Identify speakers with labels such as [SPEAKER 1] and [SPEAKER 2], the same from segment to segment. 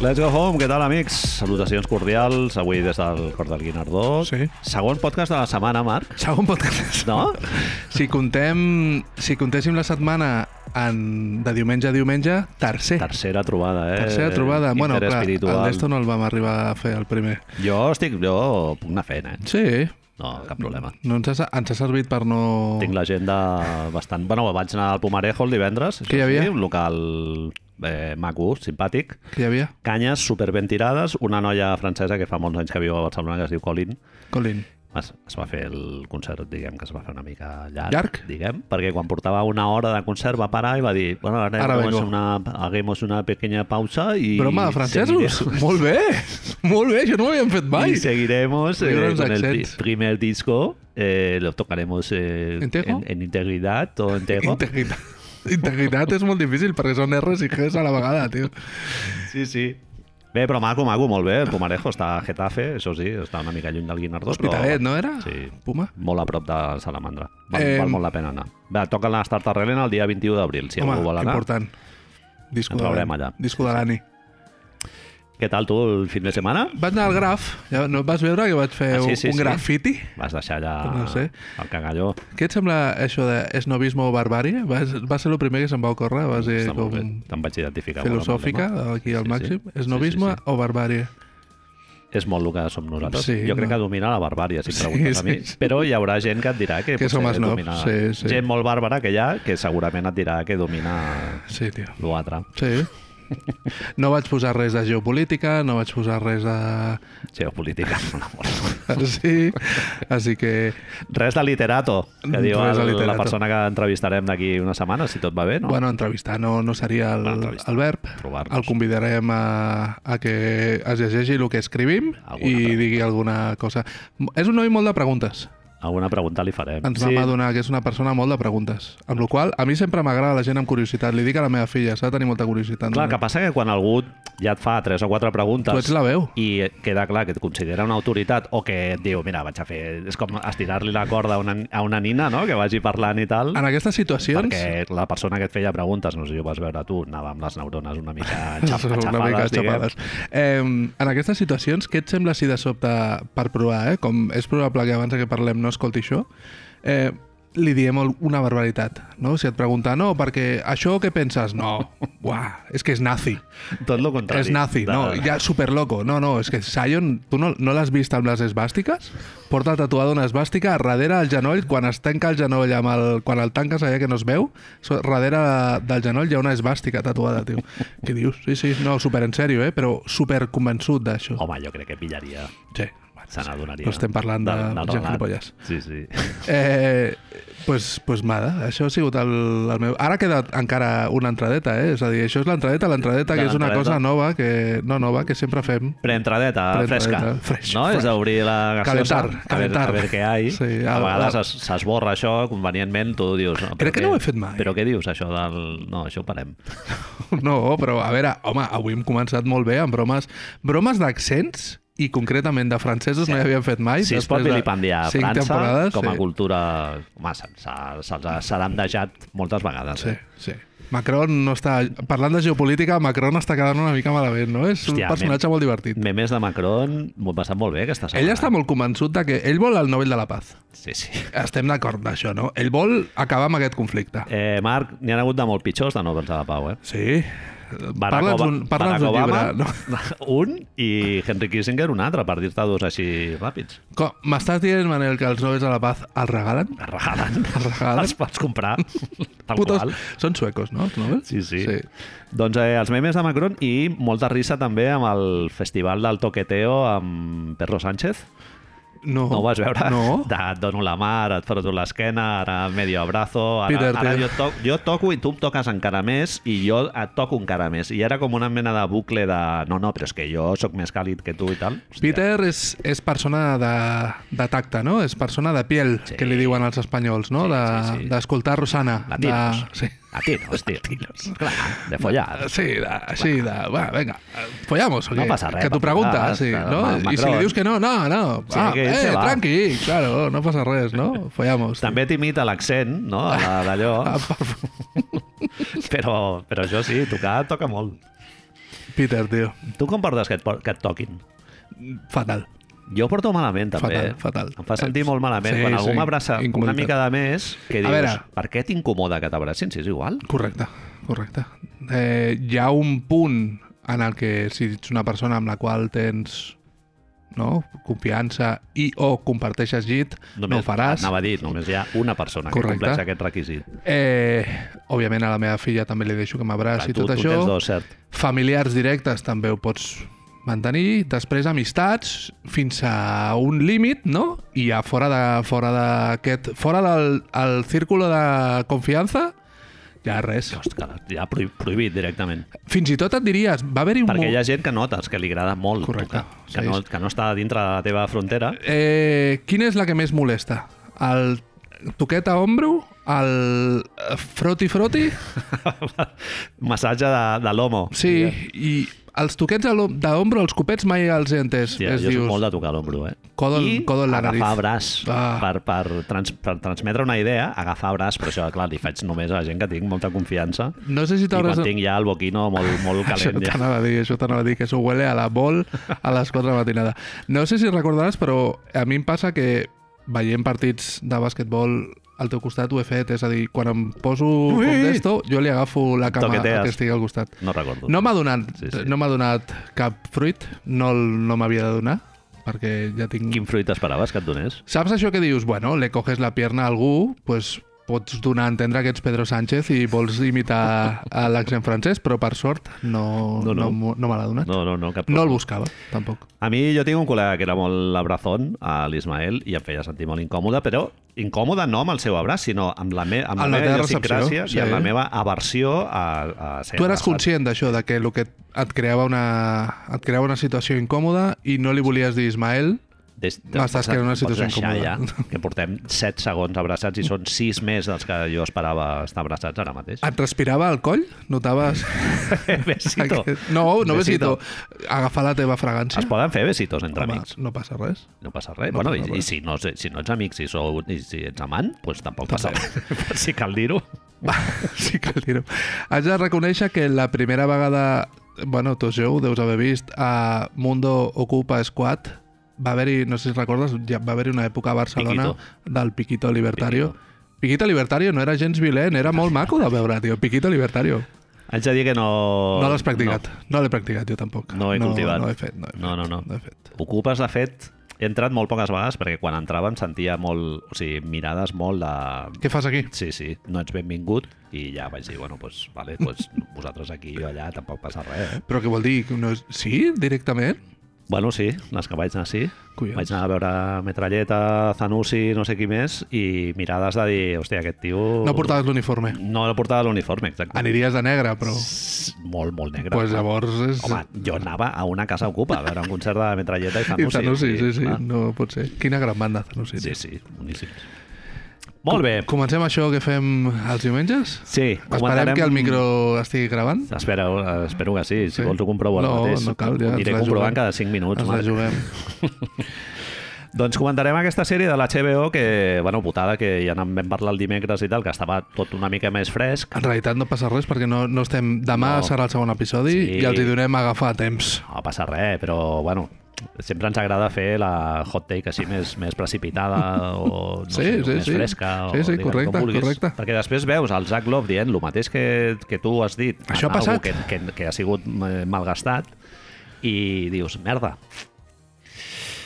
[SPEAKER 1] Let's go home, què tal, amics? Salutacions cordials, avui des del Cor del Guinardó.
[SPEAKER 2] Sí.
[SPEAKER 1] Segon podcast de la setmana, Marc.
[SPEAKER 2] Segon podcast.
[SPEAKER 1] No?
[SPEAKER 2] Si contem, si contéssim la setmana en, de diumenge a diumenge, tercer.
[SPEAKER 1] Tercera trobada, eh?
[SPEAKER 2] Tercera trobada. bueno, clar,
[SPEAKER 1] Interespiritual.
[SPEAKER 2] el d'esto no el vam arribar a fer el primer.
[SPEAKER 1] Jo estic... Jo puc anar fent, eh?
[SPEAKER 2] Sí,
[SPEAKER 1] No, cap problema.
[SPEAKER 2] no ens, ha, ens ha servit per no...
[SPEAKER 1] Tinc l'agenda bastant... Bueno, vaig anar al Pomarejo el divendres.
[SPEAKER 2] Què hi
[SPEAKER 1] això
[SPEAKER 2] havia?
[SPEAKER 1] Sí, un local eh, maco, simpàtic.
[SPEAKER 2] Que hi havia?
[SPEAKER 1] Canyes superventilades, una noia francesa que fa molts anys que viu a Barcelona que es diu Colin.
[SPEAKER 2] Colin.
[SPEAKER 1] Es, es va fer el concert, diguem, que es va fer una mica llarg,
[SPEAKER 2] Llarg?
[SPEAKER 1] diguem, perquè quan portava una hora de concert va parar i va dir bueno, ara,
[SPEAKER 2] Ara
[SPEAKER 1] ara
[SPEAKER 2] vengo."
[SPEAKER 1] una, hagamos una pequeña pausa i...
[SPEAKER 2] Broma de francesos?
[SPEAKER 1] seguiremos-
[SPEAKER 2] Molt bé! Molt bé, això no ho havíem fet mai!
[SPEAKER 1] Y seguiremos eh,
[SPEAKER 2] Libros
[SPEAKER 1] con el pri-
[SPEAKER 2] accents.
[SPEAKER 1] primer disco. eh, lo tocaremos eh,
[SPEAKER 2] ¿Entero?
[SPEAKER 1] en, en integridad o entero.
[SPEAKER 2] Integritat. Integritat és molt difícil perquè són R's i G's a la vegada, tio.
[SPEAKER 1] sí, sí. Bé, però maco, maco, molt bé. El Pomarejo està a Getafe, això sí, està una mica lluny del Guinardó.
[SPEAKER 2] Hospitalet, eh, no era?
[SPEAKER 1] Sí.
[SPEAKER 2] Puma?
[SPEAKER 1] Molt a prop de Salamandra. Val,
[SPEAKER 2] Em,
[SPEAKER 1] val molt la pena anar. Va, toca la Start Arrelena el dia 21 d'abril, si
[SPEAKER 2] Home,
[SPEAKER 1] algú vol anar.
[SPEAKER 2] important. Disco
[SPEAKER 1] Ens
[SPEAKER 2] de
[SPEAKER 1] veurem
[SPEAKER 2] l'any.
[SPEAKER 1] allà.
[SPEAKER 2] Disco de l'Ani.
[SPEAKER 1] Què tal tu el fin de setmana?
[SPEAKER 2] Vaig anar al graf, ja no et vas veure que vaig fer
[SPEAKER 1] Ah,
[SPEAKER 2] ah,
[SPEAKER 1] sí,
[SPEAKER 2] sí,
[SPEAKER 1] sí,
[SPEAKER 2] un
[SPEAKER 1] sí.
[SPEAKER 2] grafiti?
[SPEAKER 1] Vas deixar allà
[SPEAKER 2] No sé.
[SPEAKER 1] el cagalló.
[SPEAKER 2] Què et sembla això de esnovisme o barbària? Va, va ser el primer que se'm va ocórrer, va ser
[SPEAKER 1] Mm, Està molt bé.
[SPEAKER 2] Eh, com
[SPEAKER 1] Te'n vaig identificar. molt amb el
[SPEAKER 2] filosòfica,
[SPEAKER 1] tema.
[SPEAKER 2] aquí
[SPEAKER 1] Sí,
[SPEAKER 2] al
[SPEAKER 1] sí.
[SPEAKER 2] màxim.
[SPEAKER 1] Sí, sí,
[SPEAKER 2] Esnovisme
[SPEAKER 1] sí.
[SPEAKER 2] o barbària?
[SPEAKER 1] és molt el que som nosaltres.
[SPEAKER 2] Sí,
[SPEAKER 1] Sí, jo crec
[SPEAKER 2] no.
[SPEAKER 1] que domina la barbària, si em
[SPEAKER 2] Sí,
[SPEAKER 1] preguntes a mi.
[SPEAKER 2] sí, sí.
[SPEAKER 1] Però hi haurà gent que et dirà que,
[SPEAKER 2] Que
[SPEAKER 1] potser
[SPEAKER 2] som esnobs,
[SPEAKER 1] domina...
[SPEAKER 2] sí, sí.
[SPEAKER 1] Gent molt bàrbara que hi ha, que segurament et dirà que domina
[SPEAKER 2] Sí, tio.
[SPEAKER 1] l'altre.
[SPEAKER 2] Sí. No vaig posar res de geopolítica, no vaig posar res de...
[SPEAKER 1] Geopolítica.
[SPEAKER 2] Sí, així que...
[SPEAKER 1] Res de literato, que diu
[SPEAKER 2] Res de
[SPEAKER 1] el, la
[SPEAKER 2] literato.
[SPEAKER 1] persona que entrevistarem d'aquí una setmana, si tot va bé, no?
[SPEAKER 2] No. Bueno, entrevistar no, no seria el,
[SPEAKER 1] Bueno, entrevistar,
[SPEAKER 2] el verb.
[SPEAKER 1] trobar-nos.
[SPEAKER 2] El convidarem a, a que es llegeixi el que escrivim
[SPEAKER 1] Alguna
[SPEAKER 2] i
[SPEAKER 1] pregunta.
[SPEAKER 2] digui alguna cosa. És un noi molt de preguntes.
[SPEAKER 1] Alguna pregunta li farem.
[SPEAKER 2] Ens sí. vam adonar que és una persona molt de preguntes. Amb la qual cosa, a mi sempre m'agrada la gent amb curiositat. Li dic a la meva filla, s'ha de tenir molta curiositat.
[SPEAKER 1] Clar, que passa que quan algú ja et fa tres o quatre preguntes...
[SPEAKER 2] Tu ets la veu.
[SPEAKER 1] i queda clar que et considera una autoritat o que et diu, mira, vaig a fer... És com estirar-li la corda a una, a una nina, no?, que vagi parlant i tal.
[SPEAKER 2] En aquestes situacions...
[SPEAKER 1] Perquè la persona que et feia preguntes, no sé si ho vas veure tu, anava amb les neurones una mica xaf
[SPEAKER 2] Són
[SPEAKER 1] xafades,
[SPEAKER 2] una mica
[SPEAKER 1] diguem.
[SPEAKER 2] xapades. Eh, en aquestes situacions, què et sembla si de sobte, per provar, eh, com és probable que abans que parlem no escolti això, eh, li diem al- una barbaritat, no? Si et pregunta, no, perquè això què penses? No, buah, és que és nazi.
[SPEAKER 1] Tot el contrari.
[SPEAKER 2] És nazi, no, ja superloco. No, no, és que Sion, tu no, no l'has vist amb les esbàstiques? Porta tatuada una esbàstica darrere del genoll, quan es tanca el genoll, amb el, quan el tanques allà que no es veu, so, darrere del genoll hi ha una esbàstica tatuada, tio. Què dius? Sí, sí, no, super en sèrio, eh? Però super convençut d'això.
[SPEAKER 1] Home, jo crec que pillaria,
[SPEAKER 2] Sí.
[SPEAKER 1] se n'adonaria.
[SPEAKER 2] No estem parlant de gent
[SPEAKER 1] relat.
[SPEAKER 2] gilipolles.
[SPEAKER 1] Sí, sí.
[SPEAKER 2] Eh, pues, pues nada, això ha sigut el, el meu... Ara queda encara una entradeta, eh? És a dir, això és l'entradeta, l'entradeta
[SPEAKER 1] De
[SPEAKER 2] que és una
[SPEAKER 1] l'entradeta.
[SPEAKER 2] cosa nova, que no nova, que sempre fem,
[SPEAKER 1] Preentradeta,
[SPEAKER 2] Preentradeta,
[SPEAKER 1] fresca.
[SPEAKER 2] fresh,
[SPEAKER 1] no? És
[SPEAKER 2] fresh.
[SPEAKER 1] obrir la gaseosa,
[SPEAKER 2] Calentar,
[SPEAKER 1] a veure,
[SPEAKER 2] calentar.
[SPEAKER 1] a veure què hi ha.
[SPEAKER 2] Sí,
[SPEAKER 1] a,
[SPEAKER 2] a-
[SPEAKER 1] vegades
[SPEAKER 2] a-
[SPEAKER 1] es- s'esborra això convenientment, tu dius... No, però
[SPEAKER 2] Crec que no ho he fet mai.
[SPEAKER 1] Però què dius, això del... No, això ho parem.
[SPEAKER 2] No, però a veure, home, avui hem començat molt bé amb bromes, bromes d'accents i concretament de francesos no hi havíem fet mai.
[SPEAKER 1] Si es pot
[SPEAKER 2] després de
[SPEAKER 1] vilipendiar a
[SPEAKER 2] cinc
[SPEAKER 1] França,
[SPEAKER 2] temporades,
[SPEAKER 1] com a
[SPEAKER 2] sí.
[SPEAKER 1] cultura... Home, se'ls ha- se'ls ha salandejat moltes vegades.
[SPEAKER 2] Sí,
[SPEAKER 1] eh?
[SPEAKER 2] sí. Macron no està... Parlant de geopolítica, Macron està quedant una mica malament, no? És un
[SPEAKER 1] Hòstia,
[SPEAKER 2] personatge
[SPEAKER 1] men-
[SPEAKER 2] molt divertit.
[SPEAKER 1] Memes de Macron m'ho he passat molt bé aquesta setmana.
[SPEAKER 2] Ell està molt convençut de que ell vol el Nobel de la Paz.
[SPEAKER 1] Sí, sí.
[SPEAKER 2] Estem d'acord d'això, no? Ell vol acabar amb aquest conflicte.
[SPEAKER 1] Eh, Marc, n'hi ha hagut de molt pitjors de Nobels de la Pau, eh?
[SPEAKER 2] Sí.
[SPEAKER 1] Barack
[SPEAKER 2] Parla'ns
[SPEAKER 1] Oba-
[SPEAKER 2] d'un
[SPEAKER 1] Barack
[SPEAKER 2] parla'ns d'un llibre.
[SPEAKER 1] Obama,
[SPEAKER 2] No?
[SPEAKER 1] un, i Henry Kissinger un altre, per dir-te dos així ràpids.
[SPEAKER 2] Com- M'estàs dient, Manel, que els Nobels de la Paz els regalen?
[SPEAKER 1] Es regalen.
[SPEAKER 2] Es regalen?
[SPEAKER 1] Els pots comprar. Tal
[SPEAKER 2] Putos,
[SPEAKER 1] qual.
[SPEAKER 2] són suecos, no? Els Nobels?
[SPEAKER 1] Sí, sí. sí. Doncs eh, els memes de Macron i molta risa també amb el festival del toqueteo amb Perro Sánchez.
[SPEAKER 2] No,
[SPEAKER 1] No ho vas veure?
[SPEAKER 2] Oh. No.
[SPEAKER 1] De, et dono la mà, ara et foto l'esquena, ara medio abrazo, ara,
[SPEAKER 2] Peter,
[SPEAKER 1] ara
[SPEAKER 2] tio.
[SPEAKER 1] jo, toc, jo toco i tu em toques encara més i jo et toco encara més. I era com una mena de bucle de no, no, però és que jo sóc més càlid que tu i tal.
[SPEAKER 2] Peter és, és persona de, de tacte, no? És persona de piel,
[SPEAKER 1] Sí.
[SPEAKER 2] sí. que li diuen els espanyols, no?
[SPEAKER 1] Sí,
[SPEAKER 2] De-
[SPEAKER 1] sí, sí.
[SPEAKER 2] D'escoltar de, Rosana.
[SPEAKER 1] Latinos.
[SPEAKER 2] De, Ah, sí.
[SPEAKER 1] Latinos, tio. Clar, de follar.
[SPEAKER 2] Sí, de, així, de... Va, vinga, follamos. o
[SPEAKER 1] No
[SPEAKER 2] què?
[SPEAKER 1] passa res,
[SPEAKER 2] Que t'ho
[SPEAKER 1] per follar,
[SPEAKER 2] pregunta, sí,
[SPEAKER 1] clar,
[SPEAKER 2] no?
[SPEAKER 1] Ma-
[SPEAKER 2] I si
[SPEAKER 1] Macron.
[SPEAKER 2] li dius que no, no, no.
[SPEAKER 1] Sí,
[SPEAKER 2] ah,
[SPEAKER 1] que ell se
[SPEAKER 2] eh,
[SPEAKER 1] va.
[SPEAKER 2] tranqui, claro, no passa res, no? Follamos. sí.
[SPEAKER 1] També t'imita l'accent, no?, a la-
[SPEAKER 2] Ah.
[SPEAKER 1] d'allò. però, però això sí, tocar toca molt.
[SPEAKER 2] Peter, tio.
[SPEAKER 1] Tu com portes que et, por- que et toquin?
[SPEAKER 2] Fatal.
[SPEAKER 1] Jo ho porto malament, també. eh?
[SPEAKER 2] Fatal, fatal.
[SPEAKER 1] Em fa sentir molt malament.
[SPEAKER 2] Sí,
[SPEAKER 1] Quan
[SPEAKER 2] sí,
[SPEAKER 1] algú m'abraça una
[SPEAKER 2] incomoditat.
[SPEAKER 1] mica de més, que
[SPEAKER 2] A
[SPEAKER 1] dius,
[SPEAKER 2] veure.
[SPEAKER 1] per què t'incomoda que t'abracin si és igual?
[SPEAKER 2] Correcte, correcte. Eh, hi ha un punt en el que si ets una persona amb la qual tens no? confiança i o comparteixes llit, no ho faràs.
[SPEAKER 1] Anava a dir, només hi ha una persona que
[SPEAKER 2] Correcte.
[SPEAKER 1] compleix aquest requisit.
[SPEAKER 2] Eh, òbviament a la meva filla també li deixo que
[SPEAKER 1] Clar,
[SPEAKER 2] m'abraci i
[SPEAKER 1] tu,
[SPEAKER 2] tot
[SPEAKER 1] tu
[SPEAKER 2] això.
[SPEAKER 1] tens dos, cert.
[SPEAKER 2] Familiars directes també ho pots mantenir, després amistats fins a un límit, no? I ja fora de fora d'aquest fora del el círculo de confiança ja res.
[SPEAKER 1] Hòstia, ja prohi- prohibit directament.
[SPEAKER 2] Fins i tot et diries, va haver-hi un
[SPEAKER 1] Perquè
[SPEAKER 2] mo-
[SPEAKER 1] hi ha gent que notes que li agrada molt
[SPEAKER 2] Correcte.
[SPEAKER 1] tocar, que, no, que no està dintre de la teva frontera.
[SPEAKER 2] Eh, quina és la que més molesta? El toquet a ombro? El froti-froti?
[SPEAKER 1] Massatge de, de l'homo.
[SPEAKER 2] Sí, i els toquets a l'om- d'ombro, els copets mai els he entès.
[SPEAKER 1] Hòstia,
[SPEAKER 2] es
[SPEAKER 1] jo
[SPEAKER 2] dius,
[SPEAKER 1] soc molt de tocar l'ombro, eh?
[SPEAKER 2] Codo en-
[SPEAKER 1] I
[SPEAKER 2] codo en la
[SPEAKER 1] agafar
[SPEAKER 2] nariz.
[SPEAKER 1] braç.
[SPEAKER 2] Ah.
[SPEAKER 1] Per, per, trans, per transmetre una idea, agafar braç, però això, clar, li faig només a la gent que tinc molta confiança.
[SPEAKER 2] No sé si
[SPEAKER 1] I quan
[SPEAKER 2] t'hauràs...
[SPEAKER 1] tinc ja el boquino molt, molt
[SPEAKER 2] Això
[SPEAKER 1] calent. Ja.
[SPEAKER 2] t'anava a dir, això t'anava a dir, que s'ho huele a la bol a les 4 de la matinada. No sé si recordaràs, però a mi em passa que veient partits de basquetbol al teu costat ho he fet, és a dir, quan em poso
[SPEAKER 1] Ui!
[SPEAKER 2] com d'esto, jo li agafo la cama
[SPEAKER 1] Toquetees.
[SPEAKER 2] al que estigui al costat.
[SPEAKER 1] No recordo.
[SPEAKER 2] No m'ha donat,
[SPEAKER 1] Sí, sí.
[SPEAKER 2] no m'ha donat cap fruit, no, el- no m'havia de donar, perquè ja tinc...
[SPEAKER 1] Quin fruit esperaves que et donés?
[SPEAKER 2] Saps això que dius, bueno, le coges la pierna a algú, pues, pots donar a entendre que ets Pedro Sánchez i vols imitar a l'accent francès, però per sort no,
[SPEAKER 1] No,
[SPEAKER 2] no,
[SPEAKER 1] no.
[SPEAKER 2] no. m'ho- no me l'ha donat. No.
[SPEAKER 1] No, no, no, cap
[SPEAKER 2] no el
[SPEAKER 1] cosa.
[SPEAKER 2] buscava, tampoc.
[SPEAKER 1] A mi jo tinc un col·lega que era molt abrazón, a l'Ismael, i em feia sentir molt incòmode, però incòmode no amb el seu abraç, sinó amb la, me amb
[SPEAKER 2] Amb la
[SPEAKER 1] la,
[SPEAKER 2] teva
[SPEAKER 1] meva idiosincràsia
[SPEAKER 2] recepció,
[SPEAKER 1] i amb
[SPEAKER 2] sí.
[SPEAKER 1] la meva aversió a, a ser
[SPEAKER 2] Tu eres
[SPEAKER 1] abraçat.
[SPEAKER 2] conscient d'això, de que el que et creava, una, et creava una situació incòmoda i no li volies dir Ismael,
[SPEAKER 1] Des,
[SPEAKER 2] M'estàs creant una situació
[SPEAKER 1] pots deixar
[SPEAKER 2] incòmoda.
[SPEAKER 1] Ja, que portem 7 segons abraçats i són 6 més dels que jo esperava estar abraçats ara mateix.
[SPEAKER 2] et respirava al coll? Notaves...
[SPEAKER 1] Besito.
[SPEAKER 2] aquest- No, no besito. Agafar la teva fragància?
[SPEAKER 1] Es poden fer besitos entre
[SPEAKER 2] Home,
[SPEAKER 1] amics.
[SPEAKER 2] no passa res.
[SPEAKER 1] No passa res.
[SPEAKER 2] No
[SPEAKER 1] bueno,
[SPEAKER 2] passa
[SPEAKER 1] i, i
[SPEAKER 2] res.
[SPEAKER 1] si, no, si no ets amic, si, sou, i si ets amant, doncs tampoc passa res. si cal dir-ho.
[SPEAKER 2] Va, sí que el tiro. Haig de reconèixer que la primera vegada... Bueno, tots jo ho deus haver vist. A Mundo Ocupa Squad va haver-hi, no sé si recordes, ja va haver-hi una època a Barcelona
[SPEAKER 1] Piquito.
[SPEAKER 2] del Piquito Libertario. Piquito. Libertario no era gens violent, era molt maco de veure, tio. Piquito Libertario.
[SPEAKER 1] Haig de dir que Oh, no...
[SPEAKER 2] No l'has practicat. No, l'he practicat jo tampoc.
[SPEAKER 1] No he cultivat.
[SPEAKER 2] No, he fet, no he fet.
[SPEAKER 1] No, no, no.
[SPEAKER 2] no he fet.
[SPEAKER 1] No. Ocupes, de fet, he entrat molt poques vegades perquè quan entrava em sentia molt... O sigui, mirades molt de...
[SPEAKER 2] Què fas aquí?
[SPEAKER 1] Sí, sí, no ets benvingut i ja vaig dir, bueno, doncs, pues, vale, pues, vosaltres aquí i allà tampoc passa res. Eh?
[SPEAKER 2] Però què vol dir? Que No és... Sí? Directament?
[SPEAKER 1] Bueno, sí, les que vaig anar, sí.
[SPEAKER 2] Collons.
[SPEAKER 1] Vaig anar a veure Metralleta, Zanussi, no sé qui més, i mirades de dir, hòstia, aquest tio...
[SPEAKER 2] No portaves l'uniforme.
[SPEAKER 1] Oh. No portava l'uniforme, exacte.
[SPEAKER 2] Aniries de negre, però...
[SPEAKER 1] Molt, molt negre. Ah,
[SPEAKER 2] pues llavors és...
[SPEAKER 1] Home, jo anava a una casa ocupa a veure un concert de Metralleta i
[SPEAKER 2] I
[SPEAKER 1] Zanussi.
[SPEAKER 2] Zanussi, sí, sí,
[SPEAKER 1] clar.
[SPEAKER 2] no pot ser. Quina gran banda, Zanussi.
[SPEAKER 1] Sí, sí, boníssims. Molt bé.
[SPEAKER 2] Comencem això que fem els diumenges?
[SPEAKER 1] Sí,
[SPEAKER 2] Esperem
[SPEAKER 1] comentarem-
[SPEAKER 2] que el micro estigui gravant?
[SPEAKER 1] Espera, eh, espero que sí. Si
[SPEAKER 2] Sí.
[SPEAKER 1] vols ho comprovo ara
[SPEAKER 2] No,
[SPEAKER 1] mateix.
[SPEAKER 2] no cal,
[SPEAKER 1] Ho
[SPEAKER 2] ja ens
[SPEAKER 1] Aniré
[SPEAKER 2] la
[SPEAKER 1] comprovant
[SPEAKER 2] juguem.
[SPEAKER 1] cada 5 minuts.
[SPEAKER 2] Ens la
[SPEAKER 1] Marc.
[SPEAKER 2] juguem.
[SPEAKER 1] Doncs comentarem aquesta sèrie de la HBO que, bueno, putada, que ja n'en vam parlar el dimecres i tal, que estava tot una mica més fresc.
[SPEAKER 2] En realitat no passa res perquè no, no estem... Demà
[SPEAKER 1] No.
[SPEAKER 2] serà el segon episodi
[SPEAKER 1] Sí.
[SPEAKER 2] i els hi donem a agafar a temps.
[SPEAKER 1] No passa res, però, bueno, sempre ens agrada fer la hot take així més, més precipitada o no
[SPEAKER 2] Sí,
[SPEAKER 1] sé,
[SPEAKER 2] sí,
[SPEAKER 1] més
[SPEAKER 2] sí.
[SPEAKER 1] fresca.
[SPEAKER 2] Sí,
[SPEAKER 1] o,
[SPEAKER 2] sí,
[SPEAKER 1] digue'm,
[SPEAKER 2] correcte,
[SPEAKER 1] com vulguis.
[SPEAKER 2] correcte.
[SPEAKER 1] Perquè després veus el Zach Love dient el mateix que, que tu has dit.
[SPEAKER 2] Això ha
[SPEAKER 1] algú
[SPEAKER 2] passat.
[SPEAKER 1] Que, que, que ha sigut eh, malgastat i dius, merda,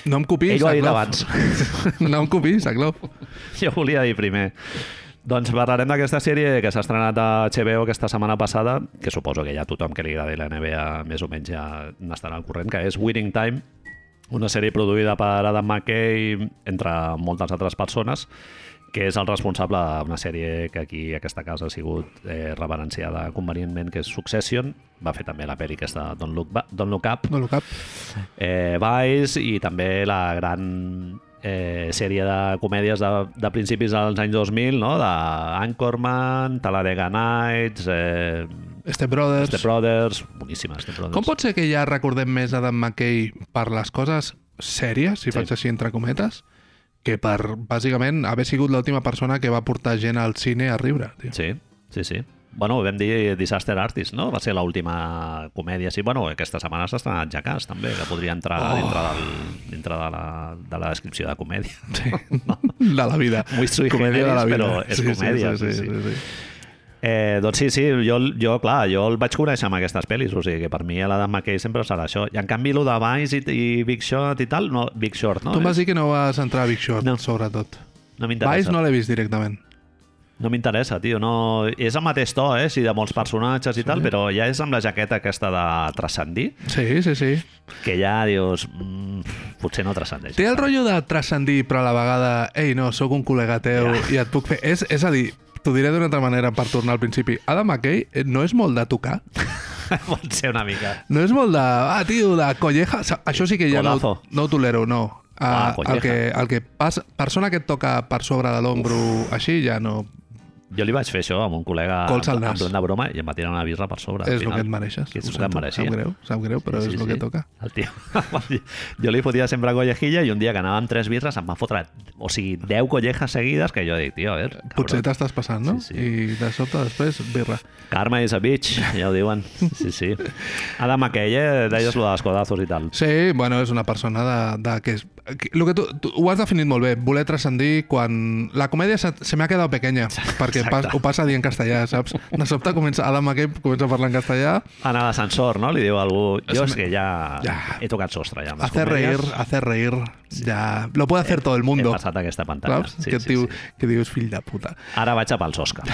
[SPEAKER 2] No em copis,
[SPEAKER 1] ell ho ha dit
[SPEAKER 2] Zaglov.
[SPEAKER 1] abans.
[SPEAKER 2] No em copis, Zaglov.
[SPEAKER 1] Jo volia dir primer. Doncs parlarem d'aquesta sèrie que s'ha estrenat a HBO aquesta setmana passada, que suposo que ja tothom que li agradi la NBA més o menys ja n'estarà al corrent, que és Winning Time, una sèrie produïda per Adam McKay, entre moltes altres persones, que és el responsable d'una sèrie que aquí, a aquesta casa, ha sigut eh, reverenciada convenientment, que és Succession. Va fer també la pel·li aquesta Don't Look, Ba- Don't Look Up,
[SPEAKER 2] No lo cap.
[SPEAKER 1] eh, Vice i també la gran eh, sèrie de comèdies de, de principis dels anys 2000, no? de Anchorman, Talladega Nights, eh,
[SPEAKER 2] Step Brothers.
[SPEAKER 1] The Brothers, boníssimes, The Brothers.
[SPEAKER 2] Com pot ser que ja recordem més Adam McKay per les coses sèries,
[SPEAKER 1] Sí.
[SPEAKER 2] si sí. faig així entre cometes, que per, bàsicament, haver sigut l'última persona que va portar gent al cine a riure, tio.
[SPEAKER 1] Sí, sí, sí. Bueno, vam dir Disaster Artist, no? Va ser l'última comèdia. Sí, bueno, aquesta setmana s'ha estrenat Jackass, també, que podria entrar oh. dintre, del, dintre de, la, de la descripció de comèdia. Sí. No?
[SPEAKER 2] De la vida.
[SPEAKER 1] Muy sui
[SPEAKER 2] Comèdia de la
[SPEAKER 1] generis,
[SPEAKER 2] vida.
[SPEAKER 1] però és comèdia, sí, sí. Eh, doncs sí, sí, jo, jo, clar, jo el vaig conèixer amb aquestes pel·lis, o sigui que per mi l'Adam McKay sempre serà això. I en canvi, el de Vice i, i Big Short i tal, no, Big Short, no?
[SPEAKER 2] Tu em vas
[SPEAKER 1] Eh?
[SPEAKER 2] dir que no vas entrar a Big Short,
[SPEAKER 1] No.
[SPEAKER 2] no. sobretot.
[SPEAKER 1] No
[SPEAKER 2] Vice
[SPEAKER 1] m'interessa.
[SPEAKER 2] no l'he vist directament.
[SPEAKER 1] No m'interessa, tio. No... És el mateix to, eh? Sí, de molts personatges i sí. tal, però ja és amb la jaqueta aquesta de transcendir,
[SPEAKER 2] Sí, sí, sí.
[SPEAKER 1] que ja dius... Mm, potser no transcendeix.
[SPEAKER 2] Té el rotllo de transcendir, però a la vegada, ei, no, sóc un col·lega teu
[SPEAKER 1] Ja.
[SPEAKER 2] i et puc fer... És, és a dir, t'ho diré d'una altra manera per tornar al principi. Adam McKay eh, no és molt de tocar.
[SPEAKER 1] Pot ser una mica...
[SPEAKER 2] No és molt de... Ah, tio, de colleja... Sa- Això sí que ja no,
[SPEAKER 1] Codazo.
[SPEAKER 2] no ho tolero, no.
[SPEAKER 1] Ah,
[SPEAKER 2] Ah, el,
[SPEAKER 1] colleja.
[SPEAKER 2] que, el que passa... Persona que et toca per sobre de l'ombro així ja no...
[SPEAKER 1] Jo li vaig fer això amb un col·lega
[SPEAKER 2] Colze al
[SPEAKER 1] en, en
[SPEAKER 2] nas.
[SPEAKER 1] plan de broma i em va tirar una birra per sobre. al
[SPEAKER 2] és el
[SPEAKER 1] final.
[SPEAKER 2] que et mereixes.
[SPEAKER 1] Que és
[SPEAKER 2] Ho
[SPEAKER 1] el que
[SPEAKER 2] sento.
[SPEAKER 1] em mereixia.
[SPEAKER 2] Sap greu, sap greu, però és el que toca.
[SPEAKER 1] El tio. jo li fotia sempre collejilla i un dia que anava amb tres birres em va fotre, o sigui, 10 collejas seguides que jo dic, tio, a veure...
[SPEAKER 2] Potser
[SPEAKER 1] cabrón.
[SPEAKER 2] t'estàs passant, no?
[SPEAKER 1] Sí, sí.
[SPEAKER 2] I de sobte després, birra.
[SPEAKER 1] Karma is a bitch, ja ho diuen. Sí, sí. Adam McKay, eh? Deies lo dels codazos i tal.
[SPEAKER 2] Sí, bueno, és una persona de, de que és... que- Lo que tu, tu ho has definit molt bé, voler transcendir quan... La comèdia se, se m'ha quedat pequeña, perquè pas,
[SPEAKER 1] Exacte.
[SPEAKER 2] ho passa a dir en castellà, saps? De sobte comença, Adam McKay comença a parlar en castellà,
[SPEAKER 1] En l'ascensor, no? Li diu algú... Jo és que ja,
[SPEAKER 2] Ja.
[SPEAKER 1] he tocat sostre, ja. amb les Eh,
[SPEAKER 2] hacer reír,
[SPEAKER 1] comèdies.
[SPEAKER 2] hacer reír, ja... Lo puede hacer todo el
[SPEAKER 1] He
[SPEAKER 2] mundo,
[SPEAKER 1] passat aquesta pantalla.
[SPEAKER 2] saps? que, diu, que dius, fill de puta.
[SPEAKER 1] Ara vaig a pels Òscar,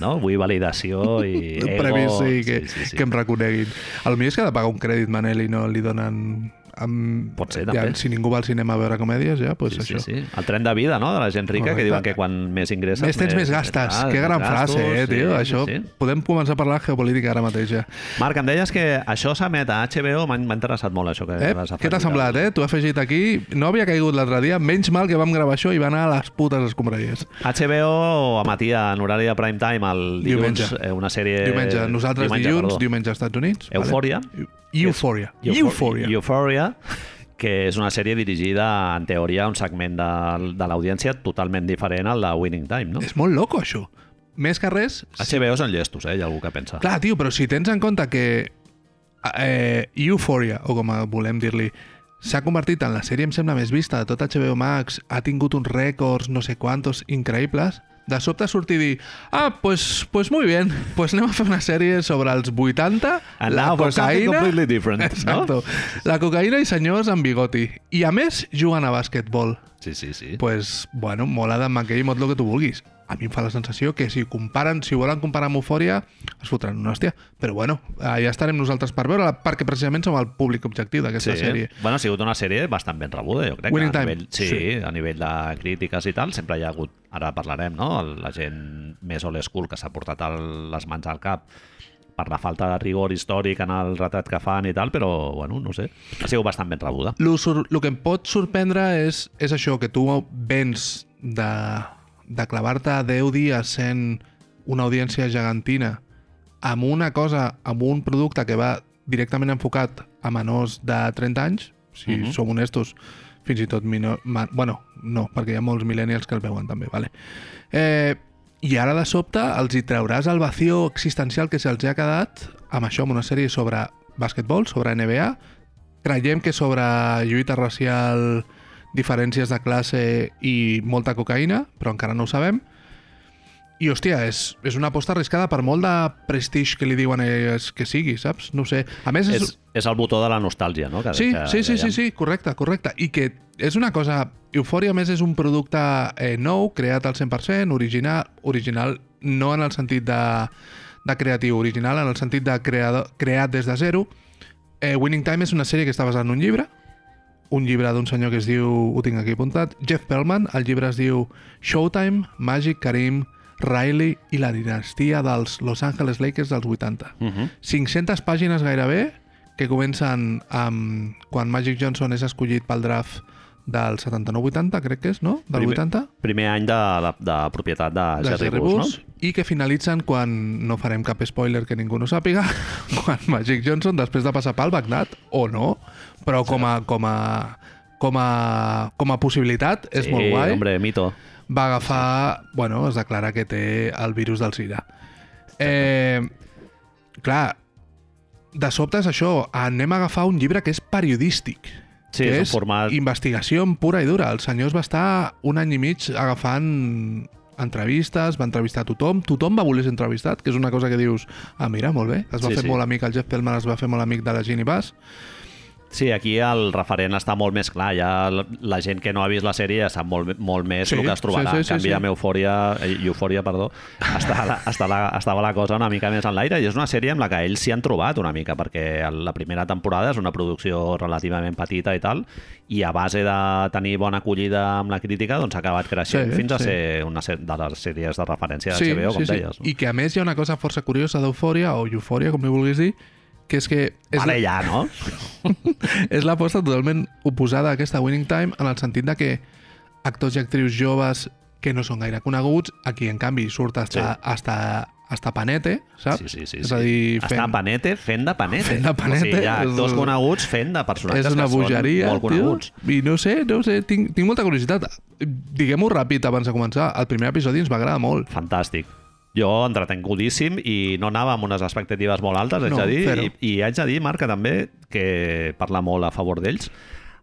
[SPEAKER 1] no? Vull validació i ego...
[SPEAKER 2] Premis, sí, que, que em reconeguin. A lo millor és que ha de pagar un crèdit, Manel, i no li donen... Amb...
[SPEAKER 1] Pot ser,
[SPEAKER 2] ja,
[SPEAKER 1] també.
[SPEAKER 2] si ningú va al cinema a veure comèdies, ja, doncs
[SPEAKER 1] Sí, sí,
[SPEAKER 2] això.
[SPEAKER 1] sí. El tren de vida, no?, de la gent rica,
[SPEAKER 2] Correcte.
[SPEAKER 1] que diuen que quan més ingresses...
[SPEAKER 2] Més tens, més gastes.
[SPEAKER 1] Ah,
[SPEAKER 2] que gran
[SPEAKER 1] gastos,
[SPEAKER 2] frase, eh, tio?
[SPEAKER 1] sí,
[SPEAKER 2] Això
[SPEAKER 1] sí.
[SPEAKER 2] podem començar a parlar de geopolítica ara mateix, ja.
[SPEAKER 1] Marc, em deies que això s'emet a HBO, m'ha m'ha interessat molt això que
[SPEAKER 2] Eh?
[SPEAKER 1] vas
[SPEAKER 2] Què t'ha
[SPEAKER 1] afegir.
[SPEAKER 2] semblat, eh? T'ho he afegit aquí. No havia caigut l'altre dia. Menys mal que vam gravar això i va anar a les putes escombraries.
[SPEAKER 1] HBO emetia en horari de prime time el dilluns
[SPEAKER 2] Diumenge.
[SPEAKER 1] eh, una sèrie...
[SPEAKER 2] Diumenge, nosaltres
[SPEAKER 1] diumenge,
[SPEAKER 2] dilluns,
[SPEAKER 1] perdó.
[SPEAKER 2] diumenge als Estats Units.
[SPEAKER 1] Eufòria.
[SPEAKER 2] Vale? Eufòria. Eufòria.
[SPEAKER 1] Euphoria, que és una sèrie dirigida, en teoria, a un segment de, de l'audiència totalment diferent al de Winning Time, no?
[SPEAKER 2] És molt loco, això. Més que res...
[SPEAKER 1] HBO són llestos, eh? Hi ha algú que pensa.
[SPEAKER 2] Clar, tio, però si tens en compte que eh, Euphoria, o com volem dir-li, s'ha convertit en la sèrie, em sembla, més vista de tot HBO Max, ha tingut uns rècords, no sé quantos, increïbles, de sobte sortir i dir, ah, pues, pues muy bien, pues anem a fer una sèrie sobre els 80,
[SPEAKER 1] And
[SPEAKER 2] la
[SPEAKER 1] now for something
[SPEAKER 2] cocaïna...
[SPEAKER 1] completely different, no?
[SPEAKER 2] Exacto. La cocaïna i senyors amb bigoti. I a més, juguen a bàsquetbol
[SPEAKER 1] Sí, sí, sí.
[SPEAKER 2] pues, bueno, molt Adam McKay, molt el que tu vulguis. A mi em fa la sensació que si comparen, si volen comparar amb Eufòria, es fotran una hòstia. Però bueno, eh, ja estarem nosaltres per veure-la, perquè precisament som el públic objectiu d'aquesta
[SPEAKER 1] Sí.
[SPEAKER 2] sèrie.
[SPEAKER 1] Bueno, ha sigut una sèrie bastant ben rebuda, jo crec.
[SPEAKER 2] Winning
[SPEAKER 1] a
[SPEAKER 2] Time,
[SPEAKER 1] nivell, sí,
[SPEAKER 2] sí.
[SPEAKER 1] a nivell de crítiques i tal, sempre hi ha hagut, ara parlarem, no? la gent més old school que s'ha portat el, les mans al cap per la falta de rigor històric en el retrat que fan i tal, però, bueno, no sé, ha sigut bastant ben rebuda.
[SPEAKER 2] Lo, sor lo que em pot sorprendre és, és això, que tu vens de, de clavar-te 10 dies sent una audiència gegantina amb una cosa, amb un producte que va directament enfocat a menors de 30 anys, si
[SPEAKER 1] Mhm.
[SPEAKER 2] som honestos, fins i tot minor... ma- Bueno, no, perquè hi ha molts millennials que el veuen també, vale? Eh, I ara de sobte els hi trauràs el vació existencial que se'ls ha quedat amb això, amb una sèrie sobre bàsquetbol, sobre NBA, creiem que sobre lluita racial, diferències de classe i molta cocaïna, però encara no ho sabem. I, hòstia, és, és una aposta arriscada per molt de prestige que li diuen ells que sigui, saps? No ho sé. A més, és,
[SPEAKER 1] És, és el botó de la nostàlgia, no? Que,
[SPEAKER 2] Sí,
[SPEAKER 1] que
[SPEAKER 2] sí, sí,
[SPEAKER 1] dèiem.
[SPEAKER 2] sí, sí, correcte, correcte. I que és una cosa... Eufòria, a més, és un producte eh, nou, creat al 100%, original, original no en el sentit de, de creatiu, original en el sentit de creador, creat des de zero. Eh, Winning Time és una sèrie que està basada en un llibre, un llibre d'un senyor que es diu, ho tinc aquí apuntat, Jeff Perlman, el llibre es diu Showtime, Magic, Karim, Riley i la dinastia dels Los Angeles Lakers dels 80.
[SPEAKER 1] Mhm.
[SPEAKER 2] 500 pàgines gairebé que comencen amb quan Magic Johnson és escollit pel draft del 79-80, crec que és, no? Del
[SPEAKER 1] Primer-
[SPEAKER 2] 80?
[SPEAKER 1] Primer any de, de, de propietat de,
[SPEAKER 2] de
[SPEAKER 1] Jerry,
[SPEAKER 2] Jerry
[SPEAKER 1] Buss,
[SPEAKER 2] Buss, i que finalitzen quan, no farem cap spoiler que ningú no sàpiga, quan Magic Johnson, després de passar pel Bagdad, o no, però com a, com a, com a, com a possibilitat
[SPEAKER 1] no?
[SPEAKER 2] és molt guai
[SPEAKER 1] hombre, mito.
[SPEAKER 2] va agafar, bueno, es declara que té el virus del SIDA. Eh, clar, de sobte és això, anem a agafar un llibre que és periodístic.
[SPEAKER 1] Sí,
[SPEAKER 2] que
[SPEAKER 1] és un format-
[SPEAKER 2] investigació en pura i dura. El senyor es va estar un any i mig agafant entrevistes, va entrevistar a tothom, tothom va voler ser entrevistat, que és una cosa que dius, ah, mira, molt bé, es va
[SPEAKER 1] Sí,
[SPEAKER 2] fer
[SPEAKER 1] sí.
[SPEAKER 2] molt amic, el Jeff Feldman es va fer molt amic de la Ginny Bass,
[SPEAKER 1] Sí, aquí el referent està molt més clar. Ja la, la gent que no ha vist la sèrie ja sap molt, molt més
[SPEAKER 2] Sí,
[SPEAKER 1] el que es trobarà.
[SPEAKER 2] sí,
[SPEAKER 1] Sí,
[SPEAKER 2] sí, sí,
[SPEAKER 1] sí, en canvi,
[SPEAKER 2] sí.
[SPEAKER 1] sí. amb Eufòria, eh, Eufòria, perdó, està la, està la, estava la cosa una mica més en l'aire i és una sèrie amb la que ells s'hi han trobat una mica perquè la primera temporada és una producció relativament petita i tal i a base de tenir bona acollida amb la crítica doncs ha acabat creixent
[SPEAKER 2] Sí,
[SPEAKER 1] sí, fins a
[SPEAKER 2] sí.
[SPEAKER 1] sí. ser una sè- de les sèries de referència de HBO, com deies.
[SPEAKER 2] I que a més hi ha una cosa força curiosa d'eufòria, o eufòria, com li vulguis dir, que és que és,
[SPEAKER 1] Vale,
[SPEAKER 2] la,
[SPEAKER 1] ja, no?
[SPEAKER 2] és l'aposta totalment oposada a aquesta Winning Time en el sentit de que actors i actrius joves que no són gaire coneguts, aquí en canvi surt hasta,
[SPEAKER 1] Sí.
[SPEAKER 2] sí. hasta, hasta Panete, saps?
[SPEAKER 1] Sí, sí, sí.
[SPEAKER 2] és a dir,
[SPEAKER 1] sí. Està Panete fent de Panete.
[SPEAKER 2] Fent de Panete,
[SPEAKER 1] O sigui, hi ha
[SPEAKER 2] és-
[SPEAKER 1] actors coneguts fent de personatges
[SPEAKER 2] és una
[SPEAKER 1] que són
[SPEAKER 2] bogeria,
[SPEAKER 1] molt
[SPEAKER 2] tio.
[SPEAKER 1] coneguts.
[SPEAKER 2] I no sé, no sé, tinc, tinc molta curiositat. Diguem-ho ràpid abans de començar. El primer episodi ens va agradar molt.
[SPEAKER 1] Fantàstic. Jo entretengudíssim i no anava amb unes expectatives molt altes, haig
[SPEAKER 2] No,
[SPEAKER 1] de dir,
[SPEAKER 2] zero.
[SPEAKER 1] i, i haig de dir, Marc, que també, que parla molt a favor d'ells,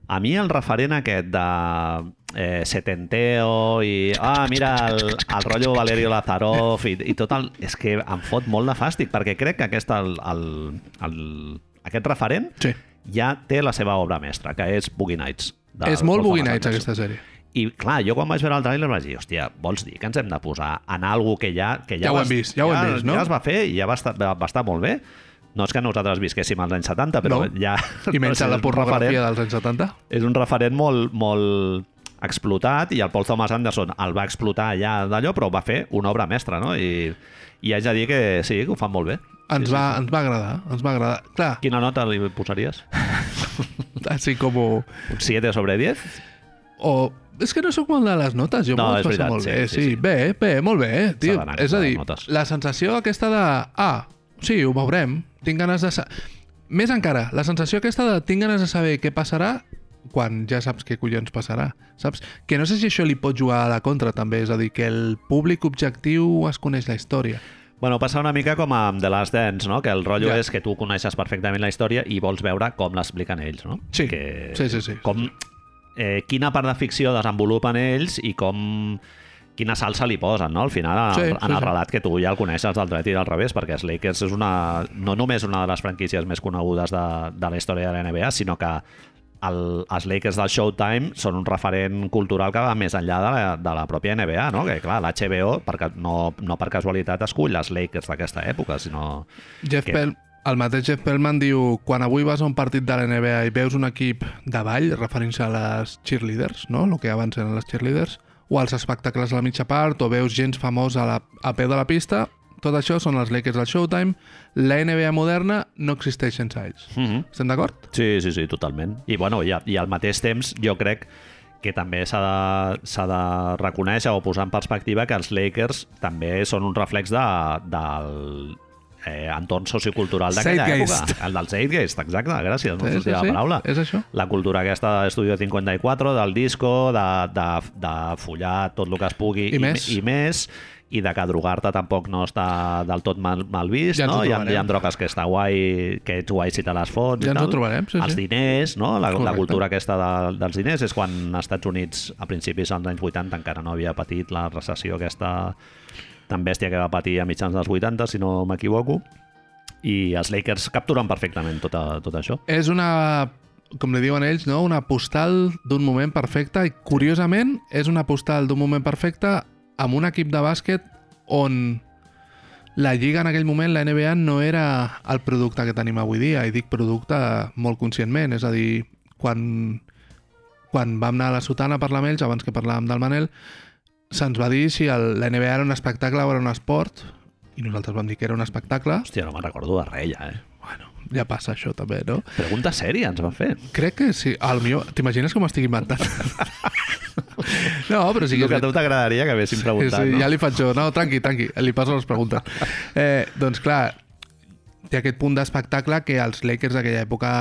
[SPEAKER 1] a mi el referent aquest de eh, Setenteo i... Ah, mira, el, el rotllo Valerio Lazarov i, i tot el... És que em fot molt de fàstic, perquè crec que aquest, el, el, el, aquest referent
[SPEAKER 2] Sí.
[SPEAKER 1] ja té la seva obra mestra, que és Boogie Nights. de
[SPEAKER 2] és molt
[SPEAKER 1] Paul
[SPEAKER 2] Boogie
[SPEAKER 1] Thomas
[SPEAKER 2] Nights,
[SPEAKER 1] Anderson.
[SPEAKER 2] aquesta sèrie.
[SPEAKER 1] I clar, jo quan vaig veure el tràiler vaig dir, hòstia, vols dir que ens hem de posar en algo que ja... Que ja,
[SPEAKER 2] Ja ho
[SPEAKER 1] vas-
[SPEAKER 2] hem vist, ja ho hem vist, no?
[SPEAKER 1] Ja es va fer i ja va estar, va va estar molt bé. No és que nosaltres visquéssim als anys 70, però
[SPEAKER 2] No.
[SPEAKER 1] ja...
[SPEAKER 2] I
[SPEAKER 1] no
[SPEAKER 2] menys
[SPEAKER 1] sé,
[SPEAKER 2] la
[SPEAKER 1] és un
[SPEAKER 2] pornografia
[SPEAKER 1] referent-
[SPEAKER 2] dels anys 70.
[SPEAKER 1] És un referent molt, molt explotat i el Paul Thomas Anderson el va explotar ja d'allò, però va fer una obra mestra, no? I, i haig de dir que sí, que ho fan molt bé.
[SPEAKER 2] Ens, va, ens va agradar, ens va agradar. Clar,
[SPEAKER 1] Quina nota li posaries?
[SPEAKER 2] així com... Ho,
[SPEAKER 1] Un 7 sobre 10?
[SPEAKER 2] o... És que no sóc molt de les notes, jo
[SPEAKER 1] No,
[SPEAKER 2] no, m'ho vaig
[SPEAKER 1] és
[SPEAKER 2] passar
[SPEAKER 1] veritat,
[SPEAKER 2] molt
[SPEAKER 1] sí,
[SPEAKER 2] bé.
[SPEAKER 1] sí,
[SPEAKER 2] Sí, sí,
[SPEAKER 1] sí.
[SPEAKER 2] Bé, bé, molt bé, eh, tio.
[SPEAKER 1] d'anar
[SPEAKER 2] És a
[SPEAKER 1] amb les
[SPEAKER 2] dir,
[SPEAKER 1] notes.
[SPEAKER 2] la sensació aquesta de... Ah, sí, ho veurem, tinc ganes de... sa-" Més encara, la sensació aquesta de tinc ganes de saber què passarà quan ja saps què collons passarà, saps? Que no sé si això li pot jugar a la contra, també. És a dir, que el públic objectiu es coneix la història.
[SPEAKER 1] Bueno, passa una mica com amb The Last Dance, no? Que el rotllo
[SPEAKER 2] Ja.
[SPEAKER 1] és que tu coneixes perfectament la història i vols veure com l'expliquen ells, no?
[SPEAKER 2] Sí.
[SPEAKER 1] Que,
[SPEAKER 2] Sí, sí, sí.
[SPEAKER 1] Com, eh, quina part de ficció desenvolupen ells i com quina salsa li posen, no? Al final, en,
[SPEAKER 2] Sí,
[SPEAKER 1] el,
[SPEAKER 2] sí,
[SPEAKER 1] en el
[SPEAKER 2] sí.
[SPEAKER 1] relat que tu ja el coneixes del dret i del revés, perquè Lakers és una, no només una de les franquícies més conegudes de, de la història de la NBA, sinó que el, els Lakers del Showtime són un referent cultural que va més enllà de la, de la pròpia NBA, no? Que, clar, l'HBO, no, no per casualitat, escull els Lakers d'aquesta època, sinó...
[SPEAKER 2] Jeff
[SPEAKER 1] Que-
[SPEAKER 2] Pel, el mateix Jeff Pelman diu quan avui vas a un partit de la NBA i veus un equip de ball, referint-se a les cheerleaders, no? el que abans eren les cheerleaders, o als espectacles a la mitja part, o veus gent famosa a, la, a peu de la pista, tot això són els Lakers del Showtime. La NBA moderna no existeix sense ells.
[SPEAKER 1] Mm -hmm.
[SPEAKER 2] Estem d'acord?
[SPEAKER 1] Sí, sí, sí, totalment. I, bueno, i, a, i al mateix temps, jo crec que també s'ha de, s'ha de reconèixer o posar en perspectiva que els Lakers també són un reflex de, del eh, entorn sociocultural d'aquella
[SPEAKER 2] Zeitgeist.
[SPEAKER 1] època. El del Zeitgeist, exacte, gràcies. No sí, sí, la paraula.
[SPEAKER 2] és això.
[SPEAKER 1] La cultura aquesta de Studio 54, del disco, de, de, de follar tot el que es pugui
[SPEAKER 2] I més.
[SPEAKER 1] i, més i de que drogar-te tampoc no està del tot mal, mal vist,
[SPEAKER 2] Ja ens
[SPEAKER 1] no?
[SPEAKER 2] ho
[SPEAKER 1] Hi ha, hi ha
[SPEAKER 2] trobarem.
[SPEAKER 1] drogues que està guai, que ets guai si te les fots i
[SPEAKER 2] Ja ens
[SPEAKER 1] tal.
[SPEAKER 2] ho trobarem, sí,
[SPEAKER 1] Els
[SPEAKER 2] sí.
[SPEAKER 1] diners, no? La, la
[SPEAKER 2] Correcte.
[SPEAKER 1] cultura aquesta de, dels diners és quan als Estats Units, a principis dels anys 80, encara no havia patit la recessió aquesta tan bèstia que va patir a mitjans dels 80, si no m'equivoco, i els Lakers capturen perfectament tot, a, tot això.
[SPEAKER 2] És una, com li diuen ells, no? una postal d'un moment perfecte i, curiosament, és una postal d'un moment perfecte amb un equip de bàsquet on la Lliga en aquell moment, la NBA, no era el producte que tenim avui dia, i dic producte molt conscientment, és a dir, quan, quan vam anar a la Sotana a parlar amb ells, abans que parlàvem del Manel, se'ns va dir si el, la NBA era un espectacle o era un esport, i nosaltres vam dir que era un espectacle,
[SPEAKER 1] Hòstia, no me'n recordo de res, ja, eh?
[SPEAKER 2] ja passa això també, no?
[SPEAKER 1] Pregunta sèria ens van fer.
[SPEAKER 2] Crec que sí. Al millor... T'imagines com estic inventant? no, però sí que...
[SPEAKER 1] El que a
[SPEAKER 2] és
[SPEAKER 1] tu t'agradaria que haguéssim preguntat,
[SPEAKER 2] sí, sí,
[SPEAKER 1] no?
[SPEAKER 2] Ja li faig jo. No, tranqui, tranqui. Li passo les preguntes. Eh, doncs clar, té aquest punt d'espectacle que els Lakers d'aquella època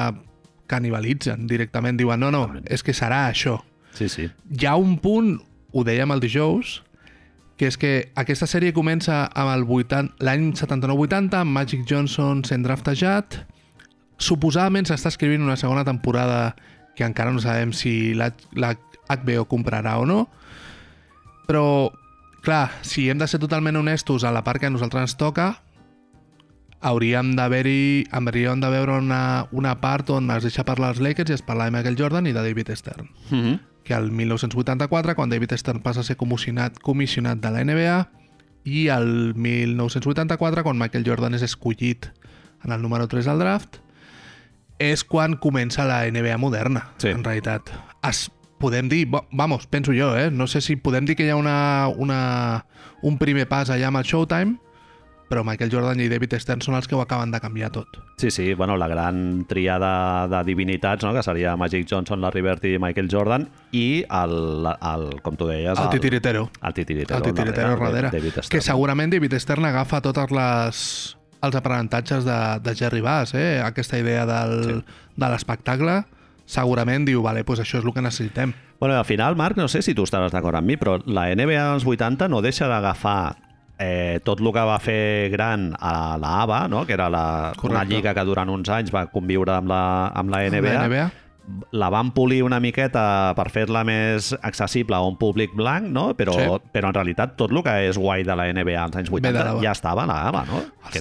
[SPEAKER 2] canibalitzen directament. Diuen, no, no, és que serà això.
[SPEAKER 1] sí, sí.
[SPEAKER 2] Hi ha un punt, ho dèiem el dijous, que és que aquesta sèrie comença amb el 80 l'any 79-80, amb Magic Johnson sent draftejat. Suposadament s'està escrivint una segona temporada que encara no sabem si la, la HBO comprarà o no, però, clar, si hem de ser totalment honestos a la part que a nosaltres ens toca, hauríem d'haver-hi, hauríem de veure una, una part on es deixa parlar els Lakers i es parla de Michael Jordan i de David Stern.
[SPEAKER 1] Mhm.
[SPEAKER 2] que al 1984, quan David Stern passa a ser comissionat, comissionat de la NBA, i al 1984, quan Michael Jordan és escollit en el número 3 del draft, és quan comença la NBA moderna,
[SPEAKER 1] Sí.
[SPEAKER 2] sí. en realitat. Es, podem dir, bo- vamos, penso jo, eh? no sé si podem dir que hi ha una, una, un primer pas allà amb el Showtime, però Michael Jordan i David Stern són els que ho acaben de canviar tot.
[SPEAKER 1] Sí, sí, bueno, la gran triada de divinitats, no? que seria Magic Johnson, Larry Bird i Michael Jordan, i el, el com tu deies...
[SPEAKER 2] El titiritero.
[SPEAKER 1] El titiritero.
[SPEAKER 2] El titiritero darrere.
[SPEAKER 1] eh, David
[SPEAKER 2] Que
[SPEAKER 1] Stern.
[SPEAKER 2] segurament David Stern agafa totes les els aprenentatges de, de Jerry Bass, eh? aquesta idea del, sí. de l'espectacle, segurament diu, vale, pues això és el que necessitem.
[SPEAKER 1] Bueno, al final, Marc, no sé si tu estaràs d'acord amb mi, però la NBA dels 80 no deixa d'agafar eh, tot el que va fer gran a la ABA, no? que era la, una
[SPEAKER 2] Correcte.
[SPEAKER 1] lliga que durant uns anys va conviure amb la, amb la NBA,
[SPEAKER 2] La NBA.
[SPEAKER 1] la van polir una miqueta per fer-la més accessible a un públic blanc, no? però,
[SPEAKER 2] Sí.
[SPEAKER 1] però en realitat tot el que és guai de la NBA als anys
[SPEAKER 2] Ve de
[SPEAKER 1] 80
[SPEAKER 2] la ABBA.
[SPEAKER 1] ja estava a la ABA, no?
[SPEAKER 2] Els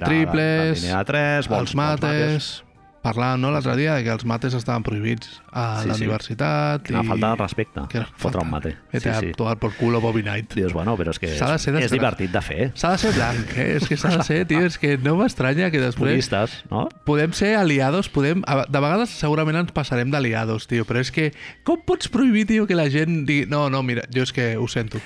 [SPEAKER 1] la,
[SPEAKER 2] triples,
[SPEAKER 1] la línia de 3,
[SPEAKER 2] Els, els mates... Parlàvem no, l'altre dia de que els mates estaven prohibits a
[SPEAKER 1] Sí,
[SPEAKER 2] sí, la
[SPEAKER 1] sí.
[SPEAKER 2] universitat.
[SPEAKER 1] Quina
[SPEAKER 2] i-
[SPEAKER 1] falta de respecte,
[SPEAKER 2] Que era
[SPEAKER 1] fotre un mate.
[SPEAKER 2] Vete
[SPEAKER 1] Sí,
[SPEAKER 2] a
[SPEAKER 1] sí.
[SPEAKER 2] tomar por culo Bobby Knight.
[SPEAKER 1] Dius, bueno, però és que és,
[SPEAKER 2] S'ha de ser
[SPEAKER 1] és
[SPEAKER 2] desgraci-
[SPEAKER 1] divertit de fer.
[SPEAKER 2] S'ha de ser blanc, eh? És que s'ha de ser, tio, és que no m'estranya que després...
[SPEAKER 1] Puristes, no?
[SPEAKER 2] Podem ser aliados, podem... a- De vegades segurament ens passarem d'aliados, tio, però és que com pots prohibir, tio, que la gent digui... No, no, mira, jo és que ho sento.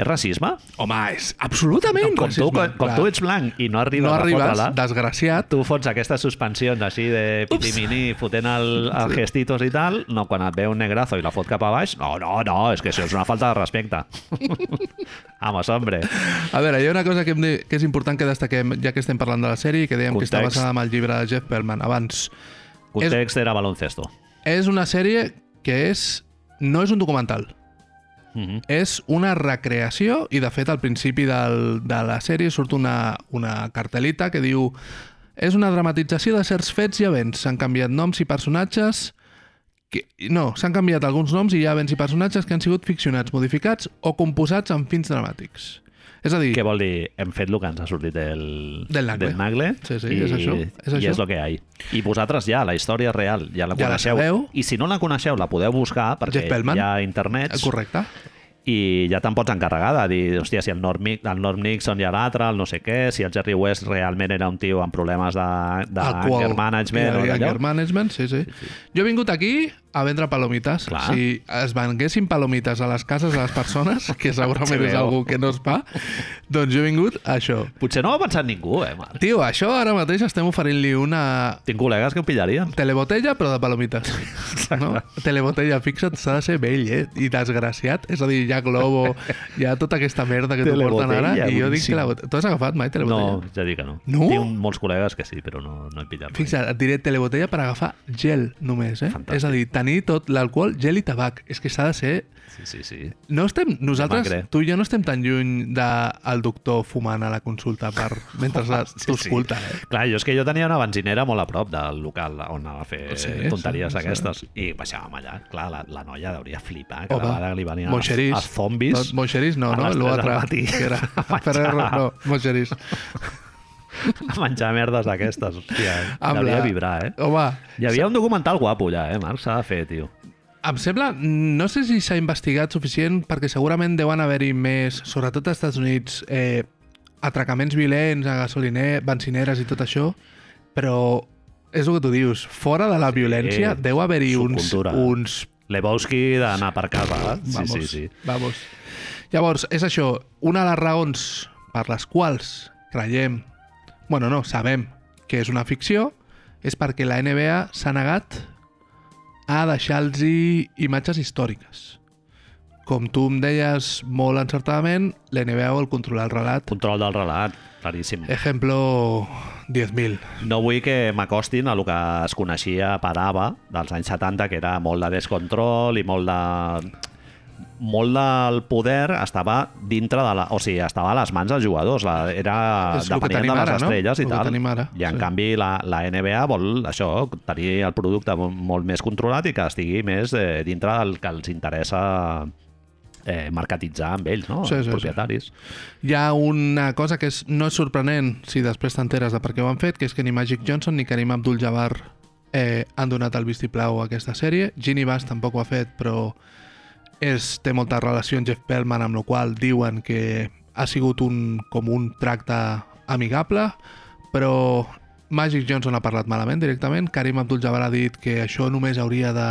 [SPEAKER 1] És racisme?
[SPEAKER 2] Home, és absolutament
[SPEAKER 1] Com tu,
[SPEAKER 2] racisme,
[SPEAKER 1] quan, quan
[SPEAKER 2] clar.
[SPEAKER 1] tu ets blanc i no arribes, a
[SPEAKER 2] no arribes,
[SPEAKER 1] fotre-la,
[SPEAKER 2] desgraciat,
[SPEAKER 1] tu fots aquestes suspensions així de pitiminí, fotent el, el gestitos i tal, no, quan et ve un negrazo i la fot cap a baix, no, no, no, és que això és una falta de respecte. Vamos, hombre.
[SPEAKER 2] A veure, hi ha una cosa que, hem de, que és important que destaquem, ja que estem parlant de la sèrie, i que dèiem que està
[SPEAKER 1] Context.
[SPEAKER 2] basada en el llibre de Jeff Perlman abans.
[SPEAKER 1] Context era baloncesto.
[SPEAKER 2] És una sèrie que és... No és un documental.
[SPEAKER 1] Mhm.
[SPEAKER 2] és una recreació i de fet al principi del, de la sèrie surt una, una cartelita que diu és una dramatització de certs fets i events s'han canviat noms i personatges que, no, s'han canviat alguns noms i hi ha events i personatges que han sigut ficcionats, modificats o composats amb fins dramàtics és a dir,
[SPEAKER 1] Què vol dir? Hem fet el que ens ha sortit del,
[SPEAKER 2] Del nagle. Sí, sí,
[SPEAKER 1] i,
[SPEAKER 2] és això, és
[SPEAKER 1] I
[SPEAKER 2] això.
[SPEAKER 1] és el que hi ha. I vosaltres ja, la història real, ja la
[SPEAKER 2] Ja la
[SPEAKER 1] coneixeu.
[SPEAKER 2] sabeu.
[SPEAKER 1] I si no la coneixeu, la podeu buscar, perquè
[SPEAKER 2] Jeff Pellman.
[SPEAKER 1] hi ha internet
[SPEAKER 2] eh, correcte
[SPEAKER 1] i ja te'n pots encarregar de dir, hòstia, si el Norm, Nic- el Norm Nixon i l'altre, el no sé què, si el Jerry West realment era un tio amb problemes de, de
[SPEAKER 2] El qual-
[SPEAKER 1] anger management o
[SPEAKER 2] Anger
[SPEAKER 1] d'allò.
[SPEAKER 2] management, sí, sí. Jo he vingut aquí a vendre palomites.
[SPEAKER 1] Clar.
[SPEAKER 2] Si es venguessin palomites a les cases de les persones, que
[SPEAKER 1] Se
[SPEAKER 2] segurament és
[SPEAKER 1] veu.
[SPEAKER 2] algú que no es fa, doncs jo he vingut a això.
[SPEAKER 1] Potser no ho ha pensat ningú, eh, Marc?
[SPEAKER 2] Tio, això ara mateix estem oferint-li una
[SPEAKER 1] Tinc col·legues que ho pillarien.
[SPEAKER 2] telebotella, però de palomites. No? Telebotella, fixa't, s'ha de ser vell, eh? I desgraciat. És a dir, hi ha globo, hi ha tota aquesta merda que t'ho porten ara.
[SPEAKER 1] Telebotella,
[SPEAKER 2] I jo dic
[SPEAKER 1] boníssim.
[SPEAKER 2] telebotella. Tu has agafat mai telebotella?
[SPEAKER 1] No, ja dic que no.
[SPEAKER 2] No?
[SPEAKER 1] Tinc molts col·legues que sí, però no, no he pillat. mai.
[SPEAKER 2] Fixa't, et diré telebotella per agafar gel només, eh?
[SPEAKER 1] Fantàstic.
[SPEAKER 2] És a dir, tenir tot l'alcohol, gel i tabac. És que s'ha de ser...
[SPEAKER 1] Sí, sí, sí.
[SPEAKER 2] No estem, nosaltres,
[SPEAKER 1] Demagre.
[SPEAKER 2] tu i jo no estem tan lluny del de, el doctor fumant a la consulta per, mentre eh? la- t'escolta. Sí,
[SPEAKER 1] Clar, jo és que jo tenia una benzinera molt a prop del local on anava a fer
[SPEAKER 2] Oh, Sí,
[SPEAKER 1] sí,
[SPEAKER 2] sí,
[SPEAKER 1] tonteries
[SPEAKER 2] sí.
[SPEAKER 1] sí, aquestes i baixàvem allà. Clar, la, la noia deuria flipar cada
[SPEAKER 2] Home,
[SPEAKER 1] vegada que li venien els,
[SPEAKER 2] Monxerís.
[SPEAKER 1] els zombis.
[SPEAKER 2] No, Monxerís no,
[SPEAKER 1] a
[SPEAKER 2] no?
[SPEAKER 1] les tres del
[SPEAKER 2] L'altre.
[SPEAKER 1] matí.
[SPEAKER 2] que Era,
[SPEAKER 1] A
[SPEAKER 2] Ferrer,
[SPEAKER 1] menjar.
[SPEAKER 2] no, Monxerís.
[SPEAKER 1] a menjar merdes d'aquestes, hòstia.
[SPEAKER 2] Amb
[SPEAKER 1] Devia
[SPEAKER 2] la-
[SPEAKER 1] vibrar, eh?
[SPEAKER 2] Home,
[SPEAKER 1] Hi havia un documental guapo allà, eh, Marc? S'ha de fer, tio.
[SPEAKER 2] em sembla, no sé si s'ha investigat suficient perquè segurament deuen haver-hi més, sobretot als Estats Units, eh, atracaments violents a gasoliner, bencineres i tot això, però és el que tu dius, fora de la violència deu haver-hi uns,
[SPEAKER 1] subcultura.
[SPEAKER 2] uns
[SPEAKER 1] Lebowski d'anar per casa. eh? Sí,
[SPEAKER 2] Vamos,
[SPEAKER 1] sí, sí.
[SPEAKER 2] Vamos. Llavors, és això. Una de les raons per les quals creiem, bueno, no, sabem que és una ficció, és perquè la NBA s'ha negat a deixar-los imatges històriques. Com tu em deies molt encertadament, la NBA vol controlar el relat.
[SPEAKER 1] Control del relat, claríssim.
[SPEAKER 2] Ejemplo 10.000.
[SPEAKER 1] No vull que m'acostin a el que es coneixia per ABBA dels anys 70, que era molt de descontrol i molt de molt del poder estava dintre de la... O sigui, estava a les mans dels jugadors. La, era,
[SPEAKER 2] És el que
[SPEAKER 1] depenien
[SPEAKER 2] tenim
[SPEAKER 1] de les
[SPEAKER 2] ara, no?
[SPEAKER 1] estrelles
[SPEAKER 2] El
[SPEAKER 1] i
[SPEAKER 2] que
[SPEAKER 1] tal.
[SPEAKER 2] tenim ara,
[SPEAKER 1] I en
[SPEAKER 2] sí.
[SPEAKER 1] canvi la, la NBA vol això, tenir el producte mo- molt més controlat i que estigui més eh, dintre del que els interessa eh, mercatitzar amb ells, no?
[SPEAKER 2] Sí, sí,
[SPEAKER 1] els
[SPEAKER 2] sí.
[SPEAKER 1] propietaris.
[SPEAKER 2] Hi ha una cosa que és, no és sorprenent si després t'enteres de per què ho han fet, que és que ni Magic Johnson ni Karim Abdul-Jabbar eh, han donat el vistiplau a aquesta sèrie. Ginny Bass tampoc ho ha fet, però és, té molta relació amb Jeff Perlman, amb la qual diuen que ha sigut un, com un tracte amigable, però Magic Johnson ha parlat malament directament, Karim Abdul-Jabbar ha dit que això només hauria de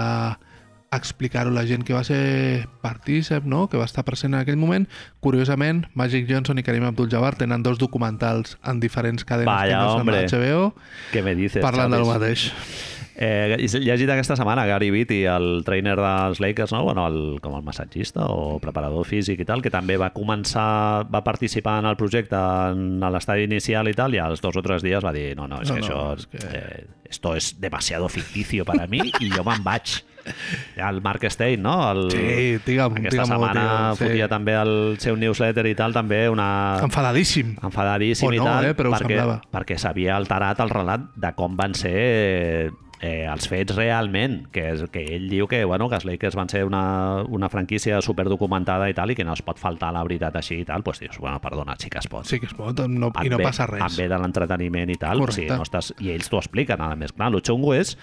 [SPEAKER 2] explicar-ho a la gent que va ser partícip, no? que va estar present en aquell moment. Curiosament, Magic Johnson i Karim Abdul-Jabbar tenen dos documentals en diferents cadenes
[SPEAKER 1] Vaya,
[SPEAKER 2] que no
[SPEAKER 1] hombre.
[SPEAKER 2] són HBO
[SPEAKER 1] Què me dices,
[SPEAKER 2] parlant del
[SPEAKER 1] Xavis?
[SPEAKER 2] mateix.
[SPEAKER 1] Eh, he llegit aquesta setmana Gary Beatty, el trainer dels Lakers, no? bueno, el, com el massatgista o preparador físic i tal, que també va començar, va participar en el projecte en a l'estadi inicial i tal, i als dos o tres dies va dir, no, no, és
[SPEAKER 2] No,
[SPEAKER 1] que
[SPEAKER 2] no,
[SPEAKER 1] això...
[SPEAKER 2] és que-
[SPEAKER 1] Eh, esto es demasiado ficticio para mí i jo me'n vaig. El Mark Stein, no? El,
[SPEAKER 2] Sí, digue'm,
[SPEAKER 1] aquesta
[SPEAKER 2] digue'm,
[SPEAKER 1] setmana
[SPEAKER 2] tio, sí.
[SPEAKER 1] fotia també el seu newsletter i tal, també una
[SPEAKER 2] Enfadadíssim.
[SPEAKER 1] enfadadíssim
[SPEAKER 2] O
[SPEAKER 1] i
[SPEAKER 2] no,
[SPEAKER 1] tal,
[SPEAKER 2] eh, però ho
[SPEAKER 1] perquè,
[SPEAKER 2] semblava.
[SPEAKER 1] perquè s'havia alterat el relat de com van ser eh, els fets realment, que, és, que ell diu que, bueno, que els Lakers van ser una, una franquícia superdocumentada i tal, i que no es pot faltar la veritat així i tal, doncs dius, bueno, perdona, sí que es pot.
[SPEAKER 2] Sí que es pot, no, i no
[SPEAKER 1] ve,
[SPEAKER 2] passa
[SPEAKER 1] Et
[SPEAKER 2] res.
[SPEAKER 1] ve de l'entreteniment i tal, o sigui,
[SPEAKER 2] Correcte.
[SPEAKER 1] no estàs, i ells t'ho expliquen, a més, clar, el xungo és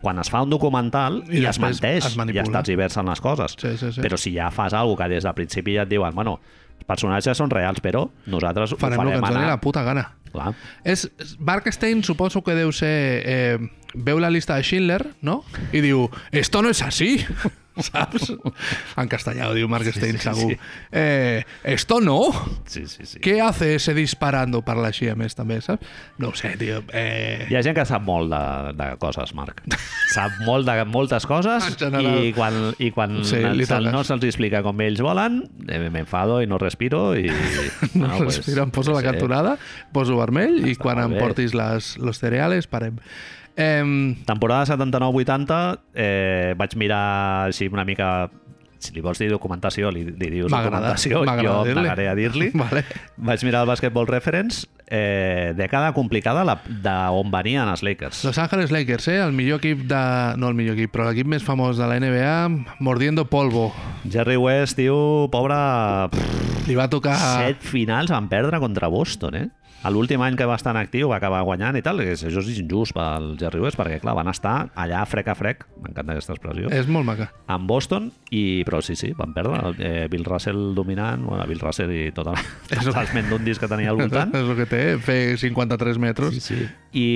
[SPEAKER 1] quan es fa un documental i,
[SPEAKER 2] I
[SPEAKER 1] es
[SPEAKER 2] després
[SPEAKER 1] menteix,
[SPEAKER 2] es
[SPEAKER 1] i
[SPEAKER 2] manipula.
[SPEAKER 1] es tergiversen les coses.
[SPEAKER 2] Sí, sí, sí.
[SPEAKER 1] Però si ja fas alguna que des del principi ja et diuen, bueno, els personatges són reals, però nosaltres
[SPEAKER 2] Farem,
[SPEAKER 1] ho farem
[SPEAKER 2] el que ens doni
[SPEAKER 1] anar
[SPEAKER 2] la puta gana.
[SPEAKER 1] Clar.
[SPEAKER 2] És, Barkstein suposo que deu ser... Eh, veu la lista de Schindler, no? I diu, esto no es así, saps? En castellà ho diu Mark Stein,
[SPEAKER 1] sí,
[SPEAKER 2] segur.
[SPEAKER 1] sí.
[SPEAKER 2] Eh, esto no?
[SPEAKER 1] Sí, sí, sí.
[SPEAKER 2] Què hace ese disparando? Parla així, a més, també, saps? No ho sé, tio. Eh...
[SPEAKER 1] Hi ha gent que sap molt de, de coses, Marc. Sap molt de moltes coses
[SPEAKER 2] En general.
[SPEAKER 1] i quan, i quan
[SPEAKER 2] Sí,
[SPEAKER 1] sí,
[SPEAKER 2] li
[SPEAKER 1] se,
[SPEAKER 2] toques.
[SPEAKER 1] no se'ls explica com ells volen, eh, m'enfado i no respiro i...
[SPEAKER 2] No,
[SPEAKER 1] Ah,
[SPEAKER 2] no respira, em poso la
[SPEAKER 1] eh?
[SPEAKER 2] cantonada, poso vermell i
[SPEAKER 1] Està
[SPEAKER 2] quan
[SPEAKER 1] molt
[SPEAKER 2] em
[SPEAKER 1] bé.
[SPEAKER 2] portis les, los cereales parem. Eh,
[SPEAKER 1] Temporada 79-80 eh, vaig mirar així una mica si li vols dir documentació, li, li dius
[SPEAKER 2] M'agrada,
[SPEAKER 1] documentació,
[SPEAKER 2] m'agrada
[SPEAKER 1] jo em
[SPEAKER 2] dir-li.
[SPEAKER 1] negaré a dir-li.
[SPEAKER 2] Vale.
[SPEAKER 1] Vaig mirar el Basketball Reference, eh, dècada complicada la- d'on venien els Lakers.
[SPEAKER 2] Los Angeles Lakers, eh? el millor equip de... No el millor equip, però l'equip més famós de la NBA, mordiendo polvo.
[SPEAKER 1] Jerry West, tio, pobre...
[SPEAKER 2] Li va tocar...
[SPEAKER 1] Set finals van perdre contra Boston, eh? A L'últim any que va estar en actiu va acabar guanyant i tal, que això és injust pel Jerry West, perquè clar, van estar allà frec a frec, m'encanta aquesta expressió,
[SPEAKER 2] És molt maca.
[SPEAKER 1] amb Boston, i però sí, sí, van perdre. Eh, Bill Russell dominant, bueno, Bill Russell i tota tot el,
[SPEAKER 2] És
[SPEAKER 1] tot els mendundis que tenia al voltant.
[SPEAKER 2] És el que té, eh? fer 53 metres. Sí, sí.
[SPEAKER 1] I,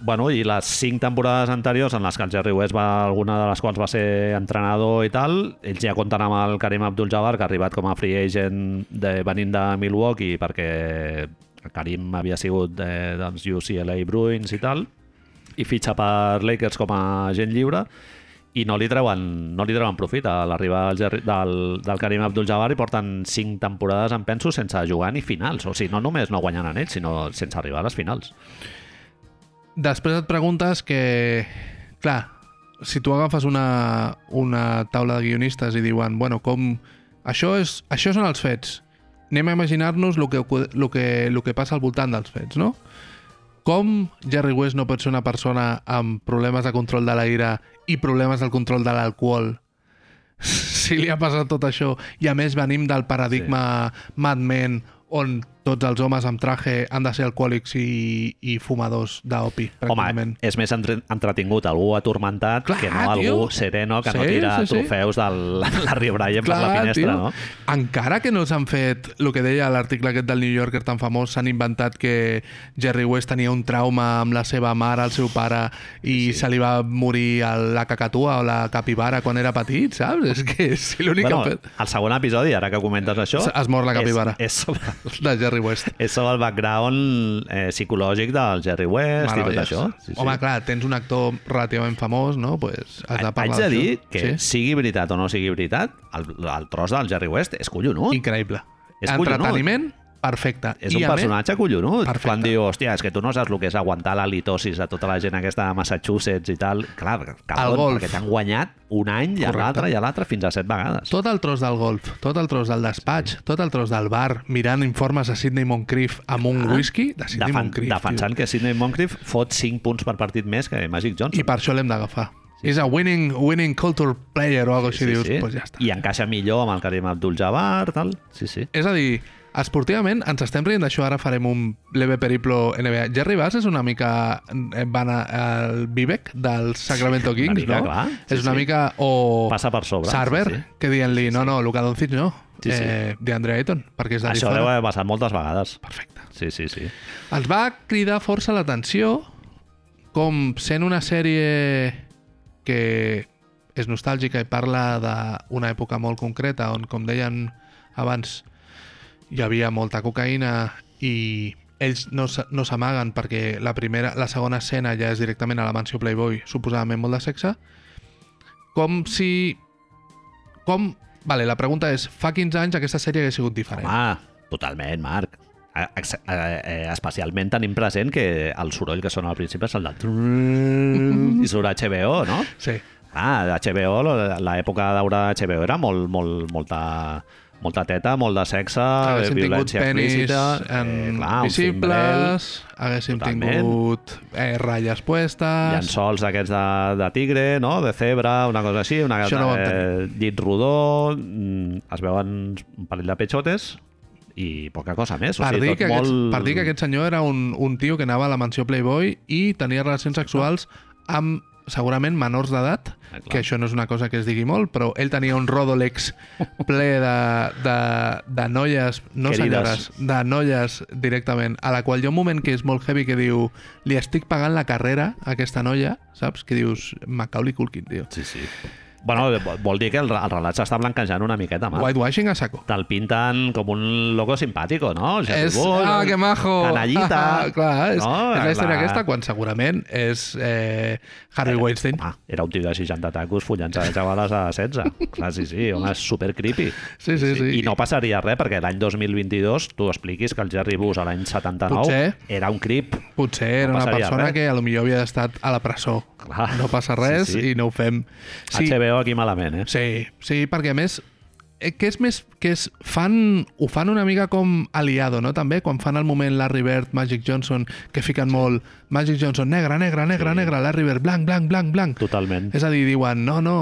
[SPEAKER 1] bueno, i les cinc temporades anteriors en les que el Jerry West va, alguna de les quals va ser entrenador i tal, ells ja compten amb el Karim Abdul-Jabbar, que ha arribat com a free agent de, venint de Milwaukee perquè el Karim havia sigut eh, doncs UCLA Bruins i tal, i fitxa per Lakers com a agent lliure i no li treuen, no li treuen profit a l'arribada del, Jerry- del, del Karim Abdul-Jabbar i porten cinc temporades, em penso, sense jugar ni finals. O sigui, no només no guanyant en ells, sinó sense arribar a les finals.
[SPEAKER 2] Després et preguntes que... Clar, si tu agafes una, una taula de guionistes i diuen, bueno, com... Això, és, això són els fets. Anem a imaginar-nos el que, el, que, el que passa al voltant dels fets, no? Com Jerry West no pot ser una persona amb problemes de control de la ira i problemes del control de l'alcohol? Si li ha passat tot això i a més venim del paradigma sí. Mad Men on tots els homes amb traje han de ser alcohòlics i, i fumadors d'opi,
[SPEAKER 1] Home,
[SPEAKER 2] pràcticament.
[SPEAKER 1] és més entre- entretingut algú atormentat
[SPEAKER 2] Clar,
[SPEAKER 1] que no algú
[SPEAKER 2] tio.
[SPEAKER 1] sereno que
[SPEAKER 2] Sí,
[SPEAKER 1] no tira
[SPEAKER 2] sí, sí.
[SPEAKER 1] trofeus del Larry Bryant per la finestra, no?
[SPEAKER 2] Encara que no s'han fet el que deia l'article aquest del New Yorker tan famós, s'han inventat que Jerry West tenia un trauma amb la seva mare, el seu pare, i sí. se li va morir a la cacatua o la capibara quan era petit, saps? És que és l'únic
[SPEAKER 1] Bueno,
[SPEAKER 2] que han fet
[SPEAKER 1] el segon episodi, ara que comentes això...
[SPEAKER 2] Es mor la capibara.
[SPEAKER 1] És, és sobre,
[SPEAKER 2] de Jerry West.
[SPEAKER 1] és sobre el background eh, psicològic del Jerry West i tot
[SPEAKER 2] Meravelles.
[SPEAKER 1] això.
[SPEAKER 2] Home, clar, tens un actor relativament famós, no? Pues, has de
[SPEAKER 1] Haig
[SPEAKER 2] parlar
[SPEAKER 1] de dir
[SPEAKER 2] d'això.
[SPEAKER 1] que, sigui veritat o no sigui veritat, el, el tros del Jerry West és
[SPEAKER 2] Sí?
[SPEAKER 1] collonut.
[SPEAKER 2] Increïble.
[SPEAKER 1] És collonut.
[SPEAKER 2] Entreteniment, Perfecte.
[SPEAKER 1] És
[SPEAKER 2] I
[SPEAKER 1] un
[SPEAKER 2] a més-
[SPEAKER 1] personatge collonut.
[SPEAKER 2] Perfecte.
[SPEAKER 1] Quan diu, hòstia, és que tu no saps el que és aguantar la litosis a tota la gent aquesta de Massachusetts i tal. Clar,
[SPEAKER 2] Al
[SPEAKER 1] cabron,
[SPEAKER 2] golf.
[SPEAKER 1] perquè t'han guanyat un any i a
[SPEAKER 2] Correcte.
[SPEAKER 1] l'altre i a l'altre fins a set vegades.
[SPEAKER 2] Tot el tros del golf, tot el tros del despatx, tot el tros del bar, mirant informes a Sidney Moncrief amb un whisky de Sidney
[SPEAKER 1] Defen
[SPEAKER 2] Moncrief.
[SPEAKER 1] Ah, defensant que Sidney Moncrief fot 5 punts per partit més que Magic
[SPEAKER 2] tio. I
[SPEAKER 1] Johnson.
[SPEAKER 2] per això l'hem d'agafar. És a winning, winning culture player o alguna cosa així, dius, pues ja està.
[SPEAKER 1] I encaixa millor amb el Karim Abdul-Jabbar, tal. Sí, sí.
[SPEAKER 2] És a dir, esportivament ens estem rient d'això, ara farem un leve periplo NBA. Jerry Bass és una mica eh, va anar al Vivek del Sacramento
[SPEAKER 1] Sí, una
[SPEAKER 2] Kings,
[SPEAKER 1] mica,
[SPEAKER 2] no?
[SPEAKER 1] clar. Sí,
[SPEAKER 2] és una
[SPEAKER 1] sí.
[SPEAKER 2] mica... O...
[SPEAKER 1] Passa per sobre,
[SPEAKER 2] Sarver,
[SPEAKER 1] sí, sí.
[SPEAKER 2] que dient-li, no, no, Luka Doncic no.
[SPEAKER 1] Sí, sí.
[SPEAKER 2] Eh, DeAndre Ayton, perquè és de
[SPEAKER 1] Això
[SPEAKER 2] Arizona.
[SPEAKER 1] deu haver passat moltes vegades.
[SPEAKER 2] Perfecte.
[SPEAKER 1] Sí, sí, sí.
[SPEAKER 2] Ens va cridar força l'atenció com sent una sèrie que és nostàlgica i parla d'una època molt concreta on, com deien abans, hi havia molta cocaïna i ells no, s- no s'amaguen perquè la, primera, la segona escena ja és directament a la mansió Playboy, suposadament molt de sexe, com si... Com... Vale, la pregunta és, fa 15 anys aquesta sèrie hagués sigut diferent.
[SPEAKER 1] Home, totalment, Marc. Eh, ex- eh, eh, Especialment tenim present que el soroll que sona al principi és el del... I surt HBO, no?
[SPEAKER 2] Sí.
[SPEAKER 1] Ah, HBO, la- l'època d'Aura HBO era molt, molt, molta, molta teta, molt de sexe, eh,
[SPEAKER 2] haguéssim tingut
[SPEAKER 1] violència
[SPEAKER 2] penis
[SPEAKER 1] explícita... eh,
[SPEAKER 2] en
[SPEAKER 1] clar, un cimbrel,
[SPEAKER 2] visibles, haguéssim
[SPEAKER 1] Totalment.
[SPEAKER 2] tingut eh, ratlles puestes...
[SPEAKER 1] llençols d'aquests de, de tigre, no? de cebra, una cosa així, una
[SPEAKER 2] Això no ho
[SPEAKER 1] eh, llit rodó, mm, es veuen un parell de petxotes i poca cosa més.
[SPEAKER 2] Per
[SPEAKER 1] o sigui,
[SPEAKER 2] dir,
[SPEAKER 1] tot
[SPEAKER 2] que aquest,
[SPEAKER 1] molt...
[SPEAKER 2] per dir que aquest senyor era un, un tio que anava a la mansió Playboy i tenia relacions sexuals amb segurament menors d'edat,
[SPEAKER 1] Ah, clar.
[SPEAKER 2] que això no és una cosa que es digui molt, però ell tenia un rodolex ple de, de, de noies, no
[SPEAKER 1] Querides.
[SPEAKER 2] senyores, de noies directament, a la qual hi ha un moment que és molt heavy que diu li estic pagant la carrera a aquesta noia, saps? Que dius Macaulay Culkin, tio.
[SPEAKER 1] Sí, sí. Bueno, vol- vol dir que el, re- el relat s'està blanquejant una miqueta, Marc.
[SPEAKER 2] Whitewashing a saco.
[SPEAKER 1] Te'l pinten com un loco simpàtico, no? Jerry
[SPEAKER 2] És,
[SPEAKER 1] Bull,
[SPEAKER 2] ah, que majo! Ah,
[SPEAKER 1] Canallita...
[SPEAKER 2] Clar, és,
[SPEAKER 1] no?
[SPEAKER 2] és la història aquesta quan segurament és eh, Harry Weinstein.
[SPEAKER 1] Home, era un tio de 60 tacos follant-se de xavales a 16. Clar, sí, sí, home, és super creepy.
[SPEAKER 2] Sí, sí, sí.
[SPEAKER 1] I no passaria res, perquè l'any 2022 tu expliquis que el Jerry Bus a l'any 79
[SPEAKER 2] Potser.
[SPEAKER 1] era un creep.
[SPEAKER 2] Potser era
[SPEAKER 1] no
[SPEAKER 2] una
[SPEAKER 1] passaria
[SPEAKER 2] persona
[SPEAKER 1] res.
[SPEAKER 2] que a lo millor havia estat a la presó.
[SPEAKER 1] Clar.
[SPEAKER 2] No passa res
[SPEAKER 1] Sí, sí.
[SPEAKER 2] i no ho fem.
[SPEAKER 1] Sí. HBO aquí malament, eh?
[SPEAKER 2] Sí, sí, perquè a més eh, que és més que és, fan, ho fan una mica com aliado, no? També quan fan al moment Larry Bird, Magic Johnson, que fiquen molt Magic Johnson negre, negre, negre, sí. negre, Larry Bird blanc, blanc, blanc, blanc.
[SPEAKER 1] Totalment.
[SPEAKER 2] És a dir, diuen, no, no,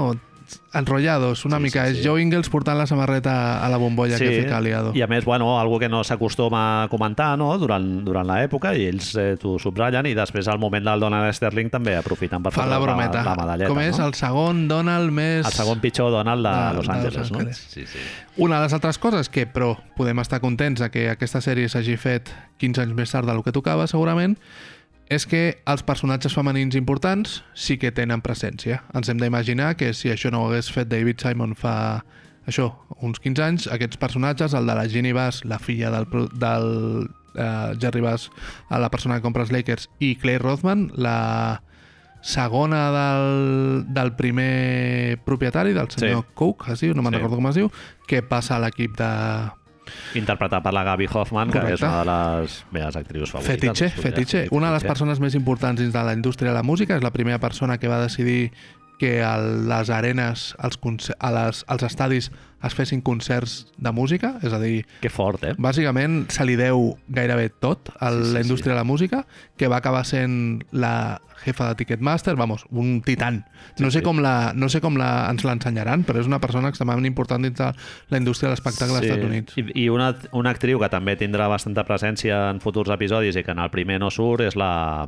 [SPEAKER 2] enrotllados, una
[SPEAKER 1] Sí, sí,
[SPEAKER 2] sí, mica. Sí,
[SPEAKER 1] sí.
[SPEAKER 2] sí. És Joe Ingles portant la samarreta a la bombolla sí. que fica aliado.
[SPEAKER 1] I a més, bueno, algo que no s'acostuma a comentar no? durant, durant l'època i ells eh, t'ho subratllen i després al moment del Donald Sterling també aprofiten per
[SPEAKER 2] Fan
[SPEAKER 1] fotre
[SPEAKER 2] la brometa.
[SPEAKER 1] La, la medalleta.
[SPEAKER 2] Com és
[SPEAKER 1] no?
[SPEAKER 2] el segon Donald més...
[SPEAKER 1] el segon pitjor Donald de,
[SPEAKER 2] Ah, de-
[SPEAKER 1] Los
[SPEAKER 2] de Los
[SPEAKER 1] Angeles, no?
[SPEAKER 2] Angeles.
[SPEAKER 1] Sí, sí.
[SPEAKER 2] Una de les altres coses que, però, podem estar contents de que aquesta sèrie s'hagi fet 15 anys més tard del que tocava, segurament, és que els personatges femenins importants sí que tenen presència. Ens hem d'imaginar que si això no ho hagués fet David Simon fa això, uns 15 anys, aquests personatges, el de la Ginny Bass, la filla del, pro- del eh, Jerry Bass, a la persona que compra els Lakers, i Clay Rothman, la segona del, del primer propietari, del senyor
[SPEAKER 1] Sí.
[SPEAKER 2] sí. Cook, es diu, no me'n
[SPEAKER 1] Sí.
[SPEAKER 2] sí. recordo com es diu, que passa a l'equip de
[SPEAKER 1] Interpretat per la Gabi Hoffman, que
[SPEAKER 2] Correcte.
[SPEAKER 1] és una de les meves actrius favorites.
[SPEAKER 2] Fetiche,
[SPEAKER 1] podria
[SPEAKER 2] Fetiche.
[SPEAKER 1] ser.
[SPEAKER 2] Una de les
[SPEAKER 1] Fetiche.
[SPEAKER 2] persones més importants dins de la indústria de la música, és la primera persona que va decidir que a les arenes, als, a les, als estadis es fessin concerts de música, és a dir,
[SPEAKER 1] Que fort, eh?
[SPEAKER 2] bàsicament se li deu gairebé tot a
[SPEAKER 1] Sí, sí,
[SPEAKER 2] la indústria de la música, que va acabar sent la jefa de Ticketmaster, vamos, un titan. No sé
[SPEAKER 1] sí.
[SPEAKER 2] com, la, no sé com la, ens l'ensenyaran, però és una persona extremadament important dins de la indústria de l'espectacle als Estats Units.
[SPEAKER 1] I, i una, una actriu que també tindrà bastanta presència en futurs episodis i que en el primer no surt és la...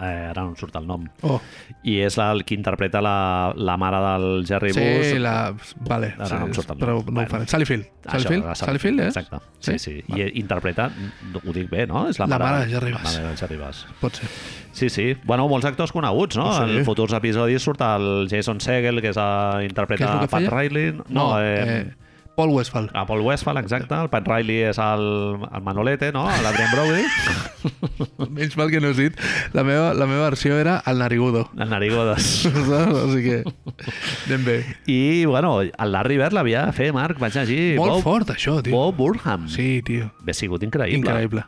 [SPEAKER 1] Eh, ara no em surt el nom.
[SPEAKER 2] Oh,
[SPEAKER 1] I és la- el que interpreta la, la mare del Jerry Bus.
[SPEAKER 2] sí, la... Vale,
[SPEAKER 1] Ara
[SPEAKER 2] sí,
[SPEAKER 1] no em surt el nom.
[SPEAKER 2] però no
[SPEAKER 1] Bueno.
[SPEAKER 2] ho farem. Sally Field. Sally Field,
[SPEAKER 1] la
[SPEAKER 2] Sally Field, eh?
[SPEAKER 1] Exacte. Sí, sí. sí. I interpreta, ho dic bé, no? És la,
[SPEAKER 2] La mare de
[SPEAKER 1] Jerry
[SPEAKER 2] Jerry Bass.
[SPEAKER 1] La mare de Jerry Bass.
[SPEAKER 2] Pot ser.
[SPEAKER 1] Sí, sí. Bueno, molts actors coneguts, no?
[SPEAKER 2] Oh, Sí.
[SPEAKER 1] En futurs episodis surt el Jason Segel, que és a,
[SPEAKER 2] Què és
[SPEAKER 1] interpreta
[SPEAKER 2] el que
[SPEAKER 1] Pat
[SPEAKER 2] feia?
[SPEAKER 1] Riley. No, eh,
[SPEAKER 2] eh, Paul Westphal.
[SPEAKER 1] A Paul Westphal, exacte. El Pat Riley és el, el Manolete, no? L'Adrian Brody.
[SPEAKER 2] Menys mal que no has dit. La meva, la meva versió era el narigudo.
[SPEAKER 1] El Narigodes.
[SPEAKER 2] Saps? o sigui que anem bé.
[SPEAKER 1] I, bueno, el Larry Bird l'havia de fer, Marc. Vaig llegir
[SPEAKER 2] Molt
[SPEAKER 1] Bob,
[SPEAKER 2] fort, això, tio.
[SPEAKER 1] Bob Burham.
[SPEAKER 2] Sí, tio.
[SPEAKER 1] Hauria sigut increïble.
[SPEAKER 2] Increïble.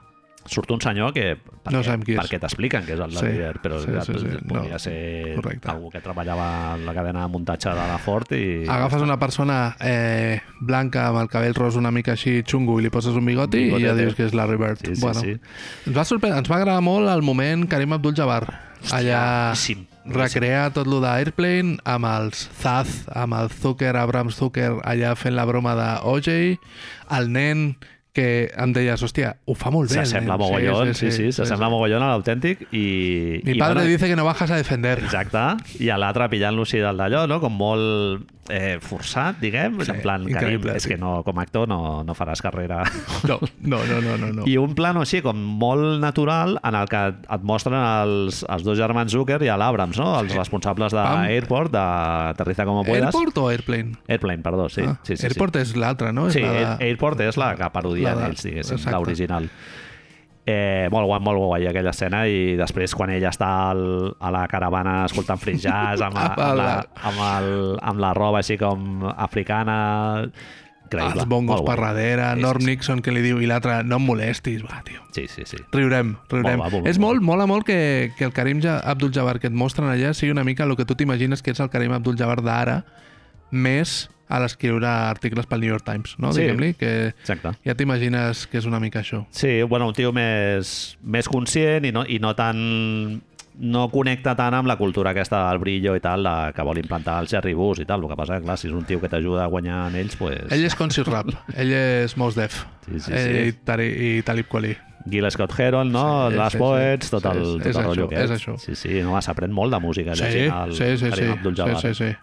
[SPEAKER 1] Surt un senyor que... Perquè,
[SPEAKER 2] No sabem qui és.
[SPEAKER 1] Perquè t'expliquen que és el
[SPEAKER 2] Sí,
[SPEAKER 1] Larry Bird, però
[SPEAKER 2] sí, sí, sí, no,
[SPEAKER 1] podria ser
[SPEAKER 2] correcte.
[SPEAKER 1] algú que treballava en la cadena de muntatge de la Ford i...
[SPEAKER 2] Agafes una persona eh, blanca amb el cabell ros una mica així xungo i li poses un bigoti
[SPEAKER 1] Bigotete.
[SPEAKER 2] i ja dius que és Larry Bird.
[SPEAKER 1] Sí, sí,
[SPEAKER 2] bueno,
[SPEAKER 1] sí.
[SPEAKER 2] Ens, va sorprendre, ens va agradar molt el moment Karim Abdul-Jabbar. Allà
[SPEAKER 1] boníssim, boníssim.
[SPEAKER 2] recrear tot lo d'Airplane amb els Zaz, amb el Zucker, Abrams Zucker, allà fent la broma de OJ, el nen que em deies, hòstia, ho fa molt bé. el
[SPEAKER 1] S'assembla
[SPEAKER 2] nen.
[SPEAKER 1] mogollon, sí, sí, s'assembla mogollon a l'autèntic i...
[SPEAKER 2] Mi
[SPEAKER 1] i,
[SPEAKER 2] padre
[SPEAKER 1] bueno,
[SPEAKER 2] dice que no bajas a defender.
[SPEAKER 1] Exacte, i a l'altre pillant-lo així del d'allò, no? com molt eh, forçat, diguem,
[SPEAKER 2] Sí,
[SPEAKER 1] sí, en plan, Karim,
[SPEAKER 2] increïble,
[SPEAKER 1] és
[SPEAKER 2] sí.
[SPEAKER 1] que no, com a actor no, no faràs carrera.
[SPEAKER 2] No, no, no, no, no. no.
[SPEAKER 1] I un plano així com molt natural en el que et mostren els, els dos germans Zucker i l'Abrams, no? els responsables
[SPEAKER 2] Pam.
[SPEAKER 1] d'Airport, de Aterriza com puedes.
[SPEAKER 2] Airport o Airplane?
[SPEAKER 1] Airplane, perdó, sí.
[SPEAKER 2] Ah,
[SPEAKER 1] sí, sí
[SPEAKER 2] Airport és l'altra, no? És
[SPEAKER 1] Sí,
[SPEAKER 2] la de-
[SPEAKER 1] Air- Airport és la que parodia
[SPEAKER 2] la de-
[SPEAKER 1] d'ells, diguéssim,
[SPEAKER 2] exacte.
[SPEAKER 1] l'original. Eh, molt guai, molt guai aquella escena i després quan ella està al, a la caravana escoltant free jazz amb, a- amb, la, amb, el, amb la roba així com africana increïble.
[SPEAKER 2] Ah, els bongos
[SPEAKER 1] molt
[SPEAKER 2] per
[SPEAKER 1] guai.
[SPEAKER 2] darrere,
[SPEAKER 1] Sí,
[SPEAKER 2] Norm
[SPEAKER 1] sí,
[SPEAKER 2] Nixon que li diu i l'altre, no em molestis, va, tio.
[SPEAKER 1] Sí, sí, sí.
[SPEAKER 2] Riurem, riurem.
[SPEAKER 1] Molt guapo,
[SPEAKER 2] és
[SPEAKER 1] molt
[SPEAKER 2] molt, mola molt que, que el Karim Ja- Abdul-Jabbar que et mostren allà sigui una mica el que tu t'imagines que és el Karim Abdul-Jabbar d'ara, més a l'escriure articles pel New York Times, no?
[SPEAKER 1] Sí.
[SPEAKER 2] Diguem-li que
[SPEAKER 1] Exacte.
[SPEAKER 2] ja t'imagines que és una mica això.
[SPEAKER 1] Sí, bueno, un tio més, més conscient i no, i no tan no connecta tant amb la cultura aquesta del brillo i tal, la, que vol implantar el Jerry Bus i tal. El que passa que, clar, si és un tio que t'ajuda a guanyar en ells, pues...
[SPEAKER 2] Ell és Conscious Rap, ell és Mos Def,
[SPEAKER 1] Sí, sí,
[SPEAKER 2] ell
[SPEAKER 1] sí.
[SPEAKER 2] I, Tari, i Talib Kweli.
[SPEAKER 1] Gil Scott Heron, no?
[SPEAKER 2] Sí,
[SPEAKER 1] Sí, Les
[SPEAKER 2] sí,
[SPEAKER 1] Poets,
[SPEAKER 2] sí.
[SPEAKER 1] tot el,
[SPEAKER 2] Sí, és-
[SPEAKER 1] tot
[SPEAKER 2] és
[SPEAKER 1] el rotllo
[SPEAKER 2] això,
[SPEAKER 1] aquest.
[SPEAKER 2] és això.
[SPEAKER 1] Sí, sí, no, s'aprèn molt de música llegint el
[SPEAKER 2] sí, sí,
[SPEAKER 1] Karim
[SPEAKER 2] sí,
[SPEAKER 1] Abdul-Jabbar.
[SPEAKER 2] sí, sí, sí.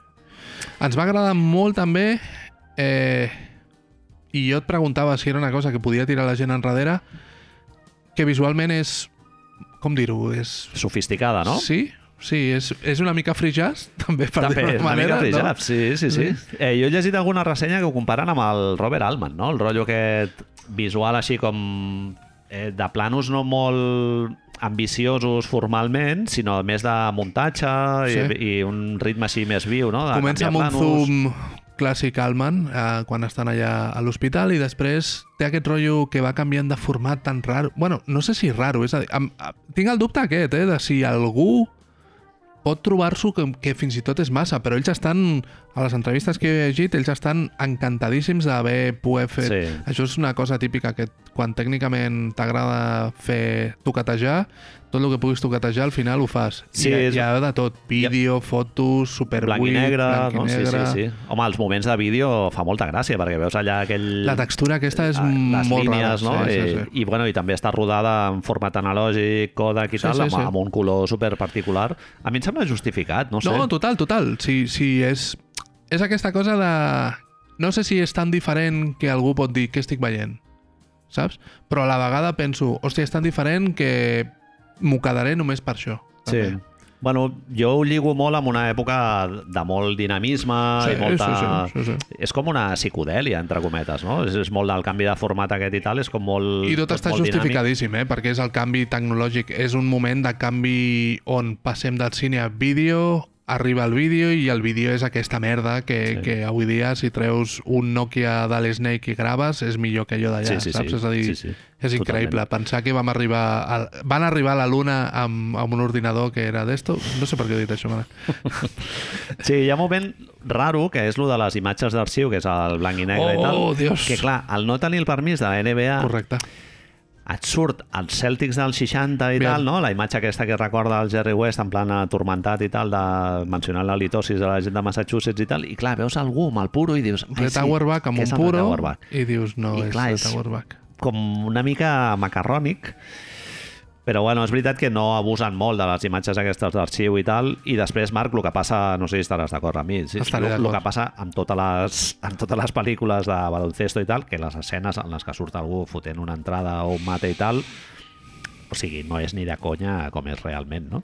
[SPEAKER 2] Ens va agradar molt també eh, i jo et preguntava si era una cosa que podia tirar la gent enrere que visualment és com dir-ho, és...
[SPEAKER 1] Sofisticada, Ah, no?
[SPEAKER 2] Sí, sí, és, és una mica free jazz, també, per
[SPEAKER 1] També,
[SPEAKER 2] dir-ho
[SPEAKER 1] una
[SPEAKER 2] manera.
[SPEAKER 1] mica free jazz, sí, sí, sí. Eh, jo he llegit alguna ressenya que ho comparen amb el Robert Altman, no? El rotllo aquest visual així com eh, de planos no molt ambiciosos formalment, sinó més de muntatge sí.
[SPEAKER 2] Sí.
[SPEAKER 1] i, i un ritme així més viu, no? De
[SPEAKER 2] Comença amb
[SPEAKER 1] canviar
[SPEAKER 2] un
[SPEAKER 1] planos.
[SPEAKER 2] zoom clàssic Alman eh, quan estan allà a l'hospital i després té aquest rotllo que va canviant de format tan raro. Bueno, no sé si raro, és a dir, em, em- tinc el dubte aquest, eh, de si algú pot trobar-s'ho que, que fins i tot és massa, però ells estan, a les entrevistes que he llegit, ells estan encantadíssims d'haver poder fer...
[SPEAKER 1] Sí.
[SPEAKER 2] Això és una cosa típica, que quan tècnicament t'agrada fer toquetejar, tot el que puguis toquetejar al final ho fas.
[SPEAKER 1] Sí,
[SPEAKER 2] I hi, ha-
[SPEAKER 1] és-
[SPEAKER 2] hi ha de tot, vídeo, fotos, super
[SPEAKER 1] blanc i
[SPEAKER 2] buit,
[SPEAKER 1] negre,
[SPEAKER 2] blanc i
[SPEAKER 1] no?
[SPEAKER 2] negre.
[SPEAKER 1] Sí, sí, sí. Home, els moments de vídeo fa molta gràcia, perquè veus allà aquell...
[SPEAKER 2] La textura aquesta és
[SPEAKER 1] Ah, les
[SPEAKER 2] molt
[SPEAKER 1] línies,
[SPEAKER 2] rara.
[SPEAKER 1] no? Eh,
[SPEAKER 2] Sí, sí,
[SPEAKER 1] I, I, bueno, I també està rodada en format analògic, Kodak i
[SPEAKER 2] Sí,
[SPEAKER 1] tal,
[SPEAKER 2] sí,
[SPEAKER 1] amb,
[SPEAKER 2] sí.
[SPEAKER 1] amb un color super particular. A mi em sembla justificat, no
[SPEAKER 2] sí.
[SPEAKER 1] sé.
[SPEAKER 2] No, total, total. Sí, sí, és, és aquesta cosa de... No sé si és tan diferent que algú pot dir que estic veient, saps? Però a la vegada penso, hòstia, és tan diferent que m'ho quedaré només per això. també.
[SPEAKER 1] Sí. Bueno, jo ho lligo molt amb una època de molt dinamisme
[SPEAKER 2] Sí,
[SPEAKER 1] Ah, i molta...
[SPEAKER 2] sí, sí, sí, sí.
[SPEAKER 1] És com una psicodèlia, entre cometes, no? És, és molt del canvi de format aquest i tal, és com molt...
[SPEAKER 2] I tot està
[SPEAKER 1] molt dinàmic.
[SPEAKER 2] justificadíssim, eh? perquè és el canvi tecnològic. És un moment de canvi on passem del cine a vídeo, arriba el vídeo i el vídeo és aquesta merda que,
[SPEAKER 1] Sí.
[SPEAKER 2] sí. que avui dia si treus un Nokia de l'Snake i graves és millor que allò d'allà,
[SPEAKER 1] Sí, sí, sí.
[SPEAKER 2] saps? És a dir,
[SPEAKER 1] Sí, sí.
[SPEAKER 2] és increïble.
[SPEAKER 1] Totalment.
[SPEAKER 2] Pensar que vam arribar a, van arribar a la Luna amb, amb un ordinador que era d'esto. No sé per què he dit això, mare.
[SPEAKER 1] Sí, hi ha un moment raro, que és lo de les imatges d'arxiu, que és el blanc i negre i tal.
[SPEAKER 2] Oh, Dios.
[SPEAKER 1] Que, clar, al no tenir el permís de la NBA,
[SPEAKER 2] Correcte.
[SPEAKER 1] et surt els Celtics del 60 i
[SPEAKER 2] Bien.
[SPEAKER 1] tal, no? La imatge aquesta que recorda el Jerry West en plan atormentat i tal, de mencionar la litosis de la gent de Massachusetts i tal, i clar, veus algú amb el puro i dius... "Ai,
[SPEAKER 2] Reta Warback amb
[SPEAKER 1] que
[SPEAKER 2] un
[SPEAKER 1] és el
[SPEAKER 2] puro
[SPEAKER 1] Rita Warback.
[SPEAKER 2] i dius, no,
[SPEAKER 1] I
[SPEAKER 2] és
[SPEAKER 1] clar,
[SPEAKER 2] Reta
[SPEAKER 1] és-
[SPEAKER 2] Warback.
[SPEAKER 1] Com una mica macarrònic, però bueno, és veritat que no abusen molt de les imatges aquestes d'arxiu i tal, i després, Marc, el que passa, no sé si estaràs d'acord amb mi, sí,
[SPEAKER 2] Estaré
[SPEAKER 1] el, el
[SPEAKER 2] d'acord.
[SPEAKER 1] que passa amb totes, les, amb totes les pel·lícules de baloncesto i tal, que les escenes en les que surt algú fotent una entrada o un mate i tal, o sigui, no és ni de conya com és realment, no?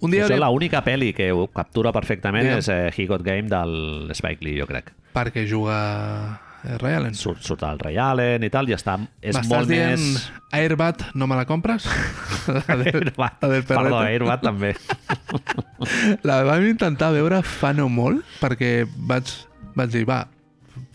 [SPEAKER 2] Un
[SPEAKER 1] Dia
[SPEAKER 2] dia
[SPEAKER 1] Això,
[SPEAKER 2] hauríem-
[SPEAKER 1] l'única pel·li que ho captura perfectament
[SPEAKER 2] Digue'm.
[SPEAKER 1] és eh, He Got Game del Spike Lee, jo crec.
[SPEAKER 2] perquè juga eh, Ray Allen.
[SPEAKER 1] Surt, surt el Ray Allen i tal, i està, és
[SPEAKER 2] M'estàs
[SPEAKER 1] molt
[SPEAKER 2] dient
[SPEAKER 1] més...
[SPEAKER 2] Airbat, no me la compres? la del,
[SPEAKER 1] Airbat.
[SPEAKER 2] la del
[SPEAKER 1] Perdó,
[SPEAKER 2] Perreta.
[SPEAKER 1] Airbat també.
[SPEAKER 2] La vam intentar veure fa no molt, perquè vaig, vaig dir, va,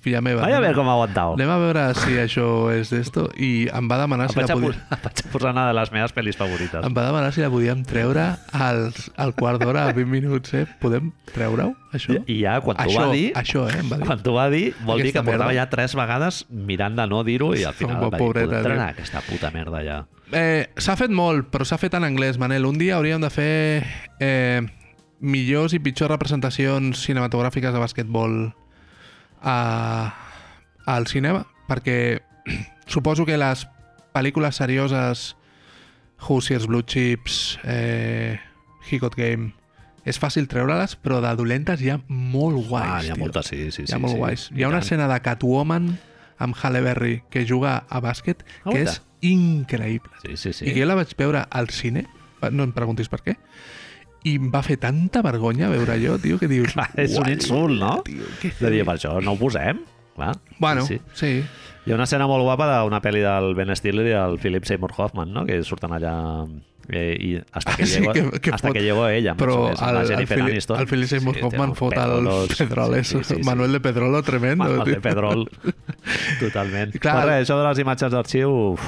[SPEAKER 2] filla meva,
[SPEAKER 1] Vaja a veure
[SPEAKER 2] anem,
[SPEAKER 1] com ha aguantat.
[SPEAKER 2] anem a veure si això és d'esto, i em va demanar
[SPEAKER 1] Em
[SPEAKER 2] si la
[SPEAKER 1] vaig, a,
[SPEAKER 2] podia...
[SPEAKER 1] pos- em vaig a posar una de les meves pel·lis favorites.
[SPEAKER 2] Em va demanar si la podíem treure al, al quart d'hora, a 20 minuts, eh? Podem treure-ho, això?
[SPEAKER 1] I ja, quan t'ho
[SPEAKER 2] això,
[SPEAKER 1] va dir...
[SPEAKER 2] Això, eh? Em va dir.
[SPEAKER 1] Quan t'ho va dir, vol dir
[SPEAKER 2] Aquesta
[SPEAKER 1] que portava
[SPEAKER 2] merda.
[SPEAKER 1] ja tres vegades mirant de no dir-ho i al final
[SPEAKER 2] Home,
[SPEAKER 1] va dir,
[SPEAKER 2] pobreta,
[SPEAKER 1] podem
[SPEAKER 2] tio."
[SPEAKER 1] trenar aquesta puta merda ja.
[SPEAKER 2] Eh, s'ha fet molt, però s'ha fet en anglès, Manel. Un dia hauríem de fer eh, millors i pitjors representacions cinematogràfiques de basquetbol a, al cinema, perquè suposo que les pel·lícules serioses Hoosiers, Blue Chips, eh, Hicot Game, és fàcil treure-les, però de dolentes hi ha molt guais.
[SPEAKER 1] ah, hi ha
[SPEAKER 2] tio.
[SPEAKER 1] moltes, sí, sí.
[SPEAKER 2] Hi ha
[SPEAKER 1] sí,
[SPEAKER 2] molt
[SPEAKER 1] sí.
[SPEAKER 2] guais.
[SPEAKER 1] I
[SPEAKER 2] Hi ha una
[SPEAKER 1] tant.
[SPEAKER 2] escena de Catwoman amb Halle Berry que juga a bàsquet
[SPEAKER 1] Ah,
[SPEAKER 2] que
[SPEAKER 1] guaita.
[SPEAKER 2] és increïble.
[SPEAKER 1] Sí, sí, sí.
[SPEAKER 2] I que jo la vaig veure al cine, no em preguntis per què, i em va fer tanta vergonya veure allò, tio, que dius...
[SPEAKER 1] Clar, és un
[SPEAKER 2] "Uai,
[SPEAKER 1] insult, no?
[SPEAKER 2] Tio, què
[SPEAKER 1] De dir, per això no ho posem, clar.
[SPEAKER 2] Bueno, sí.
[SPEAKER 1] Sí,
[SPEAKER 2] sí.
[SPEAKER 1] sí. Hi ha una escena molt guapa d'una pel·li del Ben Stiller i el Philip Seymour Hoffman, no? que surten allà eh, i hasta que,
[SPEAKER 2] Ah, sí,
[SPEAKER 1] llegó,
[SPEAKER 2] que- que
[SPEAKER 1] hasta
[SPEAKER 2] fot-
[SPEAKER 1] que llegó ella. més o
[SPEAKER 2] Però
[SPEAKER 1] més, amb la
[SPEAKER 2] el, el,
[SPEAKER 1] Jennifer
[SPEAKER 2] Fili-
[SPEAKER 1] Aniston.
[SPEAKER 2] el Philip Seymour
[SPEAKER 1] Sí, té
[SPEAKER 2] Hoffman
[SPEAKER 1] uns
[SPEAKER 2] fot el
[SPEAKER 1] pedolos.
[SPEAKER 2] Pedroles,
[SPEAKER 1] Sí, sí, sí, sí.
[SPEAKER 2] Manuel de Pedrolo, tremendo.
[SPEAKER 1] Manuel de
[SPEAKER 2] tio.
[SPEAKER 1] Pedrol. Totalment.
[SPEAKER 2] I
[SPEAKER 1] Clar,
[SPEAKER 2] clar-
[SPEAKER 1] Però res, això de les imatges d'arxiu, uf,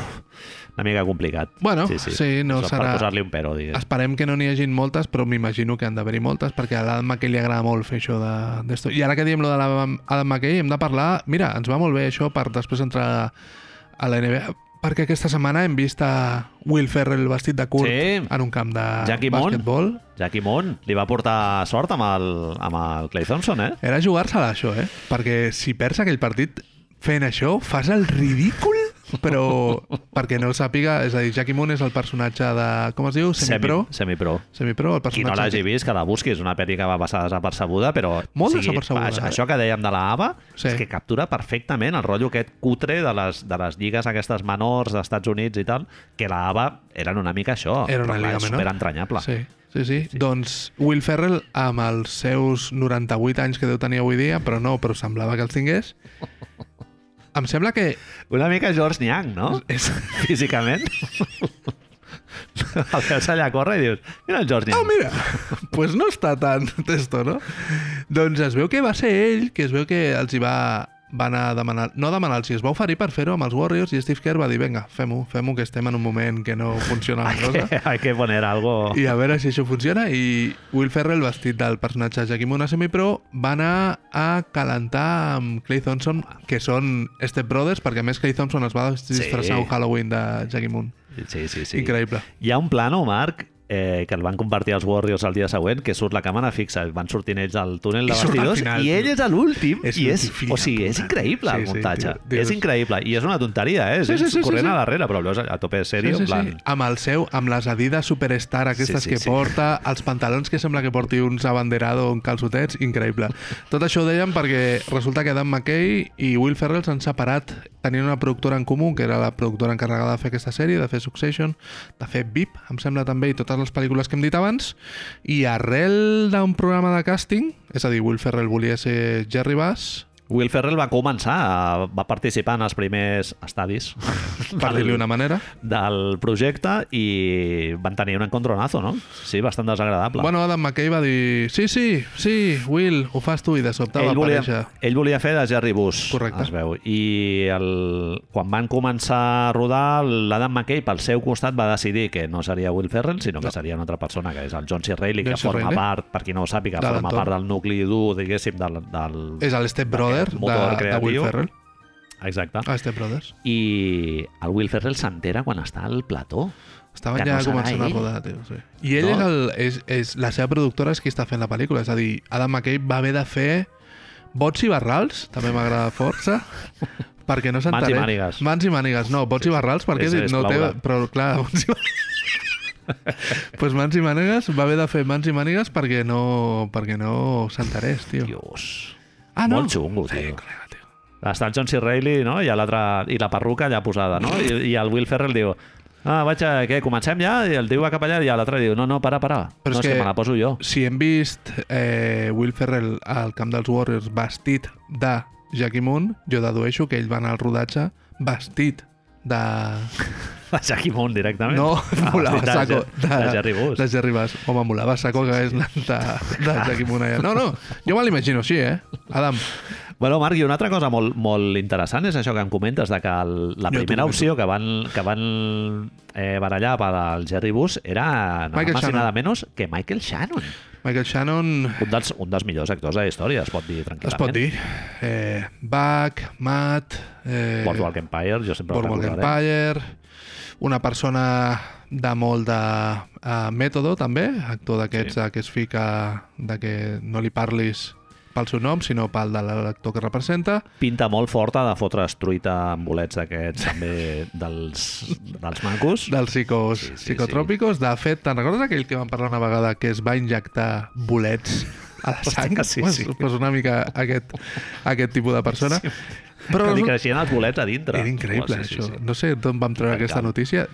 [SPEAKER 1] una mica complicat.
[SPEAKER 2] Bueno, sí, no
[SPEAKER 1] Això
[SPEAKER 2] serà-
[SPEAKER 1] Per posar-li un pero, diguem.
[SPEAKER 2] Esperem que no n'hi hagin moltes, però m'imagino que han d'haver-hi moltes, perquè a l'Adam McKay li agrada molt fer això de- d'esto. I ara que diem lo de l'Adam McKay, hem de parlar... Mira, ens va molt bé això per després entrar a la NBA, perquè aquesta setmana hem vist a Will Ferrell vestit de curt
[SPEAKER 1] Sí.
[SPEAKER 2] en un camp de
[SPEAKER 1] Jackie Mon.
[SPEAKER 2] basquetbol.
[SPEAKER 1] Jackie Mon li va portar sort amb el, amb el Clay Thompson, eh?
[SPEAKER 2] Era jugar-se-la, això, eh? Perquè si perds aquell partit fent això, fas el ridícul, però perquè no ho sàpiga, és a dir, Jackie Moon és el personatge de... Com es diu? Semipro.
[SPEAKER 1] Semipro.
[SPEAKER 2] Semipro, el
[SPEAKER 1] Qui
[SPEAKER 2] personatge...
[SPEAKER 1] no l'hagi vist, que la busqui. És una pel·li que va passar desapercebuda, però...
[SPEAKER 2] Molt desapercebuda,
[SPEAKER 1] Això,
[SPEAKER 2] eh?
[SPEAKER 1] això que dèiem de la Ava
[SPEAKER 2] Sí.
[SPEAKER 1] és que captura perfectament el rotllo aquest cutre de les, de les lligues aquestes menors d'Estats Units i tal, que la Ava eren una mica això.
[SPEAKER 2] Era
[SPEAKER 1] però
[SPEAKER 2] una
[SPEAKER 1] clar,
[SPEAKER 2] lliga
[SPEAKER 1] és
[SPEAKER 2] menor.
[SPEAKER 1] Superentranyable.
[SPEAKER 2] Sí, sí, sí. sí. Doncs Will Ferrell, amb els seus 98 anys que deu tenir avui dia, però no, però semblava que els tingués, em sembla que...
[SPEAKER 1] Una mica George Niang, no?
[SPEAKER 2] És...
[SPEAKER 1] físicament. el veus allà córrer i dius, mira el Jordi.
[SPEAKER 2] Ah, mira! pues no està tan testo, no? Doncs es veu que va ser ell, que es veu que els hi va, va anar a demanar... No demanar, si es va oferir per fer-ho amb els Warriors i Steve Kerr va dir, vinga, fem-ho, fem-ho, que estem en un moment que no funciona la cosa.
[SPEAKER 1] Hay que poner algo...
[SPEAKER 2] I a veure si això funciona. I Will Ferrell, vestit del personatge Jackie Moon a semipro, va anar a calentar amb Clay Thompson, que són Step Brothers, perquè a més Clay Thompson es va disfressar
[SPEAKER 1] Sí.
[SPEAKER 2] un Halloween de Jackie Moon.
[SPEAKER 1] Sí, sí, sí.
[SPEAKER 2] Sí. Increïble.
[SPEAKER 1] Hi ha un plano, Marc, eh, que el van compartir els Warriors el dia següent, que surt la càmera fixa, van sortint ells al túnel de
[SPEAKER 2] I surt al
[SPEAKER 1] vestidors
[SPEAKER 2] final,
[SPEAKER 1] i ell
[SPEAKER 2] tio.
[SPEAKER 1] és a l'últim
[SPEAKER 2] És
[SPEAKER 1] i és,
[SPEAKER 2] l'últim, fill
[SPEAKER 1] o
[SPEAKER 2] de
[SPEAKER 1] sigui, és
[SPEAKER 2] puta.
[SPEAKER 1] increïble
[SPEAKER 2] Sí,
[SPEAKER 1] el
[SPEAKER 2] sí,
[SPEAKER 1] muntatge.
[SPEAKER 2] tio, dius-
[SPEAKER 1] és increïble i és una tonteria, eh? És
[SPEAKER 2] Sí, sí,
[SPEAKER 1] ells
[SPEAKER 2] sí, sí,
[SPEAKER 1] corrent
[SPEAKER 2] sí.
[SPEAKER 1] a darrere, però llavors a tope
[SPEAKER 2] Sí,
[SPEAKER 1] serio,
[SPEAKER 2] sí,
[SPEAKER 1] en plan...
[SPEAKER 2] sí. Amb el seu, amb les adides superstar
[SPEAKER 1] Sí,
[SPEAKER 2] aquestes
[SPEAKER 1] sí,
[SPEAKER 2] que
[SPEAKER 1] sí.
[SPEAKER 2] porta, els pantalons que sembla que porti uns abanderado en calçotets, increïble. Tot això ho dèiem perquè resulta que Dan McKay i Will Ferrell s'han separat tenint una productora en comú, que era la productora encarregada de fer aquesta sèrie, de fer Succession, de fer VIP, em sembla també, i totes les pel·lícules que hem dit abans, i arrel d'un programa de càsting, és a dir, Will Ferrell volia ser Jerry Bass,
[SPEAKER 1] Will Ferrell va començar, a- va participar en els primers estadis
[SPEAKER 2] per dir-li una manera.
[SPEAKER 1] del projecte i van tenir un encontronazo, no? Sí, bastant desagradable.
[SPEAKER 2] Bueno, Adam McKay va dir sí, sí, sí, Will, ho fas tu i de sobte
[SPEAKER 1] ell
[SPEAKER 2] va
[SPEAKER 1] volia,
[SPEAKER 2] aparèixer.
[SPEAKER 1] ell volia fer de Jerry Bus,
[SPEAKER 2] Correcte.
[SPEAKER 1] es veu. I el, quan van començar a rodar, l'Adam McKay pel seu costat va decidir que no seria Will Ferrell, sinó que seria una altra persona, que és el John C. Reilly, que
[SPEAKER 2] John C.
[SPEAKER 1] forma
[SPEAKER 2] Reilly.
[SPEAKER 1] part, per qui no ho sàpiga,
[SPEAKER 2] De
[SPEAKER 1] forma
[SPEAKER 2] l'entorn.
[SPEAKER 1] part del nucli dur, diguéssim, del... del...
[SPEAKER 2] És el Step Brother de,
[SPEAKER 1] motor
[SPEAKER 2] de Will
[SPEAKER 1] creatiu.
[SPEAKER 2] Ferrell.
[SPEAKER 1] Exacte.
[SPEAKER 2] Ah, Step Brothers.
[SPEAKER 1] I el Will Ferrell s'entera quan està al plató.
[SPEAKER 2] Estaven
[SPEAKER 1] Que
[SPEAKER 2] ja
[SPEAKER 1] no serà
[SPEAKER 2] començant a
[SPEAKER 1] ell.
[SPEAKER 2] rodar, tio, sí. I ell
[SPEAKER 1] No.
[SPEAKER 2] és, el, és, és, la seva productora és qui està fent la pel·lícula, és a dir, Adam McKay va haver de fer bots i barrals, també m'agrada força, perquè no s'entaré.
[SPEAKER 1] mànigues.
[SPEAKER 2] Mans i mànigues, no, bots i barrals, perquè
[SPEAKER 1] És-
[SPEAKER 2] he dit,
[SPEAKER 1] és
[SPEAKER 2] no té...
[SPEAKER 1] Laura.
[SPEAKER 2] Però clar, mans i mànigues... pues mans i mànigues, va haver de fer mans i mànigues perquè no, perquè no s'enterés, tio.
[SPEAKER 1] Dios.
[SPEAKER 2] Ah, no?
[SPEAKER 1] Molt xungo,
[SPEAKER 2] Sí,
[SPEAKER 1] tio.
[SPEAKER 2] clar, tio.
[SPEAKER 1] Està el John C. Reilly, no? I, l'altre- I la perruca allà posada, no? I, I el Will Ferrell diu... Ah, vaig a... Què, comencem ja? I el tio va cap allà i l'altre diu... No, no, para, para.
[SPEAKER 2] Però
[SPEAKER 1] Però no,
[SPEAKER 2] és
[SPEAKER 1] és que...
[SPEAKER 2] que-
[SPEAKER 1] me la poso jo.
[SPEAKER 2] Si hem vist eh, Will Ferrell al camp dels Warriors vestit de Jackie Moon, jo dedueixo que ell va anar al rodatge vestit de...
[SPEAKER 1] A Jackie Moon directament.
[SPEAKER 2] No,
[SPEAKER 1] Ah,
[SPEAKER 2] volava
[SPEAKER 1] de-
[SPEAKER 2] saco.
[SPEAKER 1] De, de Jerry Bus.
[SPEAKER 2] De Jerry Bus. Home, volava saco que hagués anat de, de Jackie Moon allà. No, no, jo me l'imagino així, eh? Adam,
[SPEAKER 1] Bueno, Marc, i una altra cosa molt, molt interessant és això que em comentes, de que el, la
[SPEAKER 2] Jo t'ho
[SPEAKER 1] primera
[SPEAKER 2] comento.
[SPEAKER 1] opció que van, que van eh, barallar per al Jerry Bus era nada
[SPEAKER 2] Michael
[SPEAKER 1] más i
[SPEAKER 2] Shannon.
[SPEAKER 1] nada menos que Michael Shannon.
[SPEAKER 2] Michael Shannon
[SPEAKER 1] Un dels, un dels millors actors de la història, es pot dir
[SPEAKER 2] es
[SPEAKER 1] tranquil·lament.
[SPEAKER 2] pot dir. Eh, Bach, Matt... Eh,
[SPEAKER 1] Boardwalk Empire, jo sempre
[SPEAKER 2] Boardwalk
[SPEAKER 1] el recordaré.
[SPEAKER 2] Empire, una persona de molt de uh, mètode, també, actor d'aquests
[SPEAKER 1] Sí.
[SPEAKER 2] sí. que es fica de que no li parlis pel seu nom, sinó pel de l'actor que representa.
[SPEAKER 1] Pinta molt forta de fotre's truita amb bolets d'aquests, també dels, dels mancos.
[SPEAKER 2] dels psicos,
[SPEAKER 1] Sí,
[SPEAKER 2] sí,
[SPEAKER 1] sí,
[SPEAKER 2] sí, psicotròpicos. Sí. De fet, te'n recordes aquell que vam parlar una vegada que es va injectar bolets a la sang?
[SPEAKER 1] sí,
[SPEAKER 2] pues,
[SPEAKER 1] sí.
[SPEAKER 2] pues una mica aquest, aquest tipus de persona. Sí. Però
[SPEAKER 1] que li
[SPEAKER 2] resulta-
[SPEAKER 1] creixien els bolets a dintre.
[SPEAKER 2] era increïble,
[SPEAKER 1] Home,
[SPEAKER 2] sí, això. Sí, sí. No sé d'on vam treure
[SPEAKER 1] Encara.
[SPEAKER 2] aquesta notícia.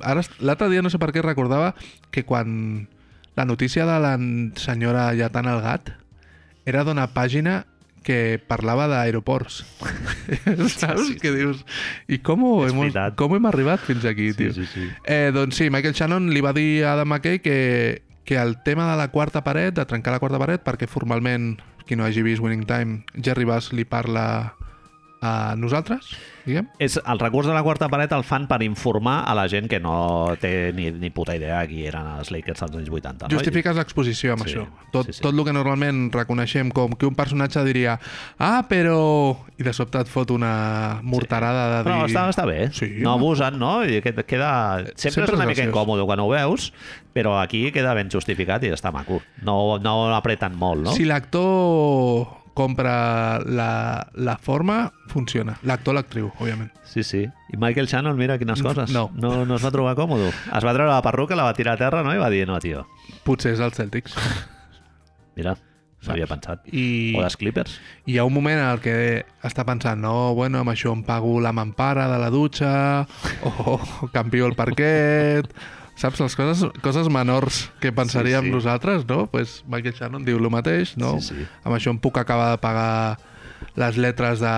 [SPEAKER 2] Ara, l'altre dia, no sé per què, recordava que quan la notícia de la senyora lletant el gat era d'una pàgina que parlava d'aeroports. Saps?
[SPEAKER 1] sí, sí.
[SPEAKER 2] Que dius... I com, ho
[SPEAKER 1] És
[SPEAKER 2] hem,
[SPEAKER 1] veritat.
[SPEAKER 2] com hem arribat fins aquí,
[SPEAKER 1] Sí,
[SPEAKER 2] tio?
[SPEAKER 1] sí, sí.
[SPEAKER 2] Eh, doncs sí, Michael Shannon li va dir a Adam McKay que, que el tema de la quarta paret, de trencar la quarta paret, perquè formalment, qui no hagi vist Winning Time, Jerry Bass li parla a nosaltres, diguem.
[SPEAKER 1] És, el recurs de la quarta paret el fan per informar a la gent que no té ni, ni puta idea qui eren els Lakers als anys 80.
[SPEAKER 2] Justifiques l'exposició amb
[SPEAKER 1] Sí,
[SPEAKER 2] això. Tot,
[SPEAKER 1] sí, sí.
[SPEAKER 2] tot el que normalment reconeixem com que un personatge diria ah, però... i de sobte et fot una morterada
[SPEAKER 1] No?
[SPEAKER 2] de dir...
[SPEAKER 1] Però està, està bé.
[SPEAKER 2] Sí. Eh,
[SPEAKER 1] no abusen, no? I que- queda... Sempre,
[SPEAKER 2] Sempre
[SPEAKER 1] és
[SPEAKER 2] és
[SPEAKER 1] una mica
[SPEAKER 2] graciós.
[SPEAKER 1] incòmode quan ho veus, però aquí queda ben justificat i està maco. No, no apreten molt, no?
[SPEAKER 2] Si l'actor compra la, la forma, funciona. L'actor, l'actriu, òbviament.
[SPEAKER 1] Sí, sí. I Michael Shannon, mira quines coses.
[SPEAKER 2] no.
[SPEAKER 1] no. No es va trobar còmode. Es va treure la perruca, la va tirar a terra, no? I va dir, no, tio,
[SPEAKER 2] Potser és els Celtics.
[SPEAKER 1] mira, s'havia pensat.
[SPEAKER 2] I,
[SPEAKER 1] O dels Clippers.
[SPEAKER 2] I hi ha un moment en el que està pensant no, bueno, amb això em pago la mampara de la dutxa, o, o canvio el parquet... Saps, les coses, coses menors que pensaríem
[SPEAKER 1] Sí, sí.
[SPEAKER 2] sí, sí. nosaltres, no? Pues Michael Shannon diu el mateix, no?
[SPEAKER 1] Sí, sí.
[SPEAKER 2] Amb això em puc acabar de pagar les lletres de,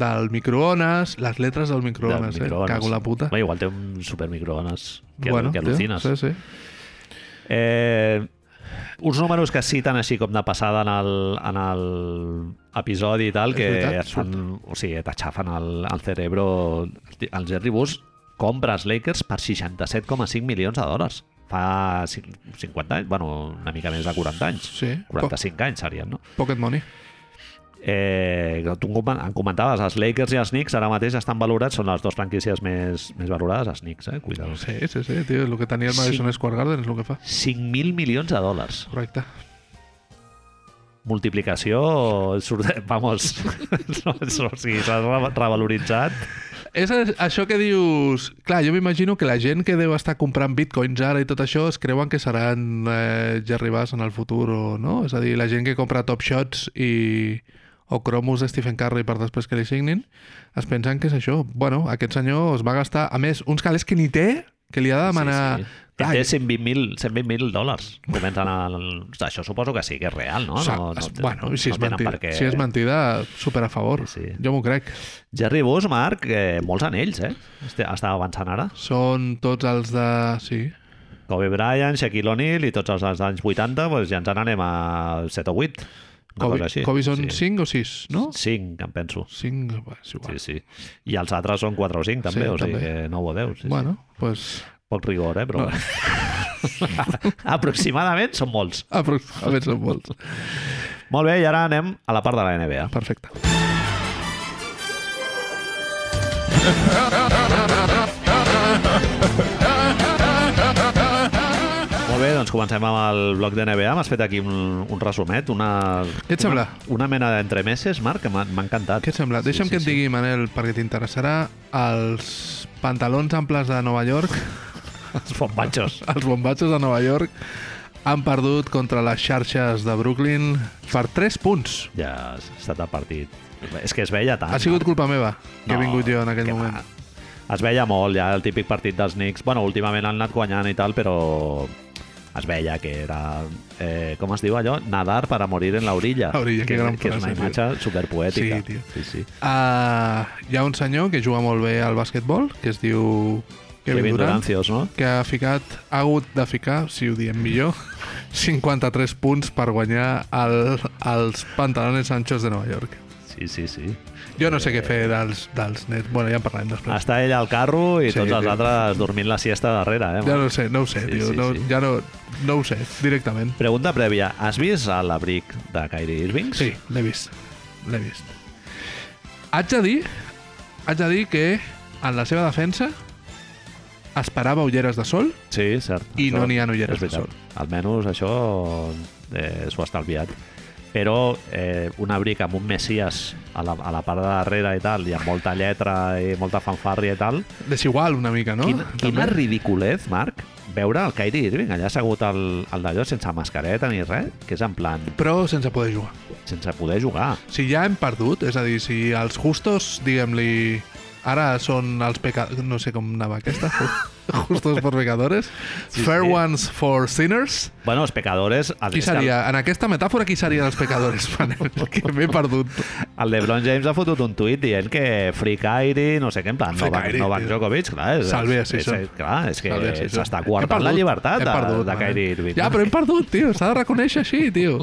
[SPEAKER 2] del microones, les lletres del microones,
[SPEAKER 1] Del
[SPEAKER 2] eh? Cago en la puta.
[SPEAKER 1] Bé, igual té un supermicroones que, que
[SPEAKER 2] tio,
[SPEAKER 1] al·lucines.
[SPEAKER 2] Sí, sí.
[SPEAKER 1] Eh, uns números que citen així com de passada en el, en el episodi i tal,
[SPEAKER 2] És
[SPEAKER 1] que
[SPEAKER 2] veritat,
[SPEAKER 1] et fan, o sigui, t'aixafen el, el cerebro el Jerry Buss compra els Lakers per 67,5 milions de dòlars fa cin- 50 anys, bueno, una mica més de 40 anys
[SPEAKER 2] Sí.
[SPEAKER 1] 45 anys serien, no?
[SPEAKER 2] Po- Pocket money.
[SPEAKER 1] Eh, tu em comen- em comentaves, els Lakers i els Knicks ara mateix estan valorats, són les dues franquícies més, més valorades, els Knicks, eh? Cuidado.
[SPEAKER 2] Sí, sí, sí, tio. El que tenia el
[SPEAKER 1] Sí.
[SPEAKER 2] Madison Square Garden és el que fa.
[SPEAKER 1] 5.000 milions de dòlars.
[SPEAKER 2] Correcte.
[SPEAKER 1] Multiplicació, surt, vamos, no, o sigui, s'ha re- revaloritzat.
[SPEAKER 2] És a- això que dius... Clar, jo m'imagino que la gent que deu estar comprant bitcoins ara i tot això es creuen que seran eh, Jerry Bass en el futur o no? És a dir, la gent que compra Top Shots i o cromos de Stephen Curry per després que li signin, es pensen que és això. Bueno, aquest senyor es va gastar, a més, uns calés que ni té, que li ha de demanar...
[SPEAKER 1] Sí, sí.
[SPEAKER 2] Clar,
[SPEAKER 1] Té 120.000 120 dòlars. Comencen a... Això suposo que sí, que és real, no?
[SPEAKER 2] o sigui,
[SPEAKER 1] no,
[SPEAKER 2] es-
[SPEAKER 1] no,
[SPEAKER 2] bueno, i si,
[SPEAKER 1] no
[SPEAKER 2] és
[SPEAKER 1] tenen
[SPEAKER 2] mentida,
[SPEAKER 1] per què- eh?
[SPEAKER 2] si és mentida, super a favor.
[SPEAKER 1] Sí, sí.
[SPEAKER 2] Jo m'ho crec.
[SPEAKER 1] Jerry Bus, Marc, eh, molts anells, eh? Este- Estava avançant ara.
[SPEAKER 2] Són tots els de... Sí,
[SPEAKER 1] Kobe Bryant, Shaquille O'Neal i tots els dels anys 80, doncs ja ens n'anem a 7 o 8. Una
[SPEAKER 2] Kobe,
[SPEAKER 1] cosa així.
[SPEAKER 2] Kobe són
[SPEAKER 1] sí.
[SPEAKER 2] 5 o 6, no?
[SPEAKER 1] 5, em penso.
[SPEAKER 2] 5, va, és igual.
[SPEAKER 1] Sí, sí. I els altres són 4 o 5, també,
[SPEAKER 2] Sí,
[SPEAKER 1] o sigui
[SPEAKER 2] també.
[SPEAKER 1] que 9 o 10. Sí,
[SPEAKER 2] bueno, pues...
[SPEAKER 1] sí. Poc rigor, eh? Però... No. Aproximadament són molts.
[SPEAKER 2] A, a veure, són molts.
[SPEAKER 1] Molt bé, i ara anem a la part de la NBA.
[SPEAKER 2] Perfecte.
[SPEAKER 1] Molt bé, doncs comencem amb el bloc de NBA. M'has fet aquí un, un resumet, una...
[SPEAKER 2] Què et sembla?
[SPEAKER 1] Una mena d'entremeses, Marc, que m'ha m'ha encantat.
[SPEAKER 2] Què et sembla?
[SPEAKER 1] Sí,
[SPEAKER 2] Deixa'm
[SPEAKER 1] sí,
[SPEAKER 2] que et
[SPEAKER 1] sí.
[SPEAKER 2] digui, Manel, perquè t'interessarà els pantalons amples de Nova York,
[SPEAKER 1] Els bombatxos.
[SPEAKER 2] els bombatxos de Nova York, han perdut contra les xarxes de Brooklyn per 3 punts.
[SPEAKER 1] Ja ha estat el partit. És que es veia tant.
[SPEAKER 2] Ha sigut
[SPEAKER 1] Marc.
[SPEAKER 2] culpa meva que he
[SPEAKER 1] No,
[SPEAKER 2] vingut jo en aquell
[SPEAKER 1] que va.
[SPEAKER 2] moment.
[SPEAKER 1] Es veia molt, ja, el típic partit dels Knicks. Bueno, últimament han anat guanyant i tal, però es veia que era, eh, com es diu allò? Nadar per a morir en la orilla.
[SPEAKER 2] La orilla,
[SPEAKER 1] que,
[SPEAKER 2] que gran
[SPEAKER 1] que és una
[SPEAKER 2] frase, tio.
[SPEAKER 1] imatge superpoètica.
[SPEAKER 2] Sí, tio.
[SPEAKER 1] Sí, sí.
[SPEAKER 2] Uh, hi ha un senyor que juga molt bé al basquetbol, que es diu Kevin,
[SPEAKER 1] Kevin
[SPEAKER 2] Durant,
[SPEAKER 1] Durancios, no?
[SPEAKER 2] que ha ficat, ha hagut de ficar, si ho diem millor, 53 punts per guanyar el, els pantalones anchos de Nova York.
[SPEAKER 1] Sí, sí, sí.
[SPEAKER 2] Jo no sé què fer dels, dels nets. Bueno, ja en parlarem després.
[SPEAKER 1] Està ell al carro i
[SPEAKER 2] Sí,
[SPEAKER 1] sí, tots els
[SPEAKER 2] tio.
[SPEAKER 1] altres dormint la siesta darrere, eh?
[SPEAKER 2] Ja
[SPEAKER 1] man?
[SPEAKER 2] no ho sé, no ho sé,
[SPEAKER 1] Sí,
[SPEAKER 2] tio.
[SPEAKER 1] sí,
[SPEAKER 2] no,
[SPEAKER 1] sí.
[SPEAKER 2] Ja no, no ho sé, directament.
[SPEAKER 1] Pregunta prèvia. Has vist l'abric de Kyrie Irving?
[SPEAKER 2] Sí, l'he vist. L'he vist. Haig de dir, haig de dir que en la seva defensa esperava ulleres de sol
[SPEAKER 1] Sí, cert.
[SPEAKER 2] I no n'hi ha ulleres
[SPEAKER 1] és veritat. Almenys això eh, s'ho ha estalviat. Però eh, un abric amb un messies a la, a la part de darrere i tal, i amb molta lletra i molta fanfàrria i tal,
[SPEAKER 2] desigual una mica, no?
[SPEAKER 1] Quina, quina
[SPEAKER 2] També.
[SPEAKER 1] ridiculez, Marc, veure el Kyrie Irving allà assegut al, al d'allò sense mascareta ni res, que és en plan,
[SPEAKER 2] Però sense poder jugar.
[SPEAKER 1] sense poder jugar.
[SPEAKER 2] Si ja hem perdut, és a dir, si els justos, diguem-li, ara són els pecadors... No sé com anava aquesta. justos por pecadores.
[SPEAKER 1] Sí,
[SPEAKER 2] Fair
[SPEAKER 1] sí.
[SPEAKER 2] ones for sinners.
[SPEAKER 1] Bueno, els pecadores... El,
[SPEAKER 2] Qui
[SPEAKER 1] és que el-
[SPEAKER 2] seria? En aquesta metàfora, qui serien els pecadores, Manel? que m'he perdut.
[SPEAKER 1] El LeBron James ha fotut un tuit dient que Free Kyrie, no sé què, en plan,
[SPEAKER 2] Free
[SPEAKER 1] Novak,
[SPEAKER 2] Kyrie,
[SPEAKER 1] Novak
[SPEAKER 2] tio.
[SPEAKER 1] Djokovic, clar, és,
[SPEAKER 2] Salve a
[SPEAKER 1] és, és,
[SPEAKER 2] Sisson.
[SPEAKER 1] clar, és que
[SPEAKER 2] Salve, sí, sí.
[SPEAKER 1] s'està
[SPEAKER 2] Hem
[SPEAKER 1] coartant
[SPEAKER 2] perdut,
[SPEAKER 1] la llibertat
[SPEAKER 2] hem
[SPEAKER 1] de,
[SPEAKER 2] perdut,
[SPEAKER 1] de
[SPEAKER 2] Manel.
[SPEAKER 1] Kyrie Irving.
[SPEAKER 2] Ja, però hem perdut, tio. S'ha de reconèixer així, tio.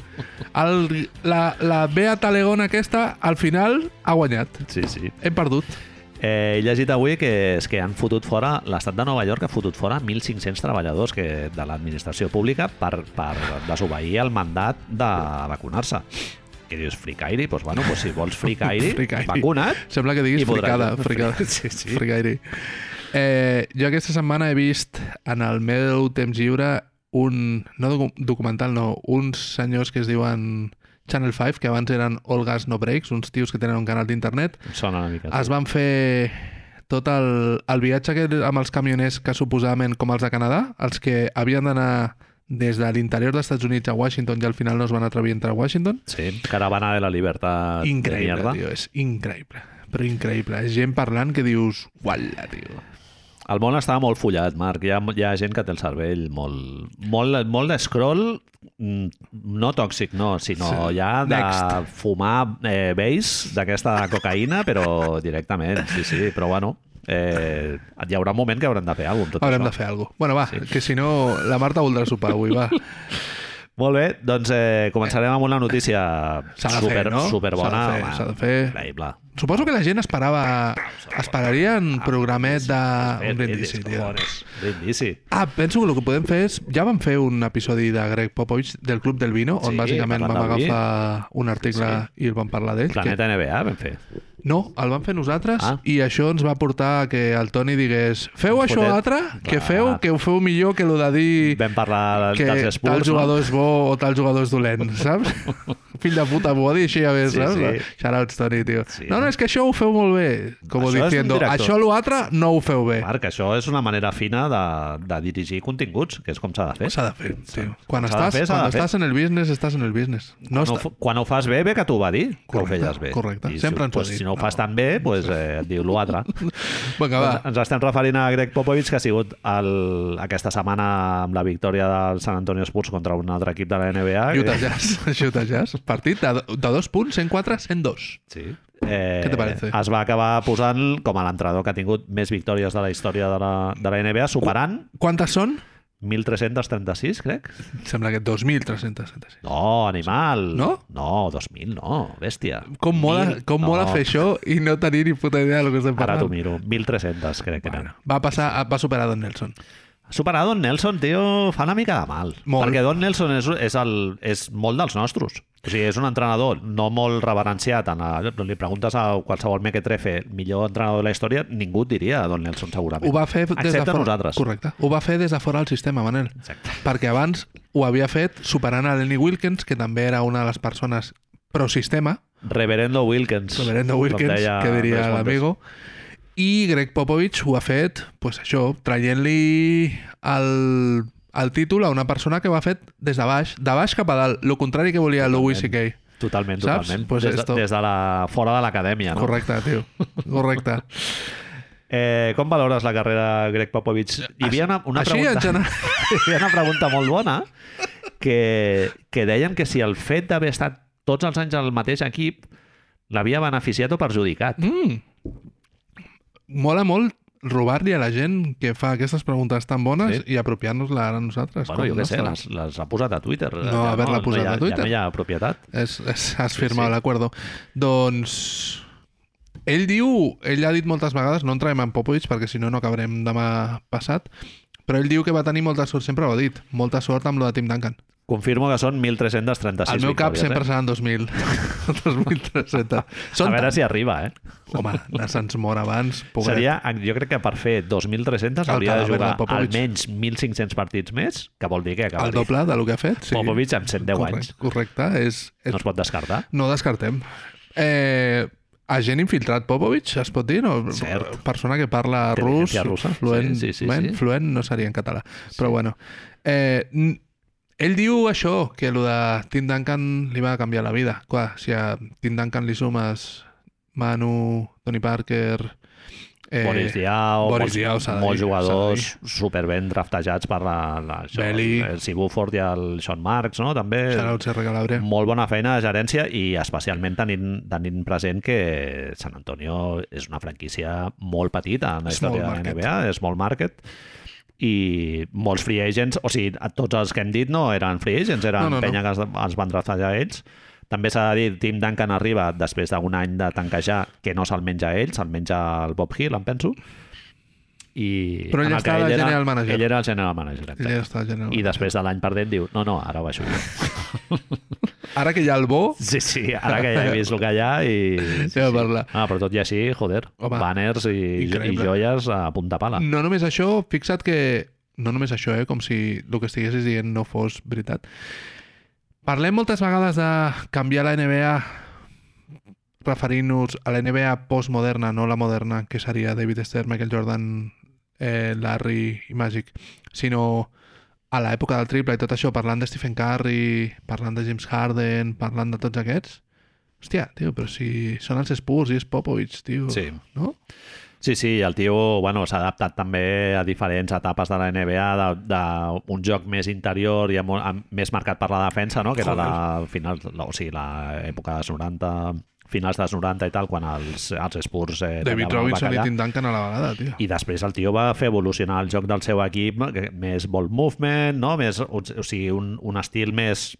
[SPEAKER 2] El, la, la Bea Talegona aquesta, al final, ha guanyat.
[SPEAKER 1] Sí, sí.
[SPEAKER 2] Hem perdut.
[SPEAKER 1] Eh, he llegit avui que és que han fotut fora, l'estat de Nova York ha fotut fora 1.500 treballadors que, de l'administració pública per, per desobeir el mandat de vacunar-se. Que dius, free Kyrie? Doncs bueno, doncs si vols free Kyrie,
[SPEAKER 2] Free Kyrie.
[SPEAKER 1] vacunat,
[SPEAKER 2] Sembla que diguis
[SPEAKER 1] I podràs-
[SPEAKER 2] fricada, fricada.
[SPEAKER 1] Sí, sí.
[SPEAKER 2] Fricaire. Eh, jo aquesta setmana he vist en el meu temps lliure un, no docu- documental, no, uns senyors que es diuen Channel 5, que abans eren All Gas No Breaks, uns tios que tenen un canal d'internet,
[SPEAKER 1] em sona una mica.
[SPEAKER 2] es van fer tot el, el viatge aquest amb els camioners que suposadament, com els de Canadà, els que havien d'anar des de l'interior dels Estats Units a Washington i al final no es van atrevir a entrar a Washington,
[SPEAKER 1] Sí, caravana de la libertat de
[SPEAKER 2] increïble,
[SPEAKER 1] mierda.
[SPEAKER 2] tio, és increïble. Però increïble. És gent parlant que dius, uala, tio.
[SPEAKER 1] El món està molt follat, Marc. Hi ha, hi ha gent que té el cervell molt, molt, molt d'escroll, mm, no tòxic, no, sinó
[SPEAKER 2] Sí.
[SPEAKER 1] sí. ja de
[SPEAKER 2] Next.
[SPEAKER 1] fumar eh, veis d'aquesta cocaïna, però directament, sí, sí. Però bueno, eh, hi haurà un moment que haurem de fer alguna cosa amb tot
[SPEAKER 2] Haurem
[SPEAKER 1] això.
[SPEAKER 2] de fer alguna cosa. Bueno, va, sí. que si no, la Marta voldrà sopar avui, va.
[SPEAKER 1] Molt bé, doncs eh, començarem amb una notícia
[SPEAKER 2] S'ha de fer,
[SPEAKER 1] super,
[SPEAKER 2] no?
[SPEAKER 1] superbona.
[SPEAKER 2] S'ha de fer,
[SPEAKER 1] home,
[SPEAKER 2] s'ha de fer.
[SPEAKER 1] Increïble.
[SPEAKER 2] Suposo que la gent esperava... Esperaria
[SPEAKER 1] Ah,
[SPEAKER 2] un programet de... Ah, Un
[SPEAKER 1] brindis,
[SPEAKER 2] brindisi, tio.
[SPEAKER 1] cojones. Brindisi.
[SPEAKER 2] Ah, penso que el que podem fer és... Ja vam fer un episodi de Greg Popovich del Club del Vino, on
[SPEAKER 1] Sí,
[SPEAKER 2] bàsicament vam
[SPEAKER 1] parlant del vi.
[SPEAKER 2] agafar un article i el vam parlar d'ell. Que...
[SPEAKER 1] Planeta NBA vam fer.
[SPEAKER 2] No, el vam fer nosaltres ah.
[SPEAKER 1] Ah.
[SPEAKER 2] i això ens va portar a que el Toni digués feu això
[SPEAKER 1] Fotet.
[SPEAKER 2] altre, que
[SPEAKER 1] Clar.
[SPEAKER 2] feu, que ho feu millor que lo de dir...
[SPEAKER 1] Vam parlar
[SPEAKER 2] que
[SPEAKER 1] dels
[SPEAKER 2] tal
[SPEAKER 1] Spurs, no?
[SPEAKER 2] jugador és bo o tal jugador és dolent, saps? Fill de puta, m'ho va dir així a més,
[SPEAKER 1] Sí,
[SPEAKER 2] saps?
[SPEAKER 1] sí.
[SPEAKER 2] Shoutouts, Toni, tio.
[SPEAKER 1] Sí.
[SPEAKER 2] No, no, és que això ho feu molt bé, com ho
[SPEAKER 1] Això és un
[SPEAKER 2] diciendo.
[SPEAKER 1] director.
[SPEAKER 2] Això l'altre no ho feu bé.
[SPEAKER 1] Marc, això és una manera fina de, de dirigir continguts, que és com s'ha de fer.
[SPEAKER 2] S'ha de fer, tio. Quan,
[SPEAKER 1] S'ha de
[SPEAKER 2] estàs,
[SPEAKER 1] fer, s'ha
[SPEAKER 2] quan
[SPEAKER 1] de fer.
[SPEAKER 2] estàs en el business, estàs en el business. No,
[SPEAKER 1] No,
[SPEAKER 2] està...
[SPEAKER 1] ho- quan ho fas bé, bé que t'ho va dir, que ho
[SPEAKER 2] Correcte,
[SPEAKER 1] feies bé.
[SPEAKER 2] correcte.
[SPEAKER 1] I
[SPEAKER 2] Sempre ens ho ha
[SPEAKER 1] pues,
[SPEAKER 2] dit.
[SPEAKER 1] Si no ho fas
[SPEAKER 2] No.
[SPEAKER 1] tan bé, pues, eh, et diu l'altre.
[SPEAKER 2] Vinga,
[SPEAKER 1] Doncs
[SPEAKER 2] va.
[SPEAKER 1] Ens estem referint a Greg Popovich, que ha sigut el, aquesta setmana amb la victòria del San Antonio Spurs contra un altre equip de la NBA. que-
[SPEAKER 2] Utah Jazz, Utah Jazz. Partit de, de dos punts, 104, 102.
[SPEAKER 1] Sí. Eh,
[SPEAKER 2] Què te parece?
[SPEAKER 1] Es va acabar posant com a l'entrenador que ha tingut més victòries de la història de la, de la NBA, superant
[SPEAKER 2] Quantes són?
[SPEAKER 1] 1.336, crec.
[SPEAKER 2] Sembla que 2.376.
[SPEAKER 1] No, animal.
[SPEAKER 2] No?
[SPEAKER 1] No, 2000 no, bèstia.
[SPEAKER 2] Com mola,
[SPEAKER 1] Mil-
[SPEAKER 2] com mola
[SPEAKER 1] no,
[SPEAKER 2] fer això i no tenir ni puta idea del que estem
[SPEAKER 1] Ara t'ho
[SPEAKER 2] parlant.
[SPEAKER 1] miro. 1.300, crec que
[SPEAKER 2] Bueno,
[SPEAKER 1] bueno.
[SPEAKER 2] va, passar, va superar Don Nelson.
[SPEAKER 1] Superar Don Nelson, tio, fa una mica de mal.
[SPEAKER 2] Molt.
[SPEAKER 1] Perquè Don Nelson és, és, el, és molt dels nostres. O sigui, és un entrenador no molt reverenciat. En la, li preguntes a qualsevol mequetrefe, millor entrenador de la història, ningú et diria Don Nelson, segurament.
[SPEAKER 2] Ho va fer des de
[SPEAKER 1] Excepte
[SPEAKER 2] fora.
[SPEAKER 1] nosaltres.
[SPEAKER 2] Correcte. Ho va fer des de fora del sistema, Manel.
[SPEAKER 1] Exacte.
[SPEAKER 2] Perquè abans ho havia fet superant a Lenny Wilkins, que també era una de les persones pro-sistema,
[SPEAKER 1] Reverendo Wilkins.
[SPEAKER 2] Reverendo
[SPEAKER 1] com
[SPEAKER 2] Wilkins,
[SPEAKER 1] deia
[SPEAKER 2] que diria
[SPEAKER 1] Andrés Montes.
[SPEAKER 2] l'amigo. I Greg Popovich ho ha fet, pues això, traient-li el, el títol a una persona que ho ha fet des de baix, de baix cap a dalt, el contrari que volia Louis C.K.
[SPEAKER 1] Totalment,
[SPEAKER 2] Saps?
[SPEAKER 1] totalment.
[SPEAKER 2] Pues
[SPEAKER 1] des,
[SPEAKER 2] esto.
[SPEAKER 1] de, des de la, fora de l'acadèmia, no?
[SPEAKER 2] Correcte, tio. Correcte.
[SPEAKER 1] Eh, com valores la carrera de Greg Popovich? Hi havia una, una
[SPEAKER 2] Eh, Així, en
[SPEAKER 1] pregunta,
[SPEAKER 2] general.
[SPEAKER 1] hi havia una pregunta molt bona que, que deien que si el fet d'haver estat tots els anys al mateix equip l'havia beneficiat o perjudicat.
[SPEAKER 2] Mm. Mola molt robar-li a la gent que fa aquestes preguntes tan bones
[SPEAKER 1] Sí.
[SPEAKER 2] sí. i apropiar-nos-la a nosaltres.
[SPEAKER 1] Bueno,
[SPEAKER 2] com
[SPEAKER 1] jo què sé,
[SPEAKER 2] nostra.
[SPEAKER 1] les, les ha posat a Twitter.
[SPEAKER 2] No, haver-la posat
[SPEAKER 1] hi ha,
[SPEAKER 2] a Twitter.
[SPEAKER 1] Ja no hi ha propietat.
[SPEAKER 2] És, és, has firmat
[SPEAKER 1] sí.
[SPEAKER 2] sí, l'acuerdo. Doncs... Ell diu, ell ha dit moltes vegades, no entrarem en Popovich perquè si no no acabarem demà passat, però ell diu que va tenir molta sort, sempre ho ha dit, molta sort amb lo de Tim Duncan.
[SPEAKER 1] Confirmo que són 1.336
[SPEAKER 2] Al meu cap
[SPEAKER 1] victòries,
[SPEAKER 2] sempre
[SPEAKER 1] Eh?
[SPEAKER 2] seran 2.000, 2.300.
[SPEAKER 1] A
[SPEAKER 2] Són
[SPEAKER 1] veure
[SPEAKER 2] tan...
[SPEAKER 1] si arriba, eh?
[SPEAKER 2] Home, la se'ns mor abans, pobret.
[SPEAKER 1] Seria, jo crec que per fer 2.300
[SPEAKER 2] El
[SPEAKER 1] hauria de
[SPEAKER 2] cadàver de
[SPEAKER 1] jugar
[SPEAKER 2] Popovich.
[SPEAKER 1] almenys 1.500 partits més, que vol dir que
[SPEAKER 2] El
[SPEAKER 1] acabaria.
[SPEAKER 2] doble del que ha fet, sí.
[SPEAKER 1] Popovich amb 110
[SPEAKER 2] Correcte,
[SPEAKER 1] anys.
[SPEAKER 2] Correcte, és,
[SPEAKER 1] No
[SPEAKER 2] és...
[SPEAKER 1] es pot descartar.
[SPEAKER 2] No descartem. Eh, agent infiltrat Popovich, es pot dir? No?
[SPEAKER 1] Cert.
[SPEAKER 2] Persona que parla rus,
[SPEAKER 1] Intel·ligència russa.
[SPEAKER 2] fluent,
[SPEAKER 1] Sí, sí, sí,
[SPEAKER 2] ben,
[SPEAKER 1] sí.
[SPEAKER 2] fluent no seria en català. Però bueno. Eh, n- ell diu això, que el de Tim Duncan li va canviar la vida. Clar, si a Tim Duncan li sumes Manu, Tony Parker... Eh,
[SPEAKER 1] Boris Diaw,
[SPEAKER 2] Boris
[SPEAKER 1] molts,
[SPEAKER 2] Diaw, s'ha de
[SPEAKER 1] molts
[SPEAKER 2] dir,
[SPEAKER 1] jugadors superben draftejats per la, la, això,
[SPEAKER 2] Belly.
[SPEAKER 1] el C. Buford i el Sean Marks, no? també
[SPEAKER 2] Xarau Serra Calabre.
[SPEAKER 1] molt bona feina de gerència i especialment tenint, tenint present que San Antonio és una franquícia molt petita en la
[SPEAKER 2] És
[SPEAKER 1] història
[SPEAKER 2] molt
[SPEAKER 1] de la
[SPEAKER 2] market.
[SPEAKER 1] NBA, és molt market i molts free agents, o sigui, a tots els que hem dit no eren free agents, eren
[SPEAKER 2] No, no,
[SPEAKER 1] no, no,
[SPEAKER 2] no.
[SPEAKER 1] penya que els, els van draftejar ells. També s'ha de dir, Tim Duncan arriba després d'un any de tanquejar, que no se'l menja ell, se'l menja el Bob Hill, em penso. I
[SPEAKER 2] Però ell
[SPEAKER 1] en el que
[SPEAKER 2] estava de
[SPEAKER 1] era-
[SPEAKER 2] general manager.
[SPEAKER 1] Ell era el general manager.
[SPEAKER 2] Ell
[SPEAKER 1] Exacte.
[SPEAKER 2] ja està general.
[SPEAKER 1] I després de l'any perdent diu, no, no, ara ho baixo jo.
[SPEAKER 2] Ara que hi ha el bo,
[SPEAKER 1] Sí, sí, ara que ja he vist el que hi ha i... Sí,
[SPEAKER 2] Ja
[SPEAKER 1] sí.
[SPEAKER 2] parla.
[SPEAKER 1] Ah, però tot i així, joder,
[SPEAKER 2] Home,
[SPEAKER 1] Home, banners i, i
[SPEAKER 2] increïble.
[SPEAKER 1] joies a punta pala.
[SPEAKER 2] No només això, fixa't que... No només això, eh? com si el que estiguessis dient no fos veritat. Parlem moltes vegades de canviar la NBA referint-nos a la NBA postmoderna, no la moderna, que seria David Stern, Michael Jordan, eh, Larry i Magic, sinó a l'època del triple i tot això, parlant de Stephen Curry, parlant de James Harden, parlant de tots aquests. Hòstia, tio, però si són els Spurs i és Popovich, tio.
[SPEAKER 1] Sí.
[SPEAKER 2] No?
[SPEAKER 1] Sí, sí, el tio bueno, s'ha adaptat també a diferents etapes de la NBA, d'un joc més interior i amb, amb, més marcat per la defensa, no? que era la, final, la, o sigui, l'època dels 90, finals dels 90 i tal, quan els, els Spurs... Eh, tallaven
[SPEAKER 2] David
[SPEAKER 1] el
[SPEAKER 2] Robinson i
[SPEAKER 1] bacallà.
[SPEAKER 2] Tim Duncan a la vegada, tio.
[SPEAKER 1] I després el tio va fer evolucionar el joc del seu equip, que- més ball movement, no? més, o, o sigui, un, un estil més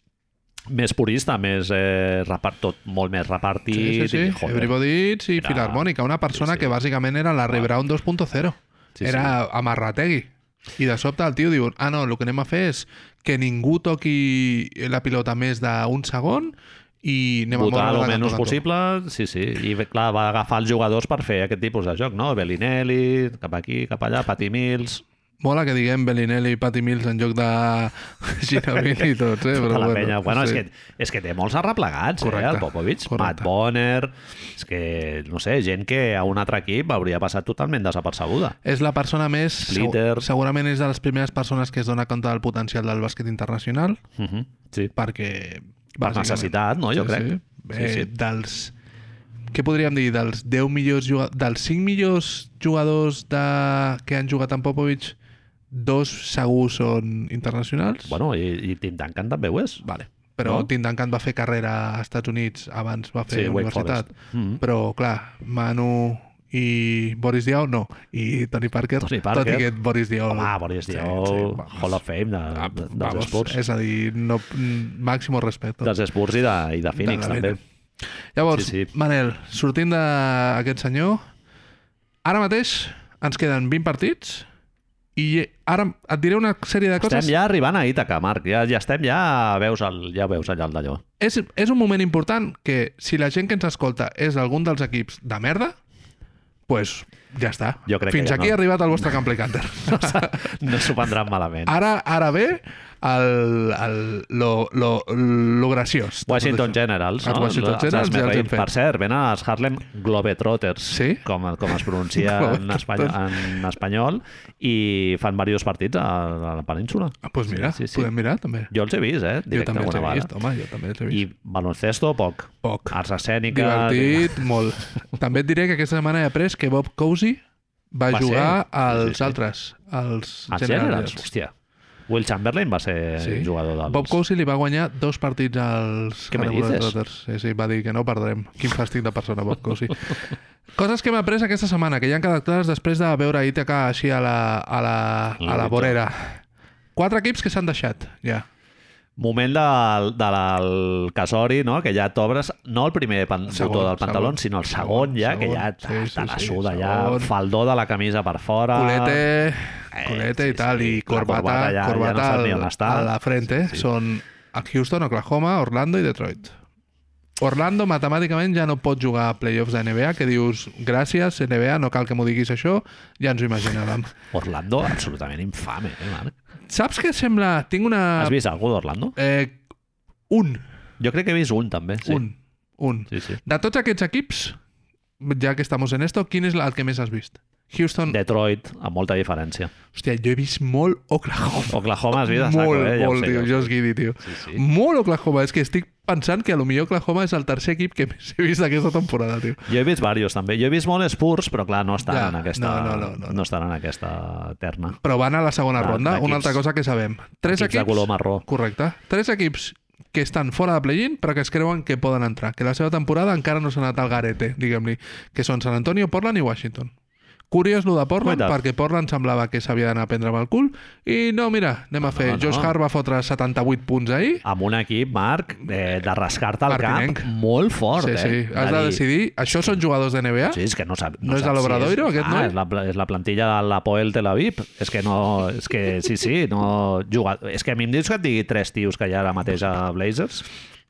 [SPEAKER 1] més purista, més eh, repart, tot molt més repartit.
[SPEAKER 2] Sí, sí, sí.
[SPEAKER 1] i, joder,
[SPEAKER 2] Everybody Eats i
[SPEAKER 1] Era-
[SPEAKER 2] Filarmònica, una persona
[SPEAKER 1] sí, sí.
[SPEAKER 2] que bàsicament era la Ray Brown 2.0.
[SPEAKER 1] Sí,
[SPEAKER 2] era amarrategui. I de sobte el tio diu, ah no, el que anem a fer és que ningú toqui la pilota més d'un segon i anem
[SPEAKER 1] votar
[SPEAKER 2] a moure
[SPEAKER 1] el
[SPEAKER 2] la
[SPEAKER 1] menys
[SPEAKER 2] cantonada.
[SPEAKER 1] possible, sí, sí. I bé, clar, va agafar els jugadors per fer aquest tipus de joc, no? Bellinelli, cap aquí, cap allà, Patty Mills,
[SPEAKER 2] Mola que diguem Bellinelli i Patty Mills en lloc de Ginabili i tots, eh?
[SPEAKER 1] tota
[SPEAKER 2] Però
[SPEAKER 1] la
[SPEAKER 2] bueno,
[SPEAKER 1] penya. Bueno, és, que, és que té molts arreplegats,
[SPEAKER 2] Correcte,
[SPEAKER 1] eh, el Popovich.
[SPEAKER 2] correcte.
[SPEAKER 1] Matt Bonner, és que, no sé, gent que a un altre equip hauria passat totalment desapercebuda.
[SPEAKER 2] És la persona més...
[SPEAKER 1] Splitter.
[SPEAKER 2] segu- Segurament és de les primeres persones que es dona compte del potencial del bàsquet internacional.
[SPEAKER 1] Uh -huh. Sí.
[SPEAKER 2] perquè...
[SPEAKER 1] Per
[SPEAKER 2] Mhm. bàsicament-
[SPEAKER 1] necessitat, no? Jo
[SPEAKER 2] sí,
[SPEAKER 1] crec.
[SPEAKER 2] Sí.
[SPEAKER 1] Sí,
[SPEAKER 2] Eh,
[SPEAKER 1] sí.
[SPEAKER 2] Dels... Què podríem dir? Dels 10 millors jugadors... Dels 5 millors jugadors de... que han jugat amb Popovich, dos segur són internacionals.
[SPEAKER 1] Bueno, i, i Tim Duncan també ho és.
[SPEAKER 2] Vale. Però
[SPEAKER 1] No?
[SPEAKER 2] no? Tim Duncan va fer carrera a Estats Units, abans va fer
[SPEAKER 1] Sí, Wake
[SPEAKER 2] universitat.
[SPEAKER 1] Forest. Mhm.
[SPEAKER 2] Però, clar, Manu i Boris Diaw, no. I Tony Parker,
[SPEAKER 1] Tony
[SPEAKER 2] tot i
[SPEAKER 1] Parker.
[SPEAKER 2] que Boris Diaw...
[SPEAKER 1] Home, Boris Diaw,
[SPEAKER 2] vamos.
[SPEAKER 1] Hall of Fame de,
[SPEAKER 2] Ah,
[SPEAKER 1] de, dels
[SPEAKER 2] vamos,
[SPEAKER 1] Spurs.
[SPEAKER 2] És a dir, no, mm, màximo respecte.
[SPEAKER 1] Dels Spurs i de, i de Phoenix,
[SPEAKER 2] De la
[SPEAKER 1] també.
[SPEAKER 2] Liga. Llavors,
[SPEAKER 1] Sí,
[SPEAKER 2] sí,
[SPEAKER 1] sí.
[SPEAKER 2] sí. Manel, sortint d'aquest senyor, ara mateix ens queden 20 partits i ara et diré una sèrie de coses.
[SPEAKER 1] Estem ja arribant a Ítaca, Marc. Ja, ja estem ja... Veus el, ja veus allà el d'allò.
[SPEAKER 2] És, és un moment important que si la gent que ens escolta és algun dels equips de merda, pues ja està.
[SPEAKER 1] Jo crec que
[SPEAKER 2] Fins
[SPEAKER 1] ja
[SPEAKER 2] aquí
[SPEAKER 1] no.
[SPEAKER 2] ha arribat el vostre Camp Canter.
[SPEAKER 1] No s'ho prendran malament.
[SPEAKER 2] ara, ara ve el, el, lo, lo, lo graciós. de tot
[SPEAKER 1] Washington
[SPEAKER 2] això.
[SPEAKER 1] Generals, no?
[SPEAKER 2] Els doncs- ah, Washington
[SPEAKER 1] Els
[SPEAKER 2] Generals
[SPEAKER 1] Hazme
[SPEAKER 2] ja els hem
[SPEAKER 1] Reír.
[SPEAKER 2] fet.
[SPEAKER 1] Per cert, venen els Harlem Globetrotters,
[SPEAKER 2] Sí?
[SPEAKER 1] com, com es pronuncia en, espany en espanyol, i fan diversos partits a, a la península.
[SPEAKER 2] Ah, pues mira, sí, sí, sí. podem mirar també.
[SPEAKER 1] Jo els he vist, eh?
[SPEAKER 2] Jo
[SPEAKER 1] Directe
[SPEAKER 2] també els he
[SPEAKER 1] alguna
[SPEAKER 2] vist,
[SPEAKER 1] vegada.
[SPEAKER 2] home, jo també els he vist.
[SPEAKER 1] I baloncesto, poc.
[SPEAKER 2] Poc.
[SPEAKER 1] Arts escèniques...
[SPEAKER 2] Divertit, molt. També et diré que aquesta setmana he après que Bob Cousy va,
[SPEAKER 1] Va ser.
[SPEAKER 2] jugar
[SPEAKER 1] Sí,
[SPEAKER 2] als
[SPEAKER 1] sí, Ah, sí.
[SPEAKER 2] altres, als
[SPEAKER 1] Els
[SPEAKER 2] General
[SPEAKER 1] Generals,
[SPEAKER 2] Mills.
[SPEAKER 1] hòstia. Will Chamberlain va ser
[SPEAKER 2] Sí.
[SPEAKER 1] eh, jugador dels...
[SPEAKER 2] Bob Cousy li va guanyar dos partits als
[SPEAKER 1] Què me
[SPEAKER 2] Carolina
[SPEAKER 1] dices?
[SPEAKER 2] Panthers. Sí, sí, va dir que no perdrem. Quin fàstic de persona, Bob Cousy. Coses que hem après aquesta setmana, que ja han quedat clares després de veure Ítaca així a la, a la, a la
[SPEAKER 1] Ítaca.
[SPEAKER 2] vorera. Quatre equips que s'han deixat, ja.
[SPEAKER 1] Moment del, del casori, no? que ja t'obres, no el primer pan,
[SPEAKER 2] Segon,
[SPEAKER 1] botó del pantaló,
[SPEAKER 2] segon.
[SPEAKER 1] sinó el segon, ja,
[SPEAKER 2] Segon,
[SPEAKER 1] que ja te,
[SPEAKER 2] sí, sí,
[SPEAKER 1] te la
[SPEAKER 2] sí,
[SPEAKER 1] suda,
[SPEAKER 2] segon.
[SPEAKER 1] ja, faldó de la camisa per fora...
[SPEAKER 2] Culete,
[SPEAKER 1] Ah, Eh,
[SPEAKER 2] culete
[SPEAKER 1] sí,
[SPEAKER 2] i tal,
[SPEAKER 1] sí.
[SPEAKER 2] i
[SPEAKER 1] La corbata
[SPEAKER 2] corbata, corbata,
[SPEAKER 1] ja- ja no saps ni on
[SPEAKER 2] al-
[SPEAKER 1] està.
[SPEAKER 2] a la frente.
[SPEAKER 1] Sí, sí.
[SPEAKER 2] Són a Houston, Oklahoma, Orlando i Detroit. Orlando matemàticament ja no pot jugar a playoffs de NBA, que dius, gràcies, NBA, no cal que m'ho diguis això, ja ens ho imaginàvem.
[SPEAKER 1] Orlando, absolutament infame, eh, Marc?
[SPEAKER 2] Saps què sembla? Tinc una...
[SPEAKER 1] Has vist algú d'Orlando?
[SPEAKER 2] Eh, un,
[SPEAKER 1] Jo crec que he vist un, també.
[SPEAKER 2] sí.
[SPEAKER 1] Sí.
[SPEAKER 2] un, un.
[SPEAKER 1] Sí, sí.
[SPEAKER 2] De tots aquests equips, ja que estamos en esto, quin és el que més has vist? Houston... De...
[SPEAKER 1] Detroit, amb molta diferència.
[SPEAKER 2] Hòstia, jo he vist molt Oklahoma.
[SPEAKER 1] Oklahoma has vist a saco,
[SPEAKER 2] molt,
[SPEAKER 1] eh? Ja ho
[SPEAKER 2] molt,
[SPEAKER 1] sé,
[SPEAKER 2] tio,
[SPEAKER 1] ja ho
[SPEAKER 2] jo és guidi, tio.
[SPEAKER 1] sé. Sí, sí.
[SPEAKER 2] Molt Oklahoma. És que estic pensant que a lo millor Oklahoma és el tercer equip que més he vist d'aquesta temporada, tio.
[SPEAKER 1] Jo he vist diversos, també. Jo he vist molt Spurs, però clar, no estan,
[SPEAKER 2] Ja,
[SPEAKER 1] en, aquesta,
[SPEAKER 2] no, no, no, no.
[SPEAKER 1] no estan en aquesta terna.
[SPEAKER 2] Però van a la segona
[SPEAKER 1] Van
[SPEAKER 2] ronda.
[SPEAKER 1] d'equips.
[SPEAKER 2] Una altra cosa que sabem. Tres
[SPEAKER 1] Ah, Equips de
[SPEAKER 2] equips...
[SPEAKER 1] color marró.
[SPEAKER 2] Correcte. Tres equips que estan fora de play-in però que es creuen que poden entrar, que la seva temporada encara no s'ha anat al garete, diguem-li, que són San Antonio, Portland i Washington. Curiós lo de Portland,
[SPEAKER 1] Cuida't.
[SPEAKER 2] perquè Portland semblava que s'havia d'anar a prendre amb el cul i no, mira, anem a fer.
[SPEAKER 1] no.
[SPEAKER 2] Josh Hart va fotre 78 punts ahir
[SPEAKER 1] amb un equip, Marc, eh, de rascar-te el
[SPEAKER 2] Martinenc.
[SPEAKER 1] cap molt fort,
[SPEAKER 2] sí,
[SPEAKER 1] eh?
[SPEAKER 2] sí. Has de
[SPEAKER 1] dir,
[SPEAKER 2] decidir. Això són jugadors de NBA?
[SPEAKER 1] Sí, és que no sap...
[SPEAKER 2] No és
[SPEAKER 1] sap
[SPEAKER 2] de l'Obradoiro,
[SPEAKER 1] si és-
[SPEAKER 2] aquest
[SPEAKER 1] ah,
[SPEAKER 2] noi?
[SPEAKER 1] és la, pla- és la plantilla de l'Apoel Tel Aviv. És que no... És que sí, sí, no... Juga... És que a mi em dius que et digui tres tios que hi ha ara mateix a Blazers.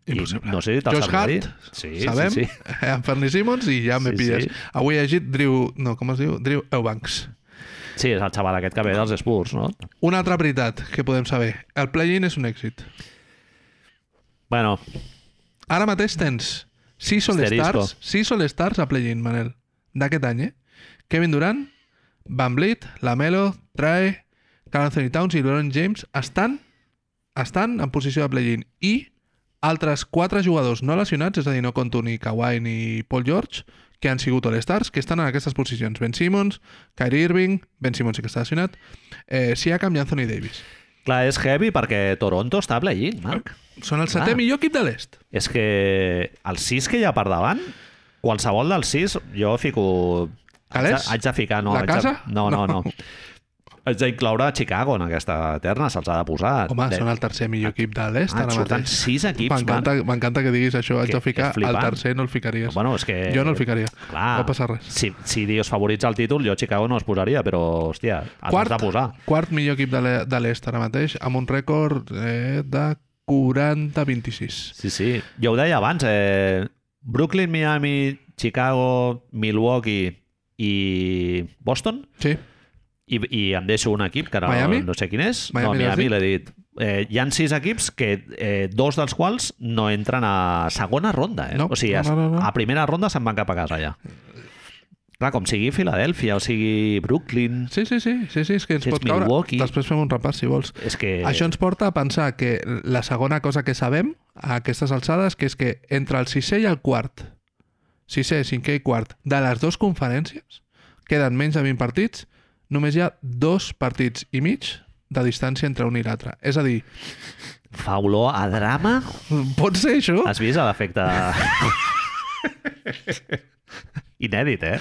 [SPEAKER 1] i
[SPEAKER 2] Impossible.
[SPEAKER 1] No sé, te'ls
[SPEAKER 2] Josh
[SPEAKER 1] sabré dir.
[SPEAKER 2] Hart,
[SPEAKER 1] sí,
[SPEAKER 2] sabem,
[SPEAKER 1] Sí, sí.
[SPEAKER 2] Anthony Simmons i ja me
[SPEAKER 1] Sí,
[SPEAKER 2] pilles.
[SPEAKER 1] sí.
[SPEAKER 2] Avui he llegit Drew... No, com es diu? Drew Eubanks.
[SPEAKER 1] sí, és el xaval aquest que ve dels Spurs, no?
[SPEAKER 2] Una altra veritat que podem saber. El play-in és un èxit.
[SPEAKER 1] Bueno,
[SPEAKER 2] Ara mateix tens 6
[SPEAKER 1] Asterisco.
[SPEAKER 2] All-Stars, 6 All-Stars a play-in, Manel, d'aquest any, eh? Kevin Durant, Van Vliet, Lamelo, Trae, Carl Anthony Towns i LeBron James estan estan en posició de play-in i altres 4 jugadors no lesionats, és a dir, no conto ni Kawhi ni Paul George, que han sigut All-Stars, que estan en aquestes posicions. Ben Simmons, Kyrie Irving, Ben Simmons sí que està lesionat, eh, Siakam i Anthony Davis.
[SPEAKER 1] clar, és heavy perquè Toronto està a play-in, Marc.
[SPEAKER 2] Són el setè
[SPEAKER 1] Clar.
[SPEAKER 2] millor equip de l'est.
[SPEAKER 1] És que el 6 que hi ha per davant, qualsevol dels 6, jo fico... Haig de,
[SPEAKER 2] Calés?
[SPEAKER 1] haig de ficar, no.
[SPEAKER 2] La
[SPEAKER 1] haig de-
[SPEAKER 2] casa?
[SPEAKER 1] No, no, no. Haig d'incloure Chicago en aquesta terna, se'ls ha de posar.
[SPEAKER 2] Home,
[SPEAKER 1] Ah, de...
[SPEAKER 2] són el tercer millor equip de l'est
[SPEAKER 1] Ah,
[SPEAKER 2] ara
[SPEAKER 1] et surten
[SPEAKER 2] mateix.
[SPEAKER 1] sis equipos,
[SPEAKER 2] M'encanta m'encanta que diguis això. Haig
[SPEAKER 1] Que-
[SPEAKER 2] de
[SPEAKER 1] que és
[SPEAKER 2] ficar el
[SPEAKER 1] flipant. eh,
[SPEAKER 2] tercer, no el ficaries.
[SPEAKER 1] Bueno, és que...
[SPEAKER 2] jo no el ficaria.
[SPEAKER 1] Clar,
[SPEAKER 2] No passa res.
[SPEAKER 1] Si, si dius favorits al títol, jo Chicago no es posaria, però, hòstia, has
[SPEAKER 2] Quart,
[SPEAKER 1] de posar.
[SPEAKER 2] quart millor equip de l'e- de l'est ara mateix, amb un rècord eh, de 40-26.
[SPEAKER 1] Sí, sí. Jo ho deia abans, eh, Brooklyn, Miami, Chicago, Milwaukee i Boston,
[SPEAKER 2] Sí,
[SPEAKER 1] i, i em deixo un equip que ara
[SPEAKER 2] Miami?
[SPEAKER 1] no sé quin és.
[SPEAKER 2] Miami,
[SPEAKER 1] no, Miami
[SPEAKER 2] l'has
[SPEAKER 1] l'he dit. Eh, hi han sis equips que eh, dos dels quals no entren a segona ronda. Eh?
[SPEAKER 2] No,
[SPEAKER 1] o sigui,
[SPEAKER 2] no, no, no, no.
[SPEAKER 1] a primera ronda se'n van cap a casa ja. Clar, com sigui Filadèlfia, o sigui Brooklyn...
[SPEAKER 2] sí, sí, sí, sí, sí és que ens
[SPEAKER 1] Si ets
[SPEAKER 2] pot caure.
[SPEAKER 1] Milwaukee.
[SPEAKER 2] Després fem un repàs, si vols.
[SPEAKER 1] És que...
[SPEAKER 2] Això ens porta a pensar que la segona cosa que sabem a aquestes alçades que és que entre el sisè i el quart, sisè, cinquè i quart, de les dues conferències, queden menys de 20 partits, només hi ha dos partits i mig de distància entre un i l'altre. És a dir,
[SPEAKER 1] fa olor a drama.
[SPEAKER 2] pot ser això?
[SPEAKER 1] Has vist l'efecte... Inèdit, eh?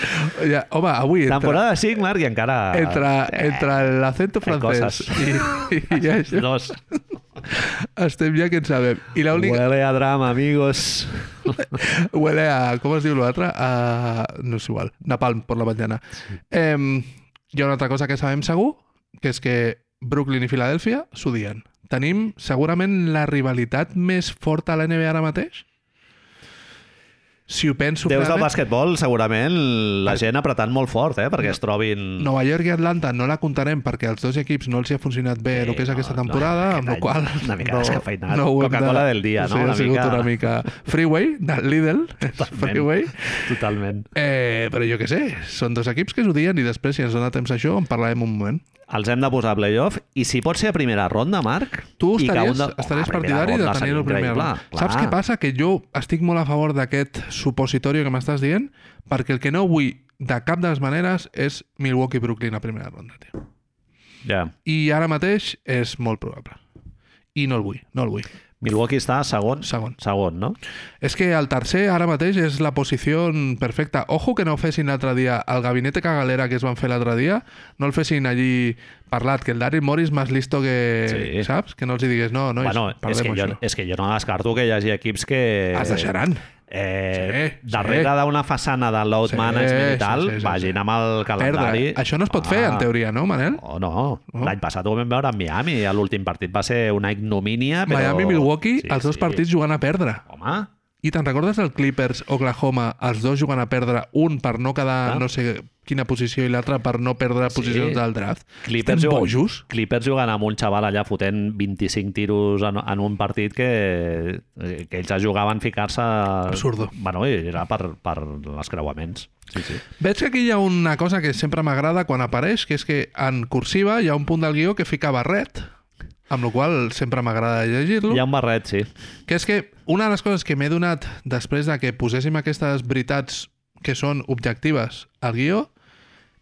[SPEAKER 2] Ja, home, avui entre,
[SPEAKER 1] Temporada 5, Marc, i encara...
[SPEAKER 2] entre, entre l'acento
[SPEAKER 1] Hay
[SPEAKER 2] francès
[SPEAKER 1] cosas.
[SPEAKER 2] i, i, i això,
[SPEAKER 1] Dos.
[SPEAKER 2] estem ja que en sabem. I l'única...
[SPEAKER 1] Huele a drama, amigos.
[SPEAKER 2] Huele a... Com es diu l'altre? A... No és igual. Napalm, per la mañana. Em, hi ha una altra cosa que sabem segur, que és que Brooklyn i Filadèlfia s'odien. Tenim segurament la rivalitat més forta a la NBA ara mateix. Si ho penso
[SPEAKER 1] Déus del
[SPEAKER 2] clarament,
[SPEAKER 1] basquetbol, segurament, la gent apretant molt fort, eh? Perquè es trobin...
[SPEAKER 2] Nova York i Atlanta no la comptarem perquè els dos equips no els hi ha funcionat bé
[SPEAKER 1] Sí,
[SPEAKER 2] el que és
[SPEAKER 1] Eh, no,
[SPEAKER 2] aquesta
[SPEAKER 1] no,
[SPEAKER 2] temporada,
[SPEAKER 1] aquest
[SPEAKER 2] amb la
[SPEAKER 1] any
[SPEAKER 2] qual
[SPEAKER 1] una mica descafeïnat.
[SPEAKER 2] ho hem
[SPEAKER 1] Coca-Cola del dia, no?
[SPEAKER 2] Sí,
[SPEAKER 1] Una
[SPEAKER 2] ha sigut
[SPEAKER 1] mica.
[SPEAKER 2] una mica... Freeway, del Lidl, Freeway.
[SPEAKER 1] Totalment.
[SPEAKER 2] Eh, però jo què sé, són dos equips que s'odien i després, si ens dona temps a això, en parlarem un moment.
[SPEAKER 1] Els hem de posar a playoff i si pot ser a primera ronda, Marc...
[SPEAKER 2] Tu
[SPEAKER 1] i que
[SPEAKER 2] estaries,
[SPEAKER 1] un de-
[SPEAKER 2] estaries
[SPEAKER 1] Home, a primera
[SPEAKER 2] partidari de
[SPEAKER 1] ronda seria
[SPEAKER 2] tenir-ho
[SPEAKER 1] increïble,
[SPEAKER 2] primer. Clar. Saps què passa? Que jo estic molt a favor d'aquest supositori que m'estàs dient, perquè el que no vull de cap de les maneres és Milwaukee-Brooklyn a primera ronda, tio.
[SPEAKER 1] Ja.
[SPEAKER 2] I ara mateix és molt probable. I no el vull, no el vull.
[SPEAKER 1] Milwaukee està segon?
[SPEAKER 2] Segon.
[SPEAKER 1] Segon, no?
[SPEAKER 2] És que el tercer ara mateix és la posició perfecta. Ojo que no fessin l'altre dia el gabinete cagalera que es van fer l'altre dia, no el fessin allí parlat, que el Daryl Morris más listo que...
[SPEAKER 1] Sí.
[SPEAKER 2] Saps? Que no els hi digués, no, nois,
[SPEAKER 1] bueno, és que,
[SPEAKER 2] perdem
[SPEAKER 1] jo,
[SPEAKER 2] això.
[SPEAKER 1] és que jo no descarto que hi hagi equips que...
[SPEAKER 2] Es deixaran.
[SPEAKER 1] Eh,
[SPEAKER 2] Sí,
[SPEAKER 1] darrere
[SPEAKER 2] sí.
[SPEAKER 1] d'una façana de load
[SPEAKER 2] Sí,
[SPEAKER 1] management
[SPEAKER 2] sí,
[SPEAKER 1] i tal,
[SPEAKER 2] sí, sí,
[SPEAKER 1] vagin
[SPEAKER 2] sí.
[SPEAKER 1] amb el calendari...
[SPEAKER 2] Perdre. Això no es pot
[SPEAKER 1] Ah.
[SPEAKER 2] fer, en teoria, no, Manel?
[SPEAKER 1] Oh, no.
[SPEAKER 2] No?
[SPEAKER 1] L'any passat ho vam veure a Miami. i L'últim partit va ser una ignomínia, però...
[SPEAKER 2] Miami-Milwaukee,
[SPEAKER 1] Sí,
[SPEAKER 2] els dos
[SPEAKER 1] sí.
[SPEAKER 2] partits jugant a perdre.
[SPEAKER 1] Home,
[SPEAKER 2] I te'n recordes el Clippers-Oklahoma, els dos jugant a perdre, un per no quedar
[SPEAKER 1] Ah.
[SPEAKER 2] no sé quina posició i l'altre per no perdre posicions del draft?
[SPEAKER 1] Clippers,
[SPEAKER 2] Estem
[SPEAKER 1] jugant-
[SPEAKER 2] bojos?
[SPEAKER 1] Clippers jugant amb un xaval allà fotent 25 tiros en, en un partit que, eh, que ells ja jugaven ficar-se...
[SPEAKER 2] Absurdo.
[SPEAKER 1] Bueno, i era per, per les creuaments. Sí, sí.
[SPEAKER 2] Veig que aquí hi ha una cosa que sempre m'agrada quan apareix, que és que en cursiva hi ha un punt del guió que fica barret, amb la qual cosa sempre m'agrada llegir-lo,
[SPEAKER 1] Hi ha un barret, sí.
[SPEAKER 2] que és que una de les coses que m'he donat després de que poséssim aquestes veritats que són objectives al guió,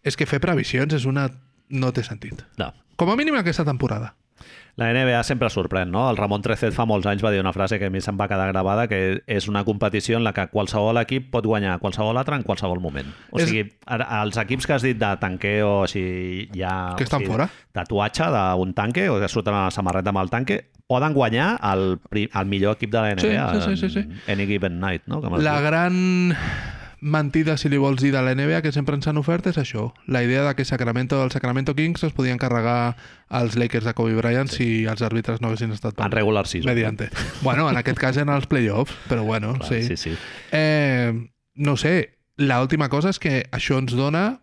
[SPEAKER 2] és que fer previsions és una... no té sentit.
[SPEAKER 1] No,
[SPEAKER 2] Com a mínim aquesta temporada.
[SPEAKER 1] La NBA sempre sorprèn, no? El Ramon Trecet fa molts anys va dir una frase que a mi se'm va quedar gravada, que és una competició en la que qualsevol equip pot guanyar a qualsevol altre en qualsevol moment. O
[SPEAKER 2] És-
[SPEAKER 1] sigui, ara, els equips que has dit de tanque o així ja...
[SPEAKER 2] Que estan
[SPEAKER 1] o sigui,
[SPEAKER 2] fora.
[SPEAKER 1] Tatuatge d'un tanque o que surten a la samarreta amb el tanque, poden guanyar el, pri- el millor equip de la
[SPEAKER 2] Sí,
[SPEAKER 1] NBA
[SPEAKER 2] sí, sí, sí, sí.
[SPEAKER 1] en Any Given Night, no? Com es
[SPEAKER 2] La
[SPEAKER 1] diu.
[SPEAKER 2] gran mentida, si li vols dir, de la NBA que sempre ens han ofert és això. La idea de que Sacramento, el Sacramento Kings es podien carregar als Lakers de Kobe Bryant si els àrbitres no haguessin estat
[SPEAKER 1] En regular season.
[SPEAKER 2] mediante. Bueno, en aquest cas eren els playoffs, però bueno,
[SPEAKER 1] eh? Clar,
[SPEAKER 2] sí.
[SPEAKER 1] sí, sí.
[SPEAKER 2] Eh, no ho sé, la última cosa és que això ens dona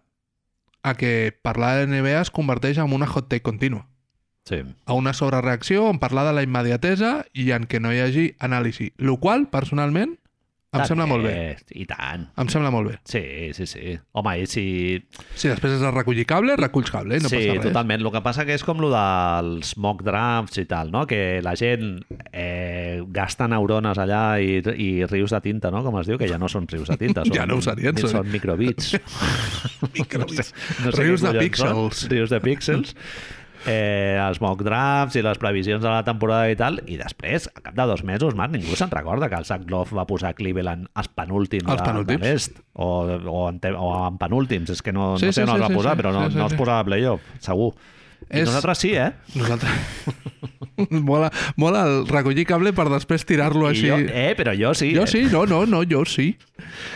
[SPEAKER 2] a que parlar de NBA es converteix en una hot take contínua
[SPEAKER 1] sí.
[SPEAKER 2] a una sobrereacció, en parlar de la immediatesa i en que no hi hagi anàlisi. Lo qual, personalment, em sembla molt bé.
[SPEAKER 1] Eh, I tant.
[SPEAKER 2] Em sembla molt bé.
[SPEAKER 1] Sí, sí, sí. Home, i si
[SPEAKER 2] Si després has de recollir cable, reculls cable, eh? no
[SPEAKER 1] sí,
[SPEAKER 2] passa res.
[SPEAKER 1] totalment. El que passa que és com el dels mock drafts i tal, no? que la gent eh, gasta neurones allà i, i rius de tinta, no? com es diu, que ja no són rius de tinta. Són,
[SPEAKER 2] Ja no ho serien,
[SPEAKER 1] Són,
[SPEAKER 2] són-
[SPEAKER 1] són microbits.
[SPEAKER 2] Microbits.
[SPEAKER 1] què
[SPEAKER 2] Rius de
[SPEAKER 1] collons
[SPEAKER 2] píxels.
[SPEAKER 1] Són. Rius de píxels. Eh, els mock drafts i les previsions de la temporada i tal, i després, a cap de dos mesos, Marc, ningú se'n recorda que el Zach Love va posar Cleveland als penúltims,
[SPEAKER 2] Als
[SPEAKER 1] de-
[SPEAKER 2] penúltims.
[SPEAKER 1] de l'est, o, o, en te- o en penúltims, és que no,
[SPEAKER 2] Sí,
[SPEAKER 1] no sé
[SPEAKER 2] sí,
[SPEAKER 1] on
[SPEAKER 2] sí,
[SPEAKER 1] els va
[SPEAKER 2] sí,
[SPEAKER 1] posar,
[SPEAKER 2] sí,
[SPEAKER 1] però no,
[SPEAKER 2] sí, sí,
[SPEAKER 1] no els
[SPEAKER 2] sí.
[SPEAKER 1] posava a playoff, segur. I
[SPEAKER 2] És-
[SPEAKER 1] nosaltres sí, eh?
[SPEAKER 2] Nosaltres... mola, mola el recollir cable per després tirar-lo
[SPEAKER 1] I
[SPEAKER 2] així.
[SPEAKER 1] jo, eh, però jo sí.
[SPEAKER 2] jo
[SPEAKER 1] eh?
[SPEAKER 2] sí, no, no, no, jo sí.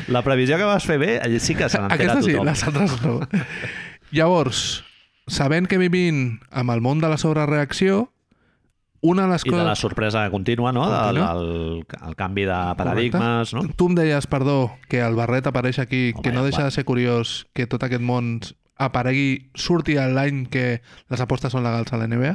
[SPEAKER 1] La previsió que vas fer bé, allà sí que se n'entera
[SPEAKER 2] Aquesta sí,
[SPEAKER 1] tothom.
[SPEAKER 2] les altres no. Llavors, sabent que vivim amb el món de la sobrereacció, una de les
[SPEAKER 1] I de
[SPEAKER 2] coses...
[SPEAKER 1] la sorpresa contínua, no? Del,
[SPEAKER 2] Contínua.
[SPEAKER 1] el, el canvi de paradigmes, no?
[SPEAKER 2] Tu em deies, perdó, que el barret apareix aquí,
[SPEAKER 1] Home,
[SPEAKER 2] que no deixa
[SPEAKER 1] va.
[SPEAKER 2] de ser curiós que tot aquest món aparegui, surti a l'any que les apostes són legals a la NBA.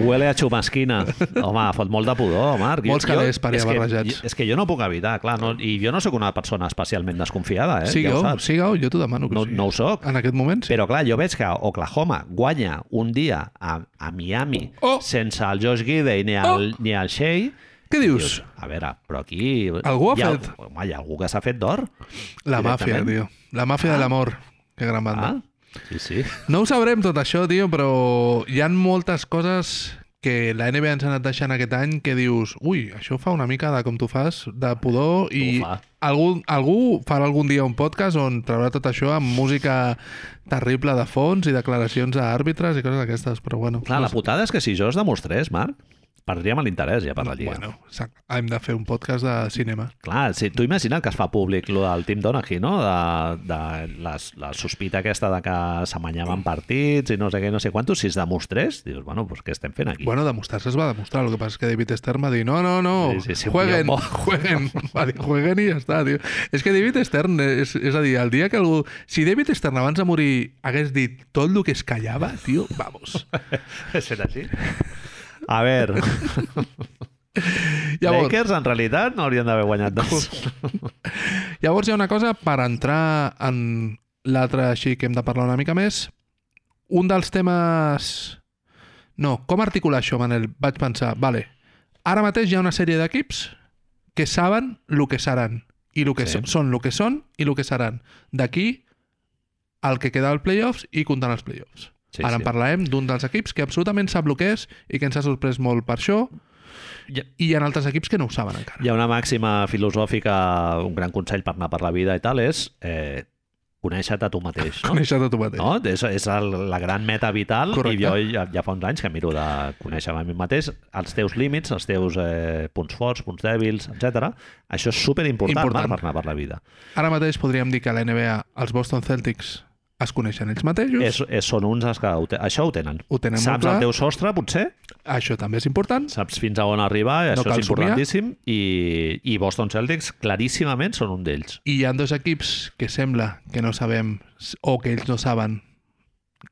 [SPEAKER 1] Huele a xumasquina. Home, fot molt de pudor, Marc. Jo-
[SPEAKER 2] Molts calés per allà
[SPEAKER 1] és que-
[SPEAKER 2] barrejats.
[SPEAKER 1] És que jo no puc evitar, clar. No, I jo no sóc una persona especialment desconfiada, eh?
[SPEAKER 2] Sigueu,
[SPEAKER 1] ja ho saps.
[SPEAKER 2] sigueu, jo t'ho demano que
[SPEAKER 1] No,
[SPEAKER 2] sí.
[SPEAKER 1] no ho sóc.
[SPEAKER 2] En aquest moment, sí.
[SPEAKER 1] Però clar, jo veig que Oklahoma guanya un dia a, a Miami
[SPEAKER 2] Oh!
[SPEAKER 1] sense el Josh Gidey ni el, ni el Shea.
[SPEAKER 2] Què dius?
[SPEAKER 1] Dius, a veure, però aquí...
[SPEAKER 2] Algú ha
[SPEAKER 1] hi ha,
[SPEAKER 2] fet?
[SPEAKER 1] Home, hi ha algú que s'ha fet d'or.
[SPEAKER 2] La màfia, tio.
[SPEAKER 1] directament.
[SPEAKER 2] La màfia de l'amor. Que gran banda.
[SPEAKER 1] Ah, sí, sí.
[SPEAKER 2] No ho sabrem tot això, tio, però hi han moltes coses que la NBA ens ha anat deixant aquest any que dius, ui, això fa una mica de com tu fas, de pudor, i
[SPEAKER 1] fa.
[SPEAKER 2] algú, algú farà algun dia un podcast on traurà tot això amb música terrible de fons i declaracions a àrbitres i coses d'aquestes, però bueno.
[SPEAKER 1] Clar,
[SPEAKER 2] no
[SPEAKER 1] la
[SPEAKER 2] sé.
[SPEAKER 1] putada és que si jo es demostrés, Marc, perdríem l'interès ja per la Lliga.
[SPEAKER 2] Bueno, sac- hem de fer un podcast de cinema.
[SPEAKER 1] Clar, si, tu imagina el que es fa públic lo del Tim Donaghy, no? De, de la, la sospita aquesta de que s'amanyaven partits i no sé què, no sé quantos. Si es demostrés, dius, bueno, pues què estem fent aquí?
[SPEAKER 2] Bueno, demostrar-se es va demostrar. Lo que pasa es que David Stern va dir, no, no, no,
[SPEAKER 1] Sí, sí, sí,
[SPEAKER 2] jueguen,
[SPEAKER 1] jo-
[SPEAKER 2] jueguen. Va dir, jueguen i ja està, tio. És que David Stern, és, és a dir, el dia que algú... Si David Stern abans de morir hagués dit tot el que es callava, tio, vamos.
[SPEAKER 1] Serà així? A veure,
[SPEAKER 2] Llavors,
[SPEAKER 1] Lakers en realitat no haurien d'haver guanyat dos.
[SPEAKER 2] llavors hi ha una cosa per entrar en l'altre així que hem de parlar una mica més. Un dels temes... No, com articular això, Manel? Vaig pensar, vale, ara mateix hi ha una sèrie d'equips que saben el que seran I el que
[SPEAKER 1] Sí.
[SPEAKER 2] sí. són, el que són i el que seran. D'aquí, el que queda al playoffs i comptant els
[SPEAKER 1] Sí,
[SPEAKER 2] playoffs. Sí, Ara
[SPEAKER 1] sí.
[SPEAKER 2] en parlarem d'un dels equips que absolutament sap el que és i que ens ha sorprès molt per això,
[SPEAKER 1] Hi ha,
[SPEAKER 2] i hi ha altres equips que no ho saben encara.
[SPEAKER 1] hi ha una màxima filosòfica, un gran consell per anar per la vida i tal, és eh, conèixer-te tu mateix, no?
[SPEAKER 2] Coneixer-te tu mateix.
[SPEAKER 1] No? És, és el, la gran meta vital
[SPEAKER 2] Correcte.
[SPEAKER 1] i jo ja, ja fa uns anys que miro de conèixer-me a mi mateix, els teus límits, els teus eh, punts forts, punts dèbils, etc. Això és superimportant
[SPEAKER 2] Important.
[SPEAKER 1] Marc, per anar per la vida.
[SPEAKER 2] Ara mateix podríem dir que a la NBA els Boston Celtics es coneixen ells mateixos.
[SPEAKER 1] És, és, són uns els que ho te, això ho tenen.
[SPEAKER 2] Ho tenen molt
[SPEAKER 1] Saps
[SPEAKER 2] clar.
[SPEAKER 1] el teu sostre, potser?
[SPEAKER 2] Això també és important.
[SPEAKER 1] Saps fins a on arribar? i
[SPEAKER 2] No
[SPEAKER 1] Això
[SPEAKER 2] cal
[SPEAKER 1] és importantíssim. I, I Boston Celtics claríssimament són un d'ells.
[SPEAKER 2] I hi ha dos equips que sembla que no sabem s- o que ells no saben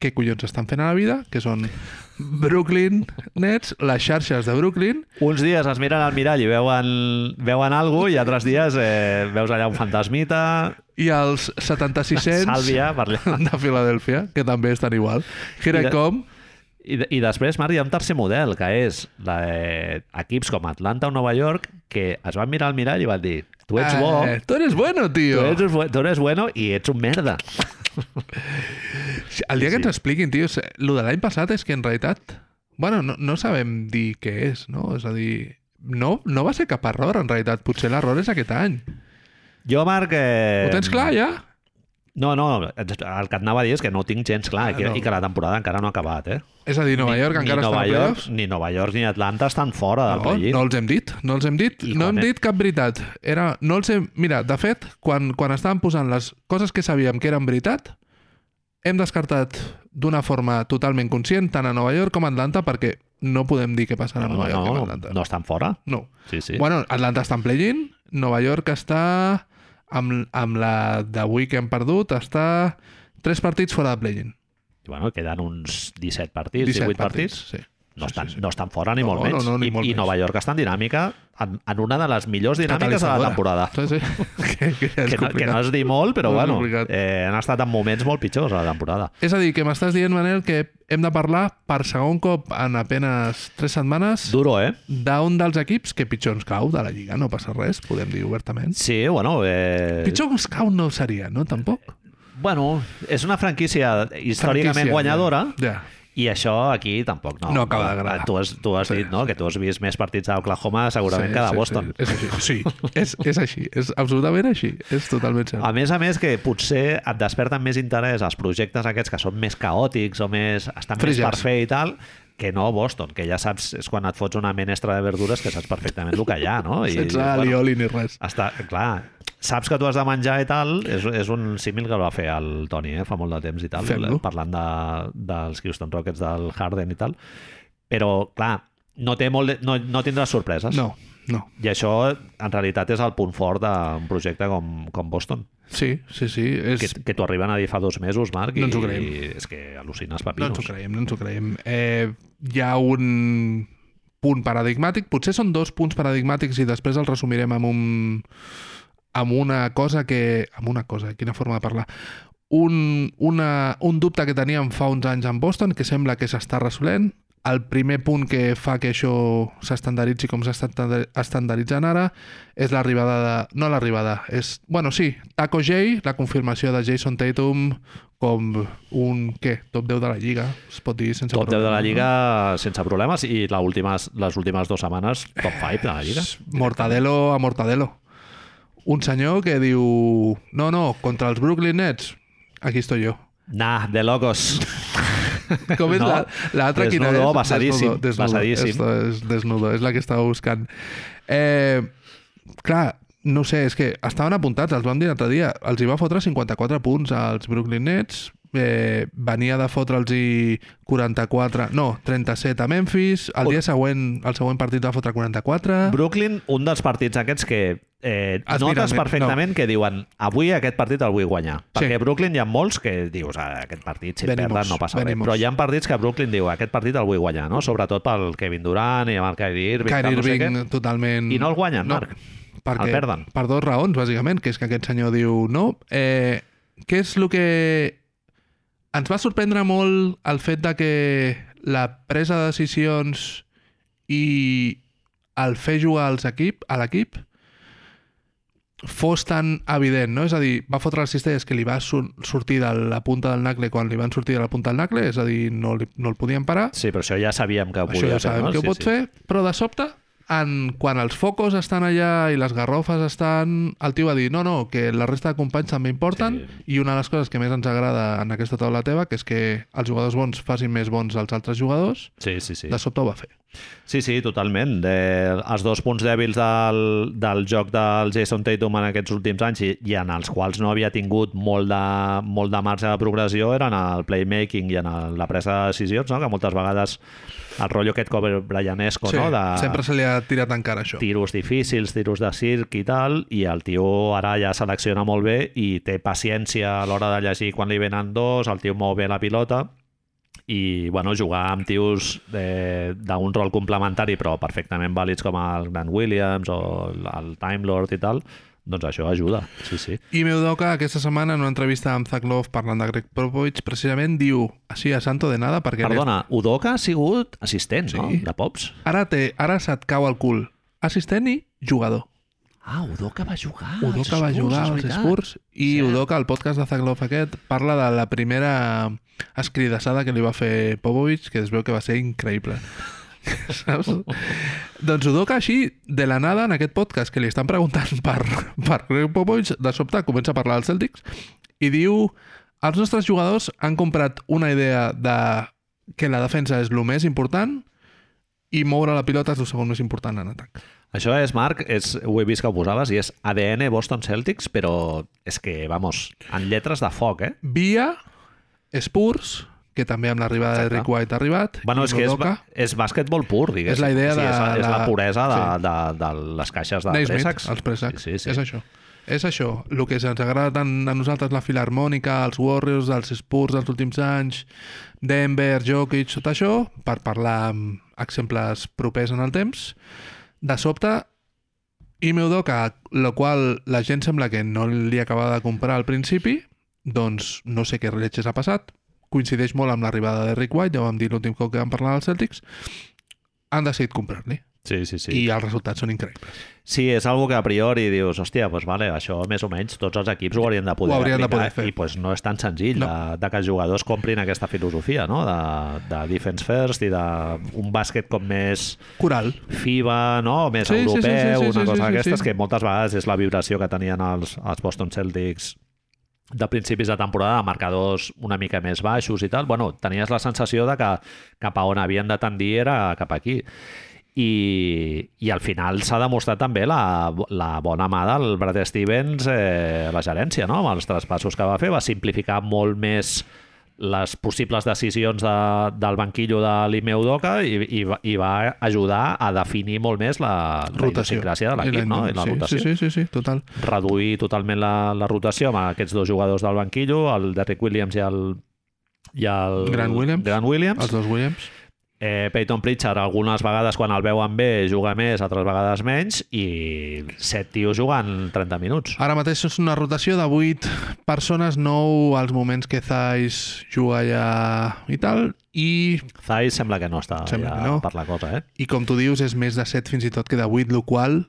[SPEAKER 2] què collons estan fent a la vida, que són Brooklyn Nets, les xarxes de Brooklyn,
[SPEAKER 1] Uns dies es miren al mirall i veuen, veuen alguna i altres dies eh, veus allà un fantasmita,
[SPEAKER 2] i els 7600
[SPEAKER 1] sàlvia per allà.
[SPEAKER 2] de Filadèlfia, que també estan igual.
[SPEAKER 1] I de-
[SPEAKER 2] Hirecom,
[SPEAKER 1] I, de- I després, Marc, hi ha un tercer model, que és la, eh, equips com Atlanta o Nova York, que es van mirar al mirall i van dir tu ets bo,
[SPEAKER 2] Eh, tu eres bueno,
[SPEAKER 1] tu
[SPEAKER 2] tio.
[SPEAKER 1] ets, bu- tu eres bueno i ets un merda.
[SPEAKER 2] Sí, El dia que ens expliquin, tio, se- lo de l'any passat és que en realitat... Bueno, no, no sabem dir què és, no? És a dir, no, no va ser cap error, en realitat. Potser l'error és aquest any.
[SPEAKER 1] Jo, Marc... Eh,
[SPEAKER 2] Ho tens clar, ja?
[SPEAKER 1] No, no, el que et anava a dir és que no ho tinc gens clar i, que,
[SPEAKER 2] Ah, no.
[SPEAKER 1] i que la temporada encara no ha acabat, eh?
[SPEAKER 2] És a dir, Nova York
[SPEAKER 1] ni
[SPEAKER 2] encara
[SPEAKER 1] Nova
[SPEAKER 2] està en
[SPEAKER 1] York,
[SPEAKER 2] playoffs?
[SPEAKER 1] Ni Nova York ni Atlanta estan fora del
[SPEAKER 2] No,
[SPEAKER 1] play-in.
[SPEAKER 2] no els hem dit, no els hem dit,
[SPEAKER 1] I
[SPEAKER 2] no
[SPEAKER 1] quan,
[SPEAKER 2] hem
[SPEAKER 1] eh?
[SPEAKER 2] dit cap veritat. Era, no els hem... Mira, de fet, quan, quan estàvem posant les coses que sabíem que eren veritat, hem descartat d'una forma totalment conscient tant a Nova York com a Atlanta perquè no podem dir què passarà a
[SPEAKER 1] no,
[SPEAKER 2] Nova York i amb
[SPEAKER 1] no,
[SPEAKER 2] Atlanta.
[SPEAKER 1] no estan fora.
[SPEAKER 2] no.
[SPEAKER 1] Sí, sí.
[SPEAKER 2] Sí. Bueno, Atlanta està en play-in, Nova York està amb, amb la d'avui que hem perdut, està tres partits fora de play-in.
[SPEAKER 1] I, bueno, queden uns 17 partits, 18
[SPEAKER 2] 17
[SPEAKER 1] partits.
[SPEAKER 2] Sí.
[SPEAKER 1] No
[SPEAKER 2] Sí,
[SPEAKER 1] estan,
[SPEAKER 2] sí, sí.
[SPEAKER 1] no estan fora ni
[SPEAKER 2] No,
[SPEAKER 1] molt
[SPEAKER 2] no,
[SPEAKER 1] menys.
[SPEAKER 2] no, ni
[SPEAKER 1] I,
[SPEAKER 2] molt
[SPEAKER 1] I
[SPEAKER 2] menys.
[SPEAKER 1] Nova York està en dinàmica en, en una de les millors dinàmiques de la temporada.
[SPEAKER 2] Catalitzadora. Sí, sí. que, que, ja és
[SPEAKER 1] Que no, que
[SPEAKER 2] complicat.
[SPEAKER 1] no és dir molt, però
[SPEAKER 2] No és
[SPEAKER 1] bueno,
[SPEAKER 2] complicat.
[SPEAKER 1] eh, han estat en moments molt pitjors a la temporada.
[SPEAKER 2] És a dir, que m'estàs dient, Manel, que hem de parlar per segon cop en apenes tres setmanes
[SPEAKER 1] Duro, eh?
[SPEAKER 2] d'un dels equips que pitjor ens cau de la Lliga. No passa res, podem dir obertament.
[SPEAKER 1] Sí, bueno... Eh,
[SPEAKER 2] Pitjor ens cau no seria, no? Tampoc.
[SPEAKER 1] Bueno, és una franquícia històricament
[SPEAKER 2] Franquícia, ja.
[SPEAKER 1] guanyadora
[SPEAKER 2] Ja.
[SPEAKER 1] i això aquí tampoc no.
[SPEAKER 2] No acaba d'agradar.
[SPEAKER 1] Tu has, tu has
[SPEAKER 2] Sí,
[SPEAKER 1] dit no? que tu has vist més partits a Oklahoma segurament que de Boston.
[SPEAKER 2] Sí, és així. Sí, és, és així. És absolutament així. És totalment cert.
[SPEAKER 1] A més a més, que potser et desperten més interès els projectes aquests que són més caòtics o més, estan
[SPEAKER 2] Frigers.
[SPEAKER 1] més per fer i tal, que no Boston, que ja saps, és quan et fots una menestra de verdures que saps perfectament el que hi ha, no? I,
[SPEAKER 2] Sense alioli ni res.
[SPEAKER 1] està, clar, saps que tu has de menjar i tal, és, és un símil que el va fer el Toni, eh, fa molt de temps i tal,
[SPEAKER 2] Fem-lo.
[SPEAKER 1] parlant de, dels Houston Rockets del Harden i tal, però, clar, no, té molt de, no, no tindràs sorpreses.
[SPEAKER 2] No, no.
[SPEAKER 1] I això, en realitat, és el punt fort d'un projecte com, com Boston
[SPEAKER 2] Sí, sí, sí. És...
[SPEAKER 1] que, que t'ho arriben a dir fa dos mesos, Marc,
[SPEAKER 2] No ens ho
[SPEAKER 1] i,
[SPEAKER 2] creiem.
[SPEAKER 1] i és que al·lucines
[SPEAKER 2] No
[SPEAKER 1] papinos.
[SPEAKER 2] ens ho creiem, no ens ho creiem. Eh, hi ha un punt paradigmàtic, potser són dos punts paradigmàtics i després els resumirem amb un amb una cosa que... amb una cosa, eh, quina forma de parlar. Un, una, un dubte que teníem fa uns anys en Boston, que sembla que s'està resolent. El primer punt que fa que això s'estandaritzi com s'està estanda- estandarditzant ara és l'arribada de... No l'arribada, és... Bueno, sí, Taco J, la confirmació de Jason Tatum com un, què, top 10 de la Lliga, es pot dir sense
[SPEAKER 1] Top 10 de la
[SPEAKER 2] problema, no?
[SPEAKER 1] Lliga sense problemes i la últimes, les últimes dues setmanes top 5 de la Lliga.
[SPEAKER 2] Mortadelo a Mortadelo. Un senyor que diu... No, no, contra els Brooklyn Nets, aquí estoy yo.
[SPEAKER 1] Nah, de locos.
[SPEAKER 2] Com és
[SPEAKER 1] No.
[SPEAKER 2] la- l'altra? quina
[SPEAKER 1] Desnudo,
[SPEAKER 2] és?
[SPEAKER 1] basadíssim,
[SPEAKER 2] Desnudo, desnudo.
[SPEAKER 1] basadíssim.
[SPEAKER 2] Esto és desnudo, és la que estava buscant. Eh, clar, no ho sé, és que estaven apuntats, els vam dir l'altre dia, els hi va fotre 54 punts als Brooklyn Nets, eh, venia de fotre'ls i 44, no, 37 a Memphis, el dia següent, el següent partit va fotre 44...
[SPEAKER 1] Brooklyn, un dels partits aquests que eh,
[SPEAKER 2] Has
[SPEAKER 1] notes
[SPEAKER 2] mirat,
[SPEAKER 1] perfectament que diuen avui aquest partit el vull guanyar.
[SPEAKER 2] Sí.
[SPEAKER 1] Perquè Brooklyn hi ha molts que dius "Ah, aquest partit si el
[SPEAKER 2] Venimos,
[SPEAKER 1] perden no passa res.
[SPEAKER 2] venimos.
[SPEAKER 1] Però hi ha partits que Brooklyn diu aquest partit el vull guanyar, no? Sobretot pel Kevin Durant i amb el Kyrie Irving.
[SPEAKER 2] Kyrie
[SPEAKER 1] tal, no sé
[SPEAKER 2] Irving,
[SPEAKER 1] què.
[SPEAKER 2] totalment...
[SPEAKER 1] I no el guanyen, Marc.
[SPEAKER 2] Perquè,
[SPEAKER 1] El perden.
[SPEAKER 2] Per dos raons, bàsicament, que és que aquest senyor diu no, eh, què és el que... Ens va sorprendre molt el fet de que la presa de decisions i el fer jugar als equip, a l'equip fos tan evident, no? És a dir, va fotre les cistelles que li va sur sortir de la punta del nacle quan li van sortir de la punta del nacle, és a dir, no, li, no el podien parar.
[SPEAKER 1] Sí, però això ja sabíem que ho
[SPEAKER 2] Això
[SPEAKER 1] podia
[SPEAKER 2] ja sabem
[SPEAKER 1] fer, no?
[SPEAKER 2] que ho
[SPEAKER 1] sí,
[SPEAKER 2] pot
[SPEAKER 1] sí.
[SPEAKER 2] fer, però de sobte, en, quan els focos estan allà i les garrofes estan... El tio va dir, no, no, que la resta de companys també importen i una de les coses que més ens agrada en aquesta taula teva que és que els jugadors bons facin més bons als altres jugadors,
[SPEAKER 1] Sí, sí, sí.
[SPEAKER 2] de sobte ho va fer.
[SPEAKER 1] Sí, sí, totalment. De, els dos punts dèbils del, del joc del Jason Tatum en aquests últims anys i, i en els quals no havia tingut molt de, molt de marge de progressió eren el playmaking i en el, la presa de decisions, no? que moltes vegades el rotllo aquest cover brianesco, no? de
[SPEAKER 2] Sempre se li ha tirat en cara això.
[SPEAKER 1] tiros difícils, tiros de circ i tal, i el tio ara ja selecciona molt bé i té paciència a l'hora de llegir quan li venen dos, el tio mou bé la pilota i bueno, jugar amb tios eh, d'un rol complementari però perfectament vàlids com el Grant Williams o el- el Time Lord i tal, doncs això ajuda, sí, sí.
[SPEAKER 2] I Meudoka aquesta setmana en una entrevista amb Zach Love parlant de Greg Popovich precisament diu així a santo de nada perquè
[SPEAKER 1] Perdona, Udoka ha sigut assistent, sí. no?
[SPEAKER 2] Sí.
[SPEAKER 1] De Pops?
[SPEAKER 2] ara, té, ara se't cau al cul assistent i jugador.
[SPEAKER 1] Ah, Udoka va jugar. als
[SPEAKER 2] Udoka va
[SPEAKER 1] Spurs,
[SPEAKER 2] jugar
[SPEAKER 1] és
[SPEAKER 2] als
[SPEAKER 1] veritat.
[SPEAKER 2] Spurs i
[SPEAKER 1] Cert.
[SPEAKER 2] Udoka, el podcast de Zaglov aquest, parla de la primera escridassada que li va fer Popovich, que es veu que va ser increïble. Saps? doncs Udoka així, de la nada, en aquest podcast que li estan preguntant per, per Greg Popovich, de sobte comença a parlar dels Celtics i diu els nostres jugadors han comprat una idea de que la defensa és el més important i moure la pilota és el segon més important en atac.
[SPEAKER 1] Això és, Marc, és, ho he vist que ho posaves, i és ADN Boston Celtics, però és que, vamos, en lletres de foc, eh?
[SPEAKER 2] via Spurs, que també amb l'arribada de
[SPEAKER 1] Exacte.
[SPEAKER 2] Rick White ha arribat,
[SPEAKER 1] Bueno,
[SPEAKER 2] i
[SPEAKER 1] és que és,
[SPEAKER 2] Udoka.
[SPEAKER 1] ba- és bàsquetbol pur, diguéssim.
[SPEAKER 2] És la idea
[SPEAKER 1] és, la-
[SPEAKER 2] de-
[SPEAKER 1] és la
[SPEAKER 2] de-
[SPEAKER 1] puresa de,
[SPEAKER 2] sí.
[SPEAKER 1] de, de les caixes de
[SPEAKER 2] Naismith,
[SPEAKER 1] préssecs.
[SPEAKER 2] els préssecs.
[SPEAKER 1] Sí, sí, sí.
[SPEAKER 2] És això. És això. El que ens agrada tant a nosaltres, la filarmònica, els Warriors, els Spurs dels últims anys, Denver, Jokic, tot això, per parlar amb exemples propers en el temps, de sobte, i Meudoka, la qual la gent sembla que no li acabava de comprar al principi, doncs no sé què relletges ha passat, coincideix molt amb l'arribada de Rick White, ja ho vam dir l'últim cop que vam parlar dels Celtics, han decidit comprar-li.
[SPEAKER 1] Sí, sí, sí.
[SPEAKER 2] Sí. I els resultats són increïbles.
[SPEAKER 1] Sí, és algo que a priori dius, hòstia, doncs vale, això més o menys tots els equips ho haurien de poder
[SPEAKER 2] Ho haurien de
[SPEAKER 1] aplicar,
[SPEAKER 2] poder fer.
[SPEAKER 1] I doncs no és tan senzill
[SPEAKER 2] No.
[SPEAKER 1] de, de que els jugadors comprin aquesta filosofia, no? De, de defense first i d'un bàsquet com més...
[SPEAKER 2] Coral.
[SPEAKER 1] FIBA, no? més
[SPEAKER 2] Sí, sí,
[SPEAKER 1] europeu,
[SPEAKER 2] sí, sí, sí,
[SPEAKER 1] una
[SPEAKER 2] sí,
[SPEAKER 1] cosa
[SPEAKER 2] sí, sí,
[SPEAKER 1] d'aquestes
[SPEAKER 2] sí.
[SPEAKER 1] que moltes vegades és la vibració que tenien els, els Boston Celtics de principis de temporada, de marcadors una mica més baixos i tal, bueno, tenies la sensació de que cap a on havien de tendir era cap aquí. I, i al final s'ha demostrat també la, la bona mà del Brad Stevens eh, a la gerència, no? amb els traspassos que va fer, va simplificar molt més les possibles decisions de, del banquillo de l'Imeu Doca i, i, va- i va ajudar a definir molt més la, la
[SPEAKER 2] rotació.
[SPEAKER 1] idiosincràsia de l'equip, no? I la
[SPEAKER 2] sí,
[SPEAKER 1] rotació
[SPEAKER 2] Sí, sí, sí, sí, total.
[SPEAKER 1] reduir totalment la, la rotació amb aquests dos jugadors del banquillo, el Derrick Williams i el, i el
[SPEAKER 2] Grant Williams.
[SPEAKER 1] Grant Williams.
[SPEAKER 2] Els dos Williams.
[SPEAKER 1] Eh, Peyton Pritchard algunes vegades quan el veuen bé juga més, altres vegades menys i set tios jugant 30 minuts.
[SPEAKER 2] Ara mateix és una rotació de 8 persones, 9 als moments que Thais juga allà i tal, i,
[SPEAKER 1] Zai sembla que no està
[SPEAKER 2] Sembla
[SPEAKER 1] ja
[SPEAKER 2] que no.
[SPEAKER 1] per la cosa, eh?
[SPEAKER 2] i com tu dius, és més de 7 fins i tot que de 8, el qual,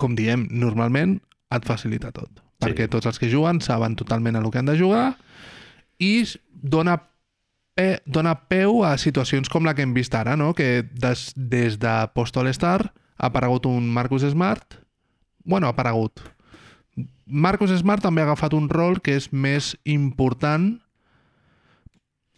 [SPEAKER 2] com diem, normalment et facilita tot.
[SPEAKER 1] Sí.
[SPEAKER 2] Perquè tots els que juguen saben totalment el que han de jugar i s- dona pe, dona peu a situacions com la que hem vist ara, no? que des, des de post-All-Star ha aparegut un Marcus Smart bueno, ha aparegut Marcus Smart també ha agafat un rol que és més important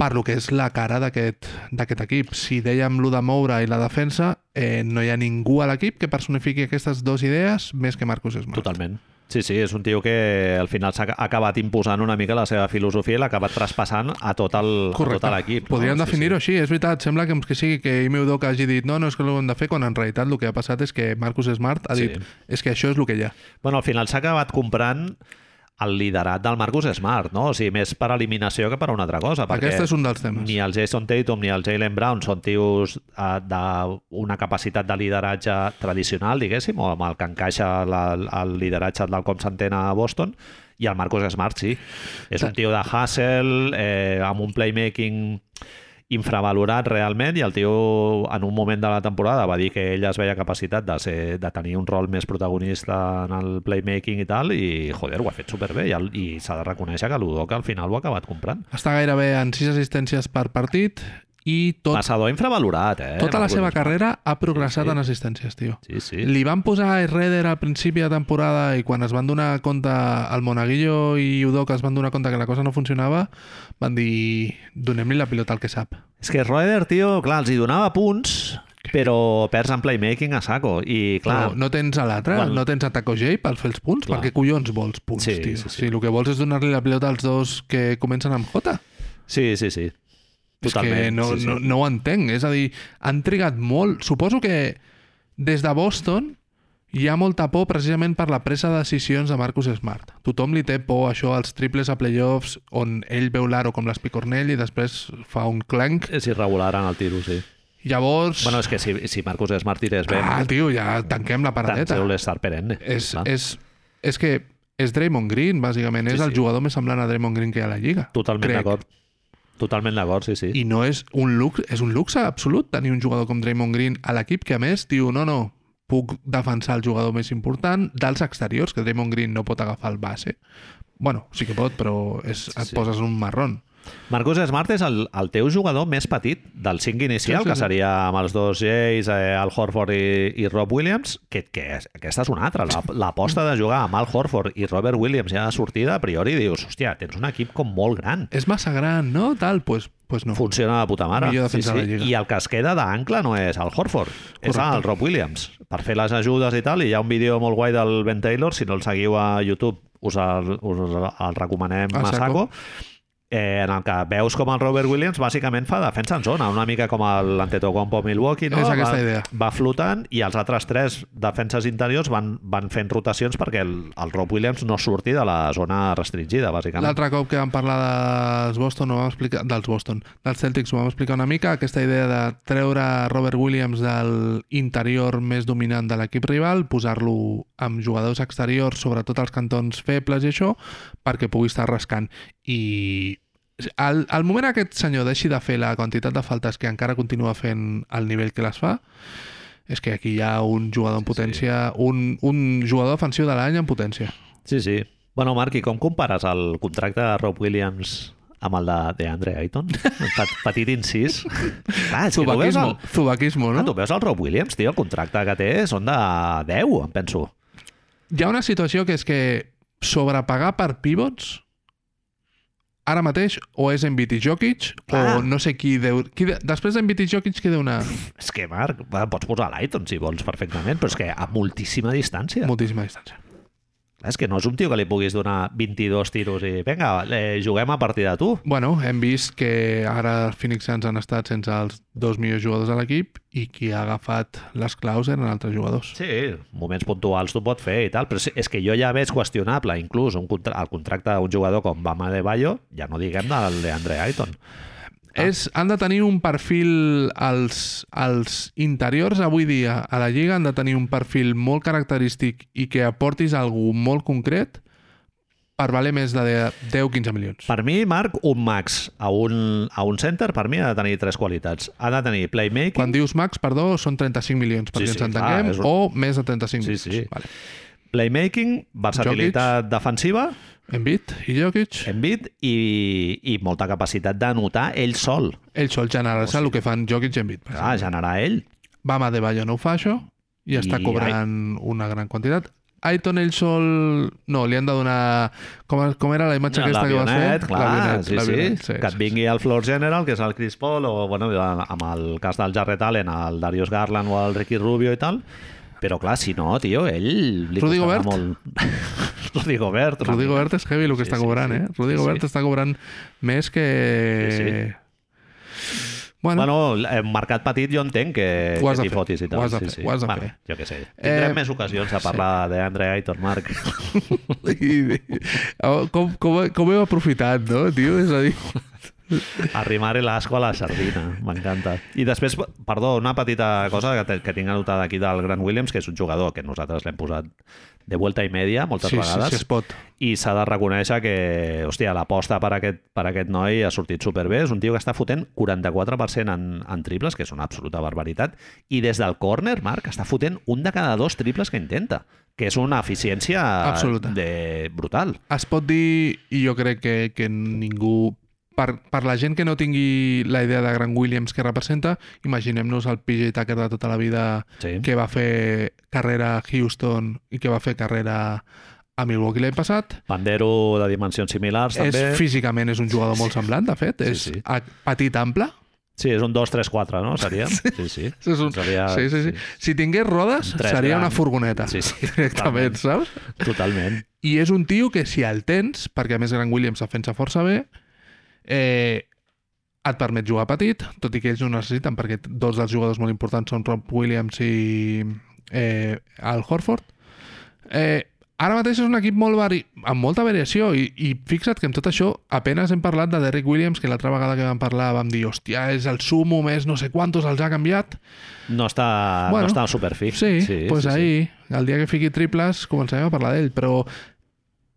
[SPEAKER 2] per lo que és la cara d'aquest d'aquest equip. Si dèiem lo de moure i la defensa, eh, no hi ha ningú a l'equip que personifiqui aquestes dues idees més que Marcus Smart.
[SPEAKER 1] Totalment. Sí, sí, és un tio que al final s'ha ha acabat imposant una mica la seva filosofia i l'ha acabat traspassant a tot el- a tot l'equip.
[SPEAKER 2] Podríem
[SPEAKER 1] no? Sí,
[SPEAKER 2] definir-ho
[SPEAKER 1] sí.
[SPEAKER 2] així, és veritat. Sembla que, que sigui que Ime Udoka hagi dit no, no és que ho hem de fer, quan en realitat el que ha passat és que Marcus Smart ha
[SPEAKER 1] Sí.
[SPEAKER 2] dit és que això és el que hi ha.
[SPEAKER 1] Bueno, al final s'ha acabat comprant el liderat del Marcus Smart, no? O sigui, més per eliminació que per una altra cosa. Perquè
[SPEAKER 2] Aquest és un dels temes.
[SPEAKER 1] ni el Jason Tatum ni el Jalen Brown són tios eh, d'una capacitat de lideratge tradicional, diguéssim, o amb el que encaixa la, el lideratge del com s'entén a Boston, i el Marcus Smart sí. És un tio de hustle, eh, amb un playmaking infravalorat realment i el tio en un moment de la temporada va dir que ell es veia capacitat de, ser, de tenir un rol més protagonista en el playmaking i tal i joder, ho ha fet superbé i, el- i s'ha de reconèixer que l'Udoca al final ho ha acabat comprant.
[SPEAKER 2] Està gairebé en 6 assistències per partit i tot,
[SPEAKER 1] Passador infravalorat, eh?
[SPEAKER 2] tota
[SPEAKER 1] en
[SPEAKER 2] la
[SPEAKER 1] alguns-
[SPEAKER 2] seva carrera ha progressat
[SPEAKER 1] Sí, sí.
[SPEAKER 2] en assistències, tio.
[SPEAKER 1] Sí, sí.
[SPEAKER 2] Li van posar a Redder al principi de temporada i quan es van donar compte, el Monaguillo i Udoca es van donar compte que la cosa no funcionava, van dir, donem-li la pilota al que sap.
[SPEAKER 1] És que Roeder, tio, clar, els hi donava punts, però perds en playmaking a saco. I, clar,
[SPEAKER 2] Clar. No, no tens a l'altre,
[SPEAKER 1] Quan-
[SPEAKER 2] no tens a Taco Jay per fer els punts,
[SPEAKER 1] Clar.
[SPEAKER 2] perquè collons vols punts,
[SPEAKER 1] Sí, sí,
[SPEAKER 2] tio.
[SPEAKER 1] sí.
[SPEAKER 2] O sigui, el que vols és donar-li la pilota als dos que comencen amb J.
[SPEAKER 1] sí, sí, sí.
[SPEAKER 2] És que no,
[SPEAKER 1] sí, sí.
[SPEAKER 2] no, no ho entenc. És a dir, han trigat molt. Suposo que des de Boston hi ha molta por precisament per la presa de decisions de Marcus Smart. Tothom li té por a això als triples a playoffs on ell veu l'aro com l'espicornell i després fa un clanc.
[SPEAKER 1] És irregular en el tiro, sí.
[SPEAKER 2] Llavors,
[SPEAKER 1] Bueno, és que si, si Marcus Smart tirés bé,
[SPEAKER 2] ah, tio, ja tanquem la paradeta.
[SPEAKER 1] tant l'estar perenne.
[SPEAKER 2] És,
[SPEAKER 1] clar.
[SPEAKER 2] és, és que és Draymond Green, bàsicament.
[SPEAKER 1] Sí,
[SPEAKER 2] és el
[SPEAKER 1] sí.
[SPEAKER 2] jugador més semblant a Draymond Green que hi ha a la Lliga.
[SPEAKER 1] Totalment
[SPEAKER 2] crec.
[SPEAKER 1] d'acord. Totalment d'acord, sí, sí.
[SPEAKER 2] I no és un luxe, és un luxe absolut tenir un jugador com Draymond Green a l'equip que a més diu, no, no, puc defensar el jugador més important dels exteriors, que Draymond Green no pot agafar el base. Bueno, sí que pot, però és, et
[SPEAKER 1] Sí.
[SPEAKER 2] sí. poses un marrón.
[SPEAKER 1] Marcus Smart és el, el teu jugador més petit del 5 inicial,
[SPEAKER 2] Sí, sí,
[SPEAKER 1] que
[SPEAKER 2] sí.
[SPEAKER 1] seria amb els dos Jays, eh, Al Horford i, i Rob Williams, que, que és- aquesta és una altra. La- L'aposta de jugar amb Al Horford i Robert Williams ja de sortida, a priori dius, hòstia, tens un equip com molt gran.
[SPEAKER 2] És massa gran, no? Tal, pues, pues no.
[SPEAKER 1] Funciona de puta mare.
[SPEAKER 2] Millor defensa de la lliga.
[SPEAKER 1] I el que es queda d'ancle no és el Horford, és
[SPEAKER 2] Correcte.
[SPEAKER 1] el Rob Williams. Per fer les ajudes i tal, i hi ha un vídeo molt guai del Ben Taylor, si no el seguiu a YouTube us el, us el recomanem
[SPEAKER 2] A
[SPEAKER 1] a saco.
[SPEAKER 2] Ah, saco.
[SPEAKER 1] Eh, en el que veus com el Robert Williams bàsicament fa defensa en zona, una mica com l'Antetokounmpo Milwaukee, no?
[SPEAKER 2] És aquesta
[SPEAKER 1] va,
[SPEAKER 2] idea.
[SPEAKER 1] va flotant i els altres tres defenses interiors van, van fent rotacions perquè el, el Rob Williams no surti de la zona restringida, bàsicament.
[SPEAKER 2] L'altre cop que vam parlar dels Boston, ho vam explicar, dels Boston, dels Celtics, ho vam explicar una mica, aquesta idea de treure Robert Williams del interior més dominant de l'equip rival, posar-lo amb jugadors exteriors, sobretot als cantons febles i això, perquè pugui estar rascant. I al, al moment que aquest senyor deixi de fer la quantitat de faltes que encara continua fent al nivell que les fa, és que aquí hi ha un jugador en potència, un, un jugador defensiu de l'any en potència.
[SPEAKER 1] Sí, sí. Bueno, Marc, i com compares el contracte de Rob Williams amb el de, de Andre Ayton? Pet, petit incís. Clar, és que tu veus, el,
[SPEAKER 2] Zubaquismo, Zubaquismo, no?
[SPEAKER 1] no? tu veus el Rob Williams, tio, el contracte que té són de 10, em penso.
[SPEAKER 2] hi ha una situació que és que sobrepagar per pivots ara mateix o és Embiid i Jokic
[SPEAKER 1] Clar.
[SPEAKER 2] o no sé qui deu... Qui de... Després d'Embiid i Jokic qui deu una...
[SPEAKER 1] És que, Marc, va, pots posar l'Ayton si vols perfectament, però és que a moltíssima distància.
[SPEAKER 2] Moltíssima distància.
[SPEAKER 1] Clar, és que no és un tio que li puguis donar 22 tiros i vinga, eh, juguem a partir de tu.
[SPEAKER 2] Bueno, hem vist que ara els Phoenix Suns han estat sense els dos millors jugadors de l'equip i qui ha agafat les claus eren altres jugadors.
[SPEAKER 1] Sí, moments puntuals t'ho pot fer i tal, però sí, és que jo ja veig qüestionable inclús un contra el contracte d'un jugador com Bama de Bayo, ja no diguem del de Andre Ayton.
[SPEAKER 2] Ah. És, han de tenir un perfil als, als interiors avui dia a la Lliga han de tenir un perfil molt característic i que aportis algú molt concret per valer més de 10-15 milions.
[SPEAKER 1] Per mi, Marc, un max a un, a un center, per mi ha de tenir tres qualitats. Ha de tenir playmaking,
[SPEAKER 2] Quan dius max, perdó, són 35 milions
[SPEAKER 1] Sí,
[SPEAKER 2] perquè sí,
[SPEAKER 1] sí,
[SPEAKER 2] sí, ens
[SPEAKER 1] clar,
[SPEAKER 2] entenguem,
[SPEAKER 1] és un-
[SPEAKER 2] un... o més de 35
[SPEAKER 1] Sí,
[SPEAKER 2] milions.
[SPEAKER 1] sí.
[SPEAKER 2] Vale.
[SPEAKER 1] playmaking versatilitat defensiva,
[SPEAKER 2] Embiid i Jokic,
[SPEAKER 1] Embiid i, i molta capacitat d'anotar ell sol.
[SPEAKER 2] ell sol generar-se el que fan Jokic i Embiid.
[SPEAKER 1] Clar, generar ell.
[SPEAKER 2] Bama de Bayo no ho fa això i està
[SPEAKER 1] I
[SPEAKER 2] cobrant una gran quantitat. Aiton ell sol... No, li han de donar... Com, com era la imatge Doncs aquesta que va
[SPEAKER 1] Doncs L'avionet,
[SPEAKER 2] fer?
[SPEAKER 1] clar, sí, sí.
[SPEAKER 2] l'avionet,
[SPEAKER 1] Que et vingui el Floor General, que és el Chris Paul, o, bueno, amb el cas del Jarret Allen, el Darius Garland o el Ricky Rubio i tal. Però, clar, si no, tio, ell... Li
[SPEAKER 2] Rudy
[SPEAKER 1] costarà
[SPEAKER 2] Gobert?
[SPEAKER 1] Molt... Rudy Gobert. una
[SPEAKER 2] Rudy
[SPEAKER 1] mica.
[SPEAKER 2] Gobert és heavy el que
[SPEAKER 1] Sí,
[SPEAKER 2] està
[SPEAKER 1] sí,
[SPEAKER 2] cobrant,
[SPEAKER 1] sí.
[SPEAKER 2] eh? Rudy
[SPEAKER 1] Sí,
[SPEAKER 2] Gobert
[SPEAKER 1] sí.
[SPEAKER 2] està cobrant més que...
[SPEAKER 1] Sí,
[SPEAKER 2] Bueno,
[SPEAKER 1] Bueno, eh, mercat petit jo entenc que,
[SPEAKER 2] Ho has
[SPEAKER 1] que
[SPEAKER 2] de
[SPEAKER 1] t'hi
[SPEAKER 2] fer,
[SPEAKER 1] fotis i tal.
[SPEAKER 2] ho has de
[SPEAKER 1] sí,
[SPEAKER 2] fer,
[SPEAKER 1] sí.
[SPEAKER 2] ho has de
[SPEAKER 1] bueno,
[SPEAKER 2] fer.
[SPEAKER 1] Jo què sé. Tindrem
[SPEAKER 2] Eh,
[SPEAKER 1] més ocasions de parlar d'Andre Aitor, Marc.
[SPEAKER 2] i- i- com, com, com heu aprofitat, no, tio? És a dir,
[SPEAKER 1] Arrimar l'asco a la sardina, m'encanta. I després, perdó, una petita cosa que, te- que tinc anotada aquí del Grant Williams, que és un jugador que nosaltres l'hem posat de vuelta i media moltes
[SPEAKER 2] Sí, sí,
[SPEAKER 1] vegades.
[SPEAKER 2] sí, es pot.
[SPEAKER 1] I s'ha de reconèixer que, hòstia, l'aposta per, aquest, per aquest noi ha sortit superbé. És un tio que està fotent 44% en, en triples, que és una absoluta barbaritat. I des del córner, Marc, està fotent un de cada dos triples que intenta, que és una eficiència
[SPEAKER 2] Absoluta.
[SPEAKER 1] De... brutal.
[SPEAKER 2] Es pot dir, i jo crec que, que ningú... Per, per la gent que no tingui la idea de Grant Williams que representa, imaginem-nos el PJ Tucker de tota la vida
[SPEAKER 1] Sí.
[SPEAKER 2] que va fer carrera a Houston i que va fer carrera a Milwaukee l'any passat.
[SPEAKER 1] Pandero de dimensions similars,
[SPEAKER 2] És,
[SPEAKER 1] també.
[SPEAKER 2] físicament és un jugador molt semblant, de fet.
[SPEAKER 1] Sí,
[SPEAKER 2] és
[SPEAKER 1] sí.
[SPEAKER 2] a- petit, ample.
[SPEAKER 1] Sí, és un 2-3-4, no? Seria? Sí, sí.
[SPEAKER 2] És un...
[SPEAKER 1] Seria...
[SPEAKER 2] sí, sí, sí. Si tingués rodes,
[SPEAKER 1] Ah, Tres
[SPEAKER 2] seria
[SPEAKER 1] gran.
[SPEAKER 2] una furgoneta.
[SPEAKER 1] Sí, sí,
[SPEAKER 2] Directament,
[SPEAKER 1] totalment.
[SPEAKER 2] saps?
[SPEAKER 1] Totalment.
[SPEAKER 2] I és un tio que si el tens, perquè a més Grant Williams defensa força bé, eh, et permet jugar petit, tot i que ells no necessiten, perquè dos dels jugadors molt importants són Rob Williams i eh, Al Horford. Eh, ara mateix és un equip molt vari... amb molta variació, i, i fixa't que amb tot això apenas hem parlat de Derrick Williams, que l'altra vegada que vam parlar vam dir, hòstia, és el sumo, més no sé quantos els ha canviat.
[SPEAKER 1] No està,
[SPEAKER 2] Bueno,
[SPEAKER 1] no està al superfí.
[SPEAKER 2] Sí, sí pues sí, ahir, el dia que fiqui triples, començarem a parlar d'ell, però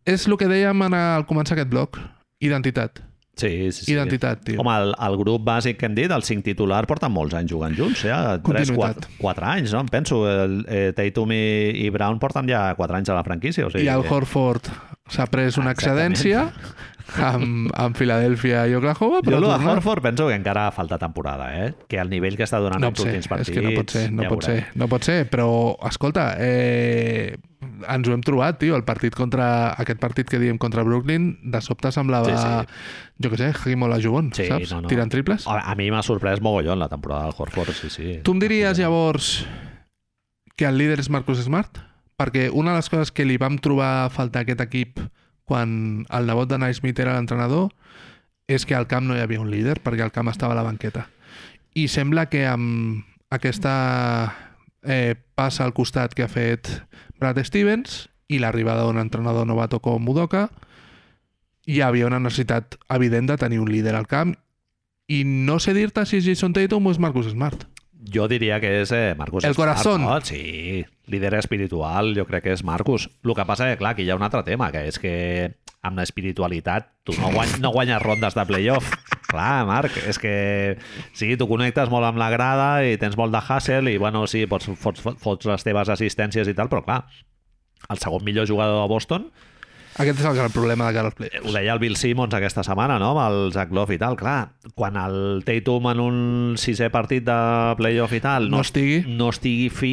[SPEAKER 2] és el que dèiem en el començar aquest bloc, identitat,
[SPEAKER 1] Sí, sí, sí.
[SPEAKER 2] sí, identitat, tio.
[SPEAKER 1] Home, el, el grup bàsic que hem dit, el cinc titular, porten molts anys jugant junts, eh? ja 3,
[SPEAKER 2] Continuïtat.
[SPEAKER 1] 4, 4 anys, no? Em penso, el, eh, Tatum i, i Brown porten ja 4 anys a la franquícia. O sigui,
[SPEAKER 2] I el
[SPEAKER 1] que-
[SPEAKER 2] Horford s'ha pres una
[SPEAKER 1] Exactament.
[SPEAKER 2] excedència amb, amb Filadèlfia i Oklahoma,
[SPEAKER 1] Jo
[SPEAKER 2] però
[SPEAKER 1] el de
[SPEAKER 2] torna-
[SPEAKER 1] Horford penso que encara falta temporada, eh? Que el nivell que està donant
[SPEAKER 2] no
[SPEAKER 1] els
[SPEAKER 2] pot ser,
[SPEAKER 1] últims partits...
[SPEAKER 2] és que no pot ser, no
[SPEAKER 1] ja
[SPEAKER 2] pot ser,
[SPEAKER 1] veurem.
[SPEAKER 2] no pot ser, però escolta, eh, ens ho hem trobat, tio, el partit contra, aquest partit que diem contra Brooklyn, de sobte semblava,
[SPEAKER 1] Sí,
[SPEAKER 2] jo què sé, Hakim Olajuwon,
[SPEAKER 1] Sí,
[SPEAKER 2] saps?
[SPEAKER 1] no, no.
[SPEAKER 2] Tirant triples.
[SPEAKER 1] A, a mi m'ha sorprès mogollon la temporada del Horford, sí, sí.
[SPEAKER 2] Tu em diries llavors que el líder és Marcus Smart? Perquè una de les coses que li vam trobar a faltar a aquest equip quan el nebot de Naismith era l'entrenador és que al camp no hi havia un líder perquè el camp estava a la banqueta. I sembla que amb aquesta eh, passa al costat que ha fet Brad Stevens i l'arribada d'un entrenador novato com Mudoka hi havia una necessitat evident de tenir un líder al camp i no sé dir-te si és Jason Tatum o és Marcus Smart.
[SPEAKER 1] Jo diria que és eh, Marcus.
[SPEAKER 2] El
[SPEAKER 1] Smart,
[SPEAKER 2] corazón.
[SPEAKER 1] No? Sí, líder espiritual, jo crec que és Marcus. El que passa que, clar, aquí hi ha un altre tema, que és que amb l'espiritualitat tu no, guany, no guanyes rondes de playoff. Clar, Marc, és que sí, tu connectes molt amb la grada i tens molt de hustle i, bueno, sí, pots, fots, fots les teves assistències i tal, però, clar, el segon millor jugador de Boston
[SPEAKER 2] Aquest és el gran problema de cara als
[SPEAKER 1] ho
[SPEAKER 2] playoffs.
[SPEAKER 1] deia el Bill Simmons aquesta setmana, no?, amb el Zach Love i tal, clar, quan el Tatum en un sisè partit de playoff i tal
[SPEAKER 2] No estigui.
[SPEAKER 1] no estigui fi,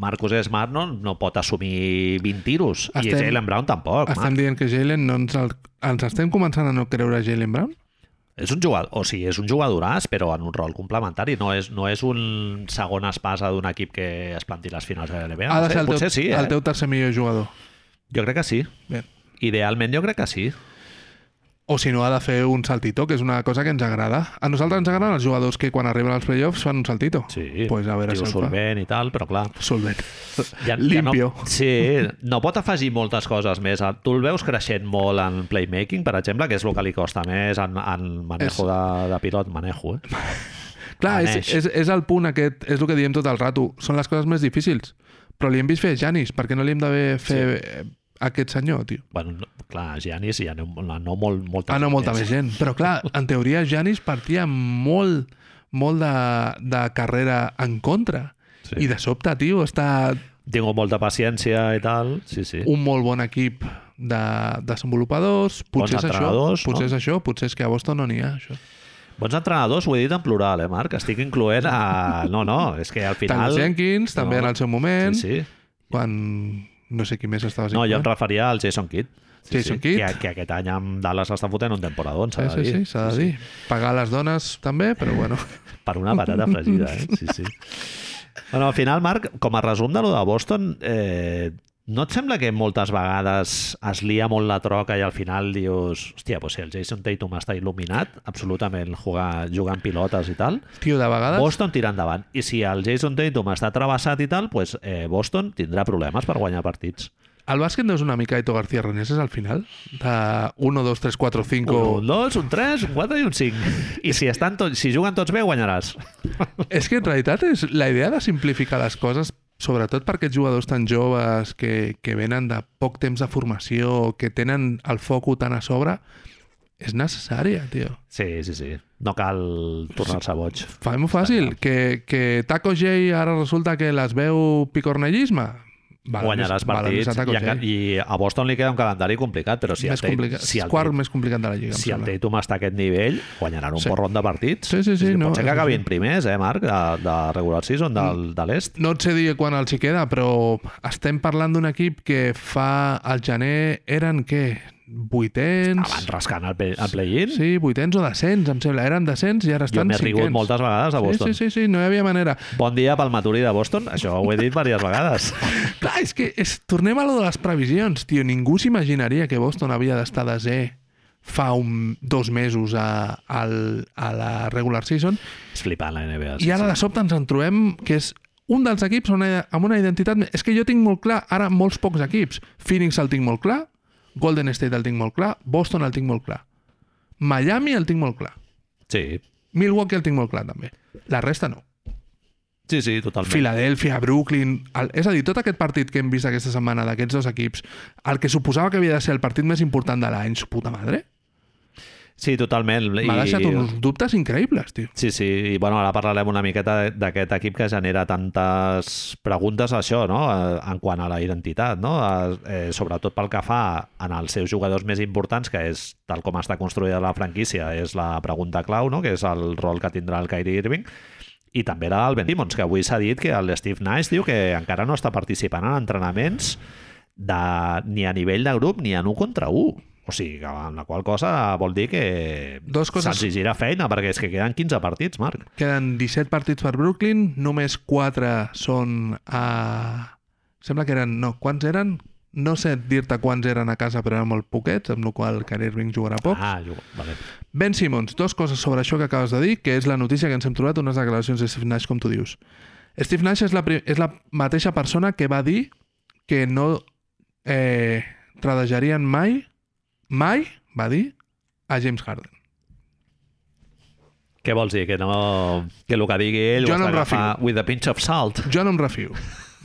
[SPEAKER 1] Marcus Smart no, no pot assumir 20 tiros, i
[SPEAKER 2] Estem-
[SPEAKER 1] Jalen Brown tampoc,
[SPEAKER 2] Estem
[SPEAKER 1] Estem...
[SPEAKER 2] dient que Jalen no ens, el... ens estem començant a no creure Jalen Brown?
[SPEAKER 1] És un jugador, o sigui, és un jugadoràs, però en un rol complementari, no és, no és un segon espasa d'un equip que es planti les finals de l'NBA.
[SPEAKER 2] ha
[SPEAKER 1] No
[SPEAKER 2] de
[SPEAKER 1] sé,
[SPEAKER 2] ser el teu,
[SPEAKER 1] potser sí, eh?
[SPEAKER 2] el teu tercer millor jugador.
[SPEAKER 1] Jo crec que sí.
[SPEAKER 2] Bé.
[SPEAKER 1] Idealment jo crec que sí.
[SPEAKER 2] O si no, ha de fer un saltito, que és una cosa que ens agrada. A nosaltres ens agraden els jugadors que quan arriben als playoffs fan un saltito.
[SPEAKER 1] Sí,
[SPEAKER 2] pues a veure
[SPEAKER 1] tio
[SPEAKER 2] si el fa.
[SPEAKER 1] solvent i tal, però clar,
[SPEAKER 2] Solvent.
[SPEAKER 1] Ja,
[SPEAKER 2] Limpio.
[SPEAKER 1] Ja no, sí, no pot afegir moltes coses més. Ah, Tu el veus creixent molt en playmaking, per exemple, que és el que li costa més en, en manejo de, de pilot, manejo, eh?
[SPEAKER 2] Clar, és,
[SPEAKER 1] Maneix.
[SPEAKER 2] és, és el punt aquest, és el que diem tot el rato. Són les coses més difícils. Però li hem vist fer a Janis, perquè no li hem d'haver fer eh, aquest senyor, tio.
[SPEAKER 1] Bueno, no, clar, Giannis ja no, no molt, molta
[SPEAKER 2] Ah, no, molta més gent. Però clar, en teoria Janis partia amb molt, molt de, de carrera en contra.
[SPEAKER 1] Sí.
[SPEAKER 2] Sí. I de sobte, tio, està
[SPEAKER 1] Tinc molta paciència i tal, sí, sí.
[SPEAKER 2] un molt bon equip de desenvolupadors. Potser és això,
[SPEAKER 1] entrenadors,
[SPEAKER 2] potser
[SPEAKER 1] no?
[SPEAKER 2] és això, potser és que a Boston no n'hi ha, això.
[SPEAKER 1] Bons entrenadors, ho he dit en plural, eh, Marc? Estic incloent a... No, no, és que al
[SPEAKER 2] Tant
[SPEAKER 1] final...
[SPEAKER 2] el Jenkins, també en el seu moment,
[SPEAKER 1] Sí, sí.
[SPEAKER 2] quan no sé qui més estava
[SPEAKER 1] No, jo em
[SPEAKER 2] sent-
[SPEAKER 1] referia al Jason Kidd. Sí,
[SPEAKER 2] Jason
[SPEAKER 1] sí.
[SPEAKER 2] Kidd.
[SPEAKER 1] Que, que aquest any amb Dallas està fotent un temporadón, s'ha
[SPEAKER 2] Sí,
[SPEAKER 1] de
[SPEAKER 2] sí,
[SPEAKER 1] dir.
[SPEAKER 2] sí, s'ha de dir. Pagar les dones també, però bueno.
[SPEAKER 1] per una patata fregida, eh? Sí, sí. Bueno, al final, Marc, com a resum de lo de Boston, eh, no et sembla que moltes vegades es lia molt la troca i al final dius, hòstia, doncs si el Jason Tatum està il·luminat, absolutament jugar, jugant pilotes i tal,
[SPEAKER 2] Tio, de vegades...
[SPEAKER 1] Boston tira endavant. I si el Jason Tatum està travessat i tal, pues, eh, Boston tindrà problemes per guanyar partits.
[SPEAKER 2] El bàsquet no és una mica Ito García Reneses al final? De 1, 2, 3, 4, 5...
[SPEAKER 1] Un 2, un 3, un 4 i un 5. I si, estan tots, si juguen tots bé, guanyaràs.
[SPEAKER 2] És que en realitat és la idea de simplificar les coses, sobretot per aquests jugadors tan joves que, que venen de poc temps de formació, que tenen el foco tan a sobre, és necessària, tio.
[SPEAKER 1] Sí, sí, sí. No cal tornar-se boig.
[SPEAKER 2] Fem-ho fàcil. Que, que Taco J ara resulta que les veu picornellisme. Val
[SPEAKER 1] guanyaràs
[SPEAKER 2] val
[SPEAKER 1] partits.
[SPEAKER 2] més a Taco
[SPEAKER 1] I, a,
[SPEAKER 2] J.
[SPEAKER 1] I a Boston li queda un calendari complicat, però si el,
[SPEAKER 2] més
[SPEAKER 1] Tate-
[SPEAKER 2] complicat.
[SPEAKER 1] si el,
[SPEAKER 2] quart
[SPEAKER 1] Tate-
[SPEAKER 2] més complicat de la Lliga. em
[SPEAKER 1] si el
[SPEAKER 2] sembla.
[SPEAKER 1] Tatum està a aquest nivell, guanyaran un
[SPEAKER 2] Sí.
[SPEAKER 1] sí. porron de partits.
[SPEAKER 2] Sí, sí, Mm.
[SPEAKER 1] Potser
[SPEAKER 2] sí, no,
[SPEAKER 1] que
[SPEAKER 2] és així.
[SPEAKER 1] acabin primers, eh, Marc, de, de regular season del, de l'est.
[SPEAKER 2] No et sé dir quan els hi queda, però estem parlant d'un equip que fa al gener eren què? Vuitens?
[SPEAKER 1] Abans rascant el, pe- el play-in.
[SPEAKER 2] Sí, vuitens o descents, em sembla. Eren descents i ara
[SPEAKER 1] Jo
[SPEAKER 2] estan
[SPEAKER 1] m'he rigut
[SPEAKER 2] cinquens.
[SPEAKER 1] moltes vegades a Boston.
[SPEAKER 2] Sí, sí, sí, sí, no hi havia manera.
[SPEAKER 1] Bon dia pel Maturi de Boston, això ho he dit diverses vegades.
[SPEAKER 2] Clar, és que és, tornem a lo de les previsions, tio. Ningú s'imaginaria que Boston havia d'estar desè fa un, dos mesos a, al, a la regular season
[SPEAKER 1] És flipant la NBA.
[SPEAKER 2] i ara de sobte ens en trobem que és un dels equips on, amb una identitat... És que jo tinc molt clar, ara molts pocs equips. Phoenix el tinc molt clar, Golden State el tinc molt clar, Boston el tinc molt clar, Miami el tinc molt clar,
[SPEAKER 1] Sí,
[SPEAKER 2] Milwaukee el tinc molt clar també. La resta no.
[SPEAKER 1] sí, sí, totalment.
[SPEAKER 2] Filadèlfia, Brooklyn... El, és a dir, tot aquest partit que hem vist aquesta setmana d'aquests dos equips, el que suposava que havia de ser el partit més important de l'any, su puta madre,
[SPEAKER 1] Sí, totalment.
[SPEAKER 2] m'ha deixat uns dubtes increïbles, tio.
[SPEAKER 1] Sí, sí, i bueno, ara parlarem una miqueta de- d'aquest equip que genera tantes preguntes a això, no? Eh, en quant a la identitat, no? Eh, eh, sobretot pel que fa en els seus jugadors més importants, que és, tal com està construïda la franquícia, és la pregunta clau, no? Que és el rol que tindrà el Kyrie Irving. I també era el Ben Simmons, que avui s'ha dit que el Steve Nash diu que encara no està participant en entrenaments de, ni a nivell de grup ni en un contra un. O sigui, que amb la qual cosa vol dir que
[SPEAKER 2] Dos coses-
[SPEAKER 1] se'ls gira feina, perquè és que queden 15 partits, Marc.
[SPEAKER 2] Queden 17 partits per Brooklyn, només 4 són a... Sembla que eren... No, quants eren? No sé dir-te quants eren a casa, però eren molt poquets, amb la qual cosa Kyrie Irving jugarà poc.
[SPEAKER 1] Ah, jo, vale.
[SPEAKER 2] Ben Simmons, dos coses sobre això que acabes de dir, que és la notícia que ens hem trobat, unes declaracions de Steve Nash, com tu dius. Steve Nash és la, pri- és la mateixa persona que va dir que no eh, tradejarien mai, mai, va dir, a James Harden.
[SPEAKER 1] Què vols dir? Que no... Que el que digui ell
[SPEAKER 2] Jo
[SPEAKER 1] ho has
[SPEAKER 2] no em
[SPEAKER 1] d'agafar with a pinch of salt.
[SPEAKER 2] Jo no em refio,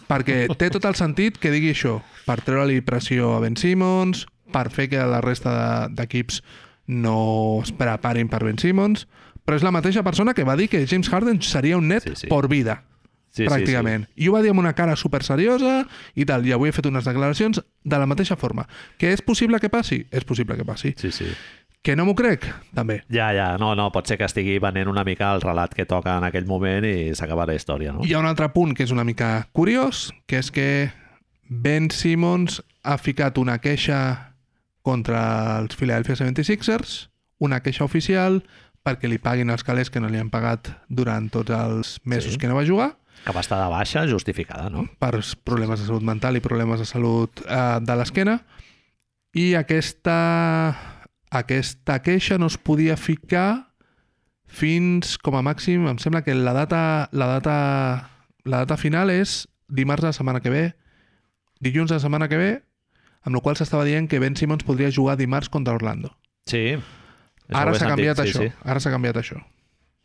[SPEAKER 2] perquè té tot el sentit que digui això, per treure-li pressió a Ben Simmons, per fer que la resta de- d'equips de, no es preparin per Ben Simmons, però és la mateixa persona que va dir que James Harden seria un net
[SPEAKER 1] Sí,
[SPEAKER 2] sí,
[SPEAKER 1] sí.
[SPEAKER 2] sí. por vida.
[SPEAKER 1] Sí, sí,
[SPEAKER 2] pràcticament. Sí, sí. I ho va dir amb una cara super seriosa i tal, i avui he fet unes declaracions de la mateixa forma. Que és possible que passi? És possible que passi.
[SPEAKER 1] Sí, sí.
[SPEAKER 2] Que no m'ho crec? També.
[SPEAKER 1] Ja, ja, no, no, pot ser que estigui venent una mica el relat que toca en aquell moment i s'acaba la història, no?
[SPEAKER 2] Hi ha un altre punt que és una mica curiós, que és que Ben Simmons ha ficat una queixa contra els Philadelphia 76ers, una queixa oficial perquè li paguin els calés que no li han pagat durant tots els mesos
[SPEAKER 1] Sí.
[SPEAKER 2] sí. que no va jugar,
[SPEAKER 1] Que va estar de baixa justificada, no?
[SPEAKER 2] per problemes de salut mental i problemes de salut eh, de l'esquena. I aquesta, aquesta queixa no es podia ficar fins, com a màxim, em sembla que la data, la data, la data final és dimarts de la setmana que ve, dilluns de la setmana que ve, amb la qual cosa s'estava dient que Ben Simmons podria jugar dimarts contra Orlando.
[SPEAKER 1] Sí. Això ho he
[SPEAKER 2] Ara s'ha
[SPEAKER 1] sentit,
[SPEAKER 2] canviat,
[SPEAKER 1] sí,
[SPEAKER 2] això.
[SPEAKER 1] Sí.
[SPEAKER 2] Ara s'ha canviat això.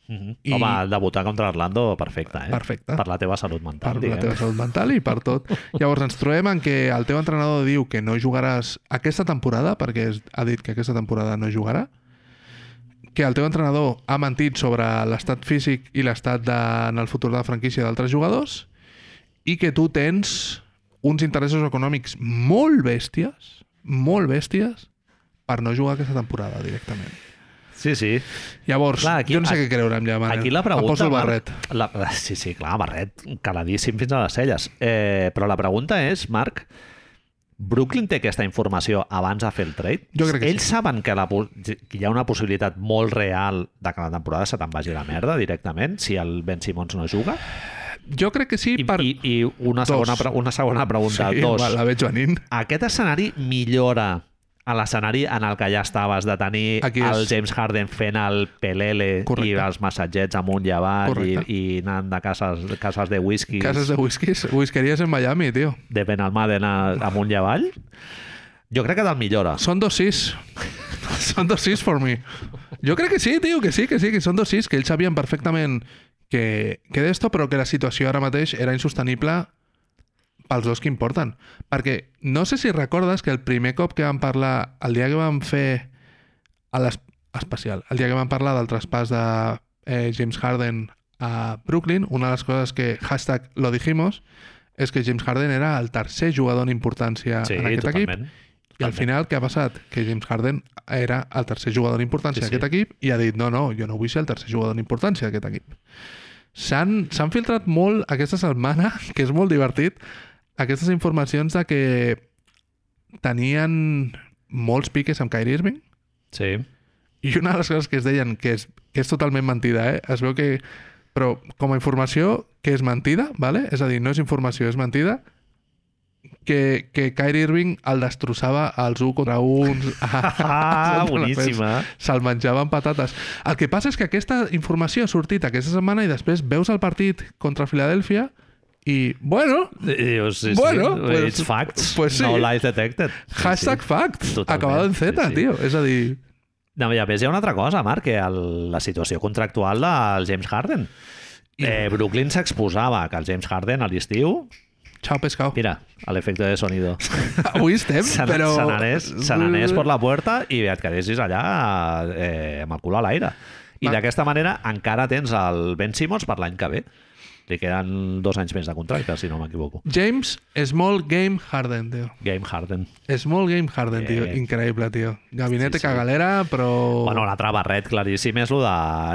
[SPEAKER 1] Mhm.
[SPEAKER 2] I-
[SPEAKER 1] Home, debutar contra Orlando, perfecte, eh?
[SPEAKER 2] Perfecte.
[SPEAKER 1] Per la teva salut mental,
[SPEAKER 2] per la
[SPEAKER 1] diguem.
[SPEAKER 2] teva salut mental i per tot. Llavors ens trobem en què el teu entrenador diu que no jugaràs aquesta temporada, perquè es- ha dit que aquesta temporada no jugarà, que el teu entrenador ha mentit sobre l'estat físic i l'estat de, en el futur de la franquícia d'altres jugadors i que tu tens uns interessos econòmics molt bèsties, molt bèsties, per no jugar aquesta temporada directament.
[SPEAKER 1] Sí, sí.
[SPEAKER 2] Llavors,
[SPEAKER 1] Clar,
[SPEAKER 2] Clar,
[SPEAKER 1] aquí-
[SPEAKER 2] aquí, jo no sé
[SPEAKER 1] aquí-
[SPEAKER 2] què creure'm ja, Manel.
[SPEAKER 1] Aquí la pregunta...
[SPEAKER 2] Em poso el
[SPEAKER 1] Marc,
[SPEAKER 2] barret.
[SPEAKER 1] La, sí, sí, clar, barret caladíssim fins a les celles. Eh, però la pregunta és, Marc, Brooklyn té aquesta informació abans de fer el trade?
[SPEAKER 2] Jo crec que
[SPEAKER 1] Ells saben que, la, po- que hi ha una possibilitat molt real de que la temporada se te'n vagi a la merda directament si el Ben Simmons no juga?
[SPEAKER 2] Jo crec que sí,
[SPEAKER 1] I,
[SPEAKER 2] per...
[SPEAKER 1] i, i una,
[SPEAKER 2] Dos.
[SPEAKER 1] segona, pre- una segona pregunta.
[SPEAKER 2] sí,
[SPEAKER 1] dos.
[SPEAKER 2] la veig venint.
[SPEAKER 1] Aquest escenari millora a l'escenari en el que ja estaves de tenir
[SPEAKER 2] Aquí és.
[SPEAKER 1] el James Harden fent el pelele
[SPEAKER 2] Correcte.
[SPEAKER 1] i els massatgets amunt i avall i,
[SPEAKER 2] Correcte.
[SPEAKER 1] i anant de cases, cases de whisky
[SPEAKER 2] Cases de whiskies, whiskeries en Miami, tio.
[SPEAKER 1] de Benalmaden a, amunt i avall jo crec que te'l millora
[SPEAKER 2] Són dos sis. són dos sis for me. Jo crec que sí, tio, que sí, que sí, que són dos sis, que ells sabien perfectament que, que d'esto, però que la situació ara mateix era insostenible pels dos que importen. Perquè no sé si recordes que el primer cop que vam parlar, el dia que vam fer a l'es- especial, el dia que vam parlar del traspàs de eh, James Harden a Brooklyn, una de les coses que hashtag lo dijimos és que James Harden era el tercer jugador en importància
[SPEAKER 1] sí,
[SPEAKER 2] en aquest equip.
[SPEAKER 1] totalment
[SPEAKER 2] I al final què ha passat? Que James Harden era el tercer jugador d'importància
[SPEAKER 1] Sí,
[SPEAKER 2] sí,
[SPEAKER 1] sí.
[SPEAKER 2] d'aquest equip i ha dit no, no, jo no vull ser el tercer jugador d'importància d'aquest equip. S'han s'han filtrat molt aquesta setmana, que és molt divertit, aquestes informacions de que tenien molts piques amb Kyrie Irving
[SPEAKER 1] sí.
[SPEAKER 2] i una de les coses que es deien, que és, que és totalment mentida, eh? es veu que... Però com a informació que és mentida, ¿vale? és a dir, no és informació, és mentida, que, que Kyrie Irving el destrossava als 1 contra 1.
[SPEAKER 1] ah, boníssima
[SPEAKER 2] Se'l menjava amb patates. El que passa és que aquesta informació ha sortit aquesta setmana i després veus el partit contra Filadèlfia i, bueno,
[SPEAKER 1] Eh, Dius, sí,
[SPEAKER 2] Bueno,
[SPEAKER 1] sí.
[SPEAKER 2] pues-
[SPEAKER 1] it's facts,
[SPEAKER 2] pues sí.
[SPEAKER 1] no lies detected. Sí,
[SPEAKER 2] hashtag
[SPEAKER 1] sí.
[SPEAKER 2] fact,
[SPEAKER 1] Totalment,
[SPEAKER 2] acabado en Z,
[SPEAKER 1] sí, sí.
[SPEAKER 2] tio. És a dir,
[SPEAKER 1] No, i a més hi ha una altra cosa, Marc, que el, la situació contractual del James Harden. Eh, Brooklyn s'exposava que el James Harden a l'estiu...
[SPEAKER 2] chao pescado.
[SPEAKER 1] Mira, l'efecte de sonido.
[SPEAKER 2] Avui estem,
[SPEAKER 1] Se
[SPEAKER 2] però...
[SPEAKER 1] però... se n'anés per la puerta i et quedessis allà eh, amb el cul a l'aire. I
[SPEAKER 2] Va.
[SPEAKER 1] d'aquesta manera encara tens el Ben Simmons per l'any que ve. Li queden dos anys més de contracte, si no m'equivoco.
[SPEAKER 2] James Small Game Harden, tio.
[SPEAKER 1] Game Harden.
[SPEAKER 2] Small Game Harden, tio.
[SPEAKER 1] Bien.
[SPEAKER 2] Increïble, tio. Gabinete
[SPEAKER 1] Sí, sí.
[SPEAKER 2] sí, sí. cagalera, però...
[SPEAKER 1] Bueno, l'altre barret claríssim és lo de...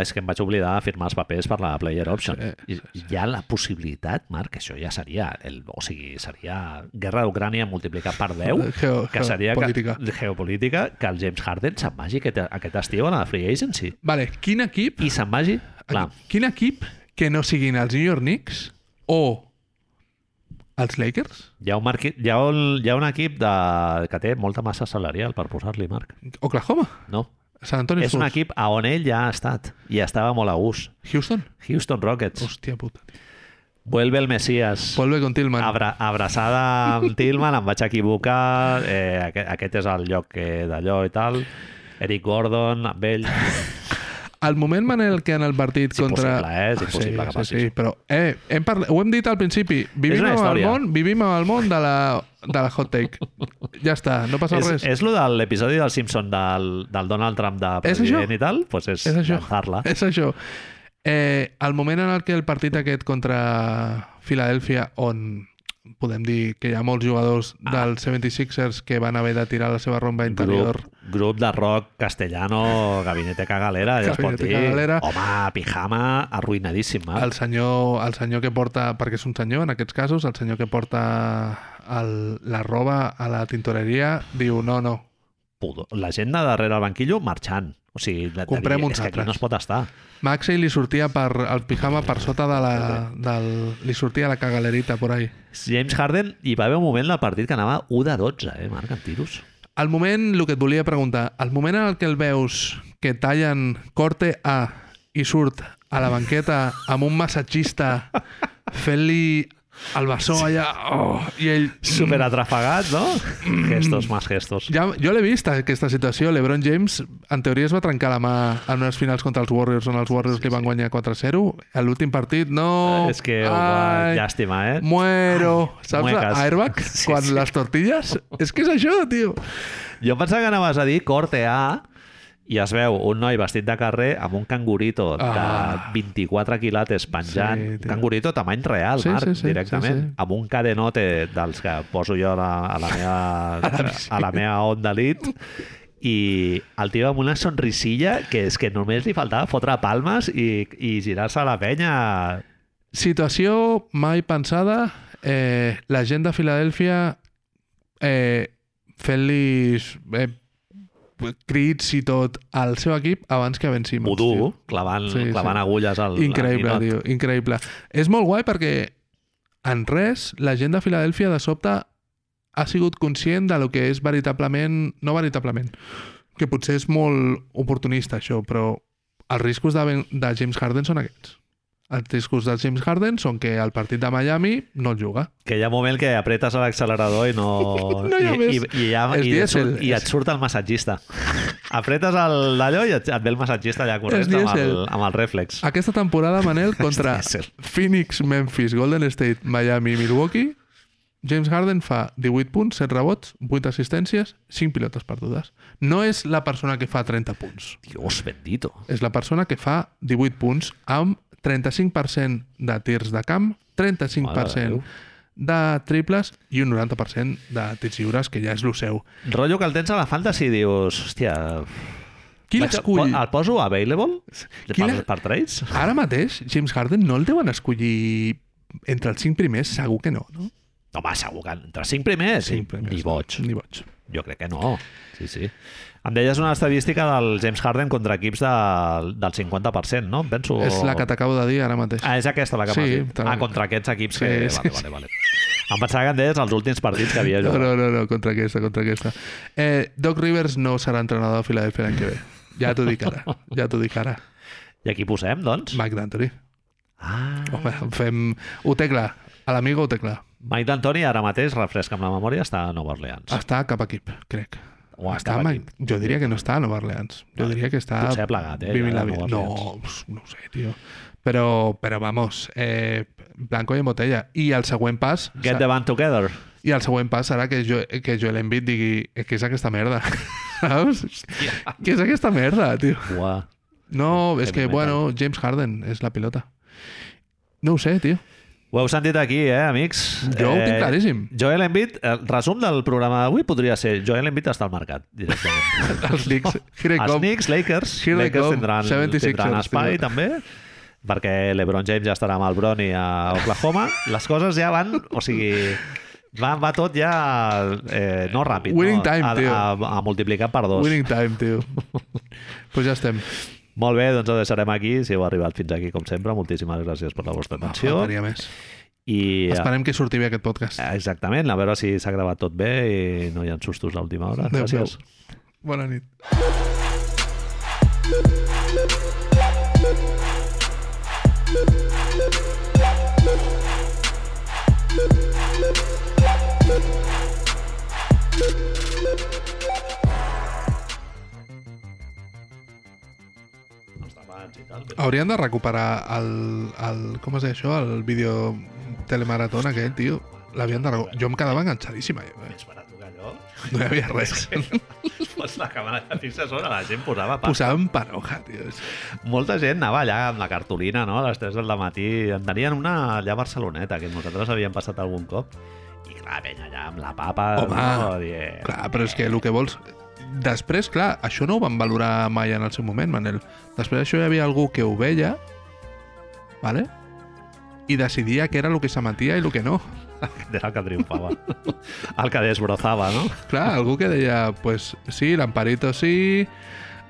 [SPEAKER 1] És que em vaig oblidar de firmar els papers per la player option. I hi ha la possibilitat, Marc, que això ja seria... El, o sigui, seria guerra d'Ucrània multiplicat per 10,
[SPEAKER 2] Geo-
[SPEAKER 1] que seria
[SPEAKER 2] geopolítica.
[SPEAKER 1] Que, geopolítica, que el James Harden se'n vagi aquest, aquest estiu a la free agency.
[SPEAKER 2] Vale, quin equip...
[SPEAKER 1] I se'n vagi... Clar,
[SPEAKER 2] Quin equip que no siguin els New York Knicks o els Lakers?
[SPEAKER 1] hi ha, un marqui, hi, ha un, hi ha un equip de, que té molta massa salarial per posar-li, Marc.
[SPEAKER 2] Oklahoma?
[SPEAKER 1] No?
[SPEAKER 2] San Antonio
[SPEAKER 1] És un
[SPEAKER 2] Spurs?
[SPEAKER 1] equip a on ell ja ha estat i estava molt a gust.
[SPEAKER 2] Houston?
[SPEAKER 1] Houston Rockets.
[SPEAKER 2] Hòstia puta. tio.
[SPEAKER 1] Vuelve el Mesías.
[SPEAKER 2] Volve con Tillman.
[SPEAKER 1] Abra, abraçada amb Tillman, em vaig equivocar, eh, aquest, aquest és el lloc que d'allò i tal. Eric Gordon, amb ell...
[SPEAKER 2] Al moment en el que en el partit
[SPEAKER 1] És
[SPEAKER 2] contra...
[SPEAKER 1] impossible, eh?
[SPEAKER 2] Ah,
[SPEAKER 1] És impossible que
[SPEAKER 2] sí, sí,
[SPEAKER 1] passi.
[SPEAKER 2] sí, però eh, hem parla... ho hem dit al principi. Vivim
[SPEAKER 1] una
[SPEAKER 2] amb el
[SPEAKER 1] història.
[SPEAKER 2] món, vivim amb el món de la, de la hot take. Ja està, no passa
[SPEAKER 1] és,
[SPEAKER 2] res.
[SPEAKER 1] és lo de l'episodi del Simpson del, del Donald Trump de
[SPEAKER 2] És això?
[SPEAKER 1] president i tal? Pues és,
[SPEAKER 2] És això.
[SPEAKER 1] llançar-la.
[SPEAKER 2] És això. Eh, el moment en el que el partit aquest contra Filadèlfia, on podem dir que hi ha molts jugadors ah. dels 76ers que van haver de tirar la seva romba interior.
[SPEAKER 1] Grup, grup de rock castellano, gabinete cagalera, ja es pot
[SPEAKER 2] Gabinete
[SPEAKER 1] dir.
[SPEAKER 2] cagalera.
[SPEAKER 1] Home, pijama, arruïnadíssim, Marc.
[SPEAKER 2] El senyor, el senyor que porta, perquè és un senyor en aquests casos, el senyor que porta el, la roba a la tintoreria diu no, no,
[SPEAKER 1] pudor. La gent de darrere el banquillo marxant. O sigui, de- de
[SPEAKER 2] Comprem
[SPEAKER 1] dir,
[SPEAKER 2] uns
[SPEAKER 1] és que aquí
[SPEAKER 2] altres.
[SPEAKER 1] no es pot estar.
[SPEAKER 2] Maxey li sortia per el pijama per sota de la, del, li sortia la cagalerita por ahí.
[SPEAKER 1] James Harden, hi va haver un moment del partit que anava 1 de 12, eh, Marc, en tiros.
[SPEAKER 2] Al moment, el que et volia preguntar, al moment en el que el veus que tallen corte A i surt a la banqueta amb un massatgista fent-li el bessó allà oh, i ell...
[SPEAKER 1] super atrafagat, no? gestos, más gestos.
[SPEAKER 2] Mm. Ja, jo l'he vist, aquesta situació. L'Ebron James, en teoria, es va trencar la mà en unes finals contra els Warriors, on els Warriors sí, li van guanyar 4-0. A l'últim partit, no...
[SPEAKER 1] Eh, és que, home,
[SPEAKER 2] Ai,
[SPEAKER 1] llàstima, eh?
[SPEAKER 2] Muero. Saps
[SPEAKER 1] muecas.
[SPEAKER 2] airbag?
[SPEAKER 1] Sí,
[SPEAKER 2] quan
[SPEAKER 1] sí.
[SPEAKER 2] les tortilles? És que és això, tio.
[SPEAKER 1] Jo em pensava que anaves a dir corte A i es veu un noi vestit de carrer amb un cangurito
[SPEAKER 2] Ah.
[SPEAKER 1] de 24 quilates penjant.
[SPEAKER 2] Sí,
[SPEAKER 1] Sí,
[SPEAKER 2] tio.
[SPEAKER 1] cangurito tamany real,
[SPEAKER 2] Sí,
[SPEAKER 1] Marc,
[SPEAKER 2] sí, sí,
[SPEAKER 1] directament.
[SPEAKER 2] sí, sí.
[SPEAKER 1] Amb un cadenote dels que poso jo a la, a la meva, a la meva onda lit i el tio amb una sonrisilla que és que només li faltava fotre palmes i, i girar-se a la penya
[SPEAKER 2] Situació mai pensada. Eh, la gent de Filadèlfia eh, fent-li eh, crits i tot al seu equip abans que Ben Simmons.
[SPEAKER 1] vudú,
[SPEAKER 2] Doncs, tio.
[SPEAKER 1] clavant,
[SPEAKER 2] Sí,
[SPEAKER 1] sí,
[SPEAKER 2] sí.
[SPEAKER 1] clavant agulles al al
[SPEAKER 2] Increïble,
[SPEAKER 1] ninot.
[SPEAKER 2] tio, increïble. És molt guai perquè en res la gent de Filadèlfia de sobte ha sigut conscient de lo que és veritablement... No veritablement, que potser és molt oportunista això, però els riscos de, Ben- de James Harden són aquests. Els riscos de James Harden són que el partit de Miami no el juga.
[SPEAKER 1] Que hi ha un moment que apretes a l'accelerador i no...
[SPEAKER 2] No hi ha
[SPEAKER 1] i,
[SPEAKER 2] més.
[SPEAKER 1] i, i, ja,
[SPEAKER 2] És
[SPEAKER 1] i, et surt,
[SPEAKER 2] dièsel.
[SPEAKER 1] I et surt el massatgista. Apretes el- d'allò i et, et ve el massatgista allà corrents amb el,
[SPEAKER 2] dièsel. Ah,
[SPEAKER 1] amb el reflex.
[SPEAKER 2] Aquesta temporada, Manel, contra
[SPEAKER 1] És dièsel.
[SPEAKER 2] Phoenix, Memphis, Golden State, Miami i Milwaukee, James Harden fa 18 punts, 7 rebots, 8 assistències, 5 pilotes perdudes. No és la persona que fa 30 punts.
[SPEAKER 1] Dios bendito.
[SPEAKER 2] és la persona que fa 18 punts amb 35% de tirs de camp, 35%
[SPEAKER 1] Mare
[SPEAKER 2] de triples i un 90% de tirs lliures, que ja és lo seu.
[SPEAKER 1] Rollo que el tens a la fantasy i dius... Hòstia...
[SPEAKER 2] Qui
[SPEAKER 1] vaig-
[SPEAKER 2] l'escull?
[SPEAKER 1] El poso available?
[SPEAKER 2] Qui
[SPEAKER 1] Per,
[SPEAKER 2] la-
[SPEAKER 1] per trades?
[SPEAKER 2] Ara mateix, James Harden no el deuen escollir entre els 5 primers, segur que no, no?
[SPEAKER 1] Home, segur que entre cinc primers,
[SPEAKER 2] Cinc primers,
[SPEAKER 1] ni boig.
[SPEAKER 2] Ni boig.
[SPEAKER 1] Jo crec que no. Sí, sí. Em deies una estadística del James Harden contra equips de, del 50%, no? Em Penso...
[SPEAKER 2] És la que t'acabo de dir ara mateix.
[SPEAKER 1] Ah, és aquesta la que
[SPEAKER 2] Sí,
[SPEAKER 1] m'has dit.
[SPEAKER 2] tal.
[SPEAKER 1] Ah, contra aquests equips
[SPEAKER 2] Sí,
[SPEAKER 1] que...
[SPEAKER 2] sí,
[SPEAKER 1] vale, vale, vale. Em pensava que em deies els últims partits que havia
[SPEAKER 2] No,
[SPEAKER 1] jugat.
[SPEAKER 2] no, no, no, contra aquesta, contra aquesta. Eh, Doc Rivers no serà entrenador de Filadelfia l'any que ve. Ja t'ho dic ara, ja t'ho dic ara.
[SPEAKER 1] I aquí posem, doncs?
[SPEAKER 2] Mike D'Antoni.
[SPEAKER 1] Ah,
[SPEAKER 2] Home, fem... Ho tecla. A l'amigo ho tecla.
[SPEAKER 1] Mike D'Antoni ara mateix, refresca amb la memòria, està a Nova Orleans.
[SPEAKER 2] Està cap equip, crec.
[SPEAKER 1] O
[SPEAKER 2] Està
[SPEAKER 1] cap
[SPEAKER 2] a
[SPEAKER 1] aquí.
[SPEAKER 2] Mike- Jo diria que no està a Nova Orleans. Jo
[SPEAKER 1] Vale.
[SPEAKER 2] diria que està...
[SPEAKER 1] Potser ha plegat, eh,
[SPEAKER 2] Vivint
[SPEAKER 1] ja,
[SPEAKER 2] la
[SPEAKER 1] a
[SPEAKER 2] vida.
[SPEAKER 1] Nova
[SPEAKER 2] No, pues, no ho sé, tio. Però, però vamos, eh, blanco i en botella. I el següent pas...
[SPEAKER 1] Get the band together.
[SPEAKER 2] I el següent pas serà que, jo, que Joel Embiid digui "Eh, què és aquesta merda, saps? Què és aquesta merda, tio?
[SPEAKER 1] Uah.
[SPEAKER 2] No, és
[SPEAKER 1] Heavy
[SPEAKER 2] que,
[SPEAKER 1] metal.
[SPEAKER 2] bueno, James Harden és la pilota. No ho sé, tio.
[SPEAKER 1] Ho heu sentit aquí, eh, amics?
[SPEAKER 2] Jo ho
[SPEAKER 1] eh,
[SPEAKER 2] tinc claríssim.
[SPEAKER 1] Joel Embiid, el resum del programa d'avui podria ser Joel Embiid està al mercat, directament.
[SPEAKER 2] Els Knicks. Here I
[SPEAKER 1] Els
[SPEAKER 2] come.
[SPEAKER 1] Knicks, Lakers,
[SPEAKER 2] Here they
[SPEAKER 1] Lakers
[SPEAKER 2] come,
[SPEAKER 1] tindran,
[SPEAKER 2] 76ers,
[SPEAKER 1] tindran espai
[SPEAKER 2] tio.
[SPEAKER 1] també, perquè l'Ebron James ja estarà amb el Brony a Oklahoma. Les coses ja van, o sigui, va, va tot ja eh, no ràpid,
[SPEAKER 2] Winning
[SPEAKER 1] no?
[SPEAKER 2] time,
[SPEAKER 1] a,
[SPEAKER 2] tio.
[SPEAKER 1] a, a multiplicar per dos.
[SPEAKER 2] Winning time, tio. pues ja estem.
[SPEAKER 1] Molt bé, doncs ho deixarem aquí. Si heu arribat fins aquí, com sempre, moltíssimes gràcies per la vostra atenció.
[SPEAKER 2] Faltaria més.
[SPEAKER 1] I eh,
[SPEAKER 2] Esperem que surti bé aquest podcast.
[SPEAKER 1] Exactament, a veure si s'ha gravat tot bé i no hi ha sustos a última hora.
[SPEAKER 2] Adéu,
[SPEAKER 1] Gràcies.
[SPEAKER 2] Bona nit.
[SPEAKER 1] Els debats i tal, però-
[SPEAKER 2] Hauríem de recuperar el, el com es deia això, el vídeo telemaratón aquell, tio. L'havien de recu- Jo em quedava enganxadíssima. Jo, eh?
[SPEAKER 1] Més barat que allò.
[SPEAKER 2] No hi havia res.
[SPEAKER 1] Pues la càmera de fixa sobre la gent posava pa.
[SPEAKER 2] Posaven panoja, tio.
[SPEAKER 1] Molta gent anava allà amb la cartolina, no? A les 3 del matí. En tenien una allà a Barceloneta, que nosaltres havíem passat algun cop. I clar, penya allà amb la papa.
[SPEAKER 2] Home,
[SPEAKER 1] no, dient,
[SPEAKER 2] Clar, però és que el que vols... Després, clar, això no ho van valorar mai en el seu moment, Manel. Després això hi havia algú que ho veia, vale? i decidia què era el que s'emetia i el que no.
[SPEAKER 1] Era el que triomfava. el que desbrozava, no?
[SPEAKER 2] Clar, algú que deia, pues sí, l'Amparito sí,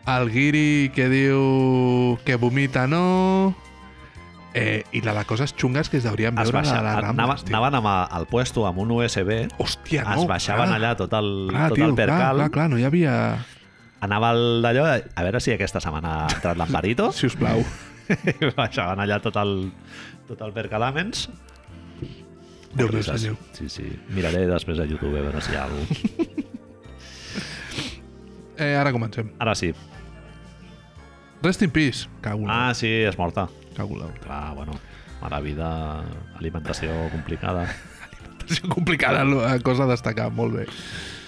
[SPEAKER 2] el Guiri que diu que vomita no... Eh, I la de coses xungues que es deurien
[SPEAKER 1] Es
[SPEAKER 2] veure
[SPEAKER 1] baixa,
[SPEAKER 2] a la Rambla.
[SPEAKER 1] anaven, anaven amb el- al puesto amb un USB,
[SPEAKER 2] Hòstia, no,
[SPEAKER 1] es baixaven
[SPEAKER 2] clar,
[SPEAKER 1] allà tot el,
[SPEAKER 2] clar,
[SPEAKER 1] tot
[SPEAKER 2] tio,
[SPEAKER 1] el percal.
[SPEAKER 2] Clar, clar, clar, no hi havia...
[SPEAKER 1] Anava el d'allò, a veure si aquesta setmana ha entrat l'Amparito.
[SPEAKER 2] Si us plau.
[SPEAKER 1] I baixaven allà tot el, tot el percalamens.
[SPEAKER 2] Déu meu
[SPEAKER 1] Rises.
[SPEAKER 2] senyor.
[SPEAKER 1] Sí, sí. Miraré després a YouTube a veure si hi ha algú.
[SPEAKER 2] Eh, ara comencem.
[SPEAKER 1] Ara sí.
[SPEAKER 2] Rest in peace. Cago en
[SPEAKER 1] Ah, sí, és morta.
[SPEAKER 2] la- cago en la puta.
[SPEAKER 1] Clar, Ah, bueno, mala vida, alimentació complicada.
[SPEAKER 2] És complicada la cosa a eh, destacar, molt bé.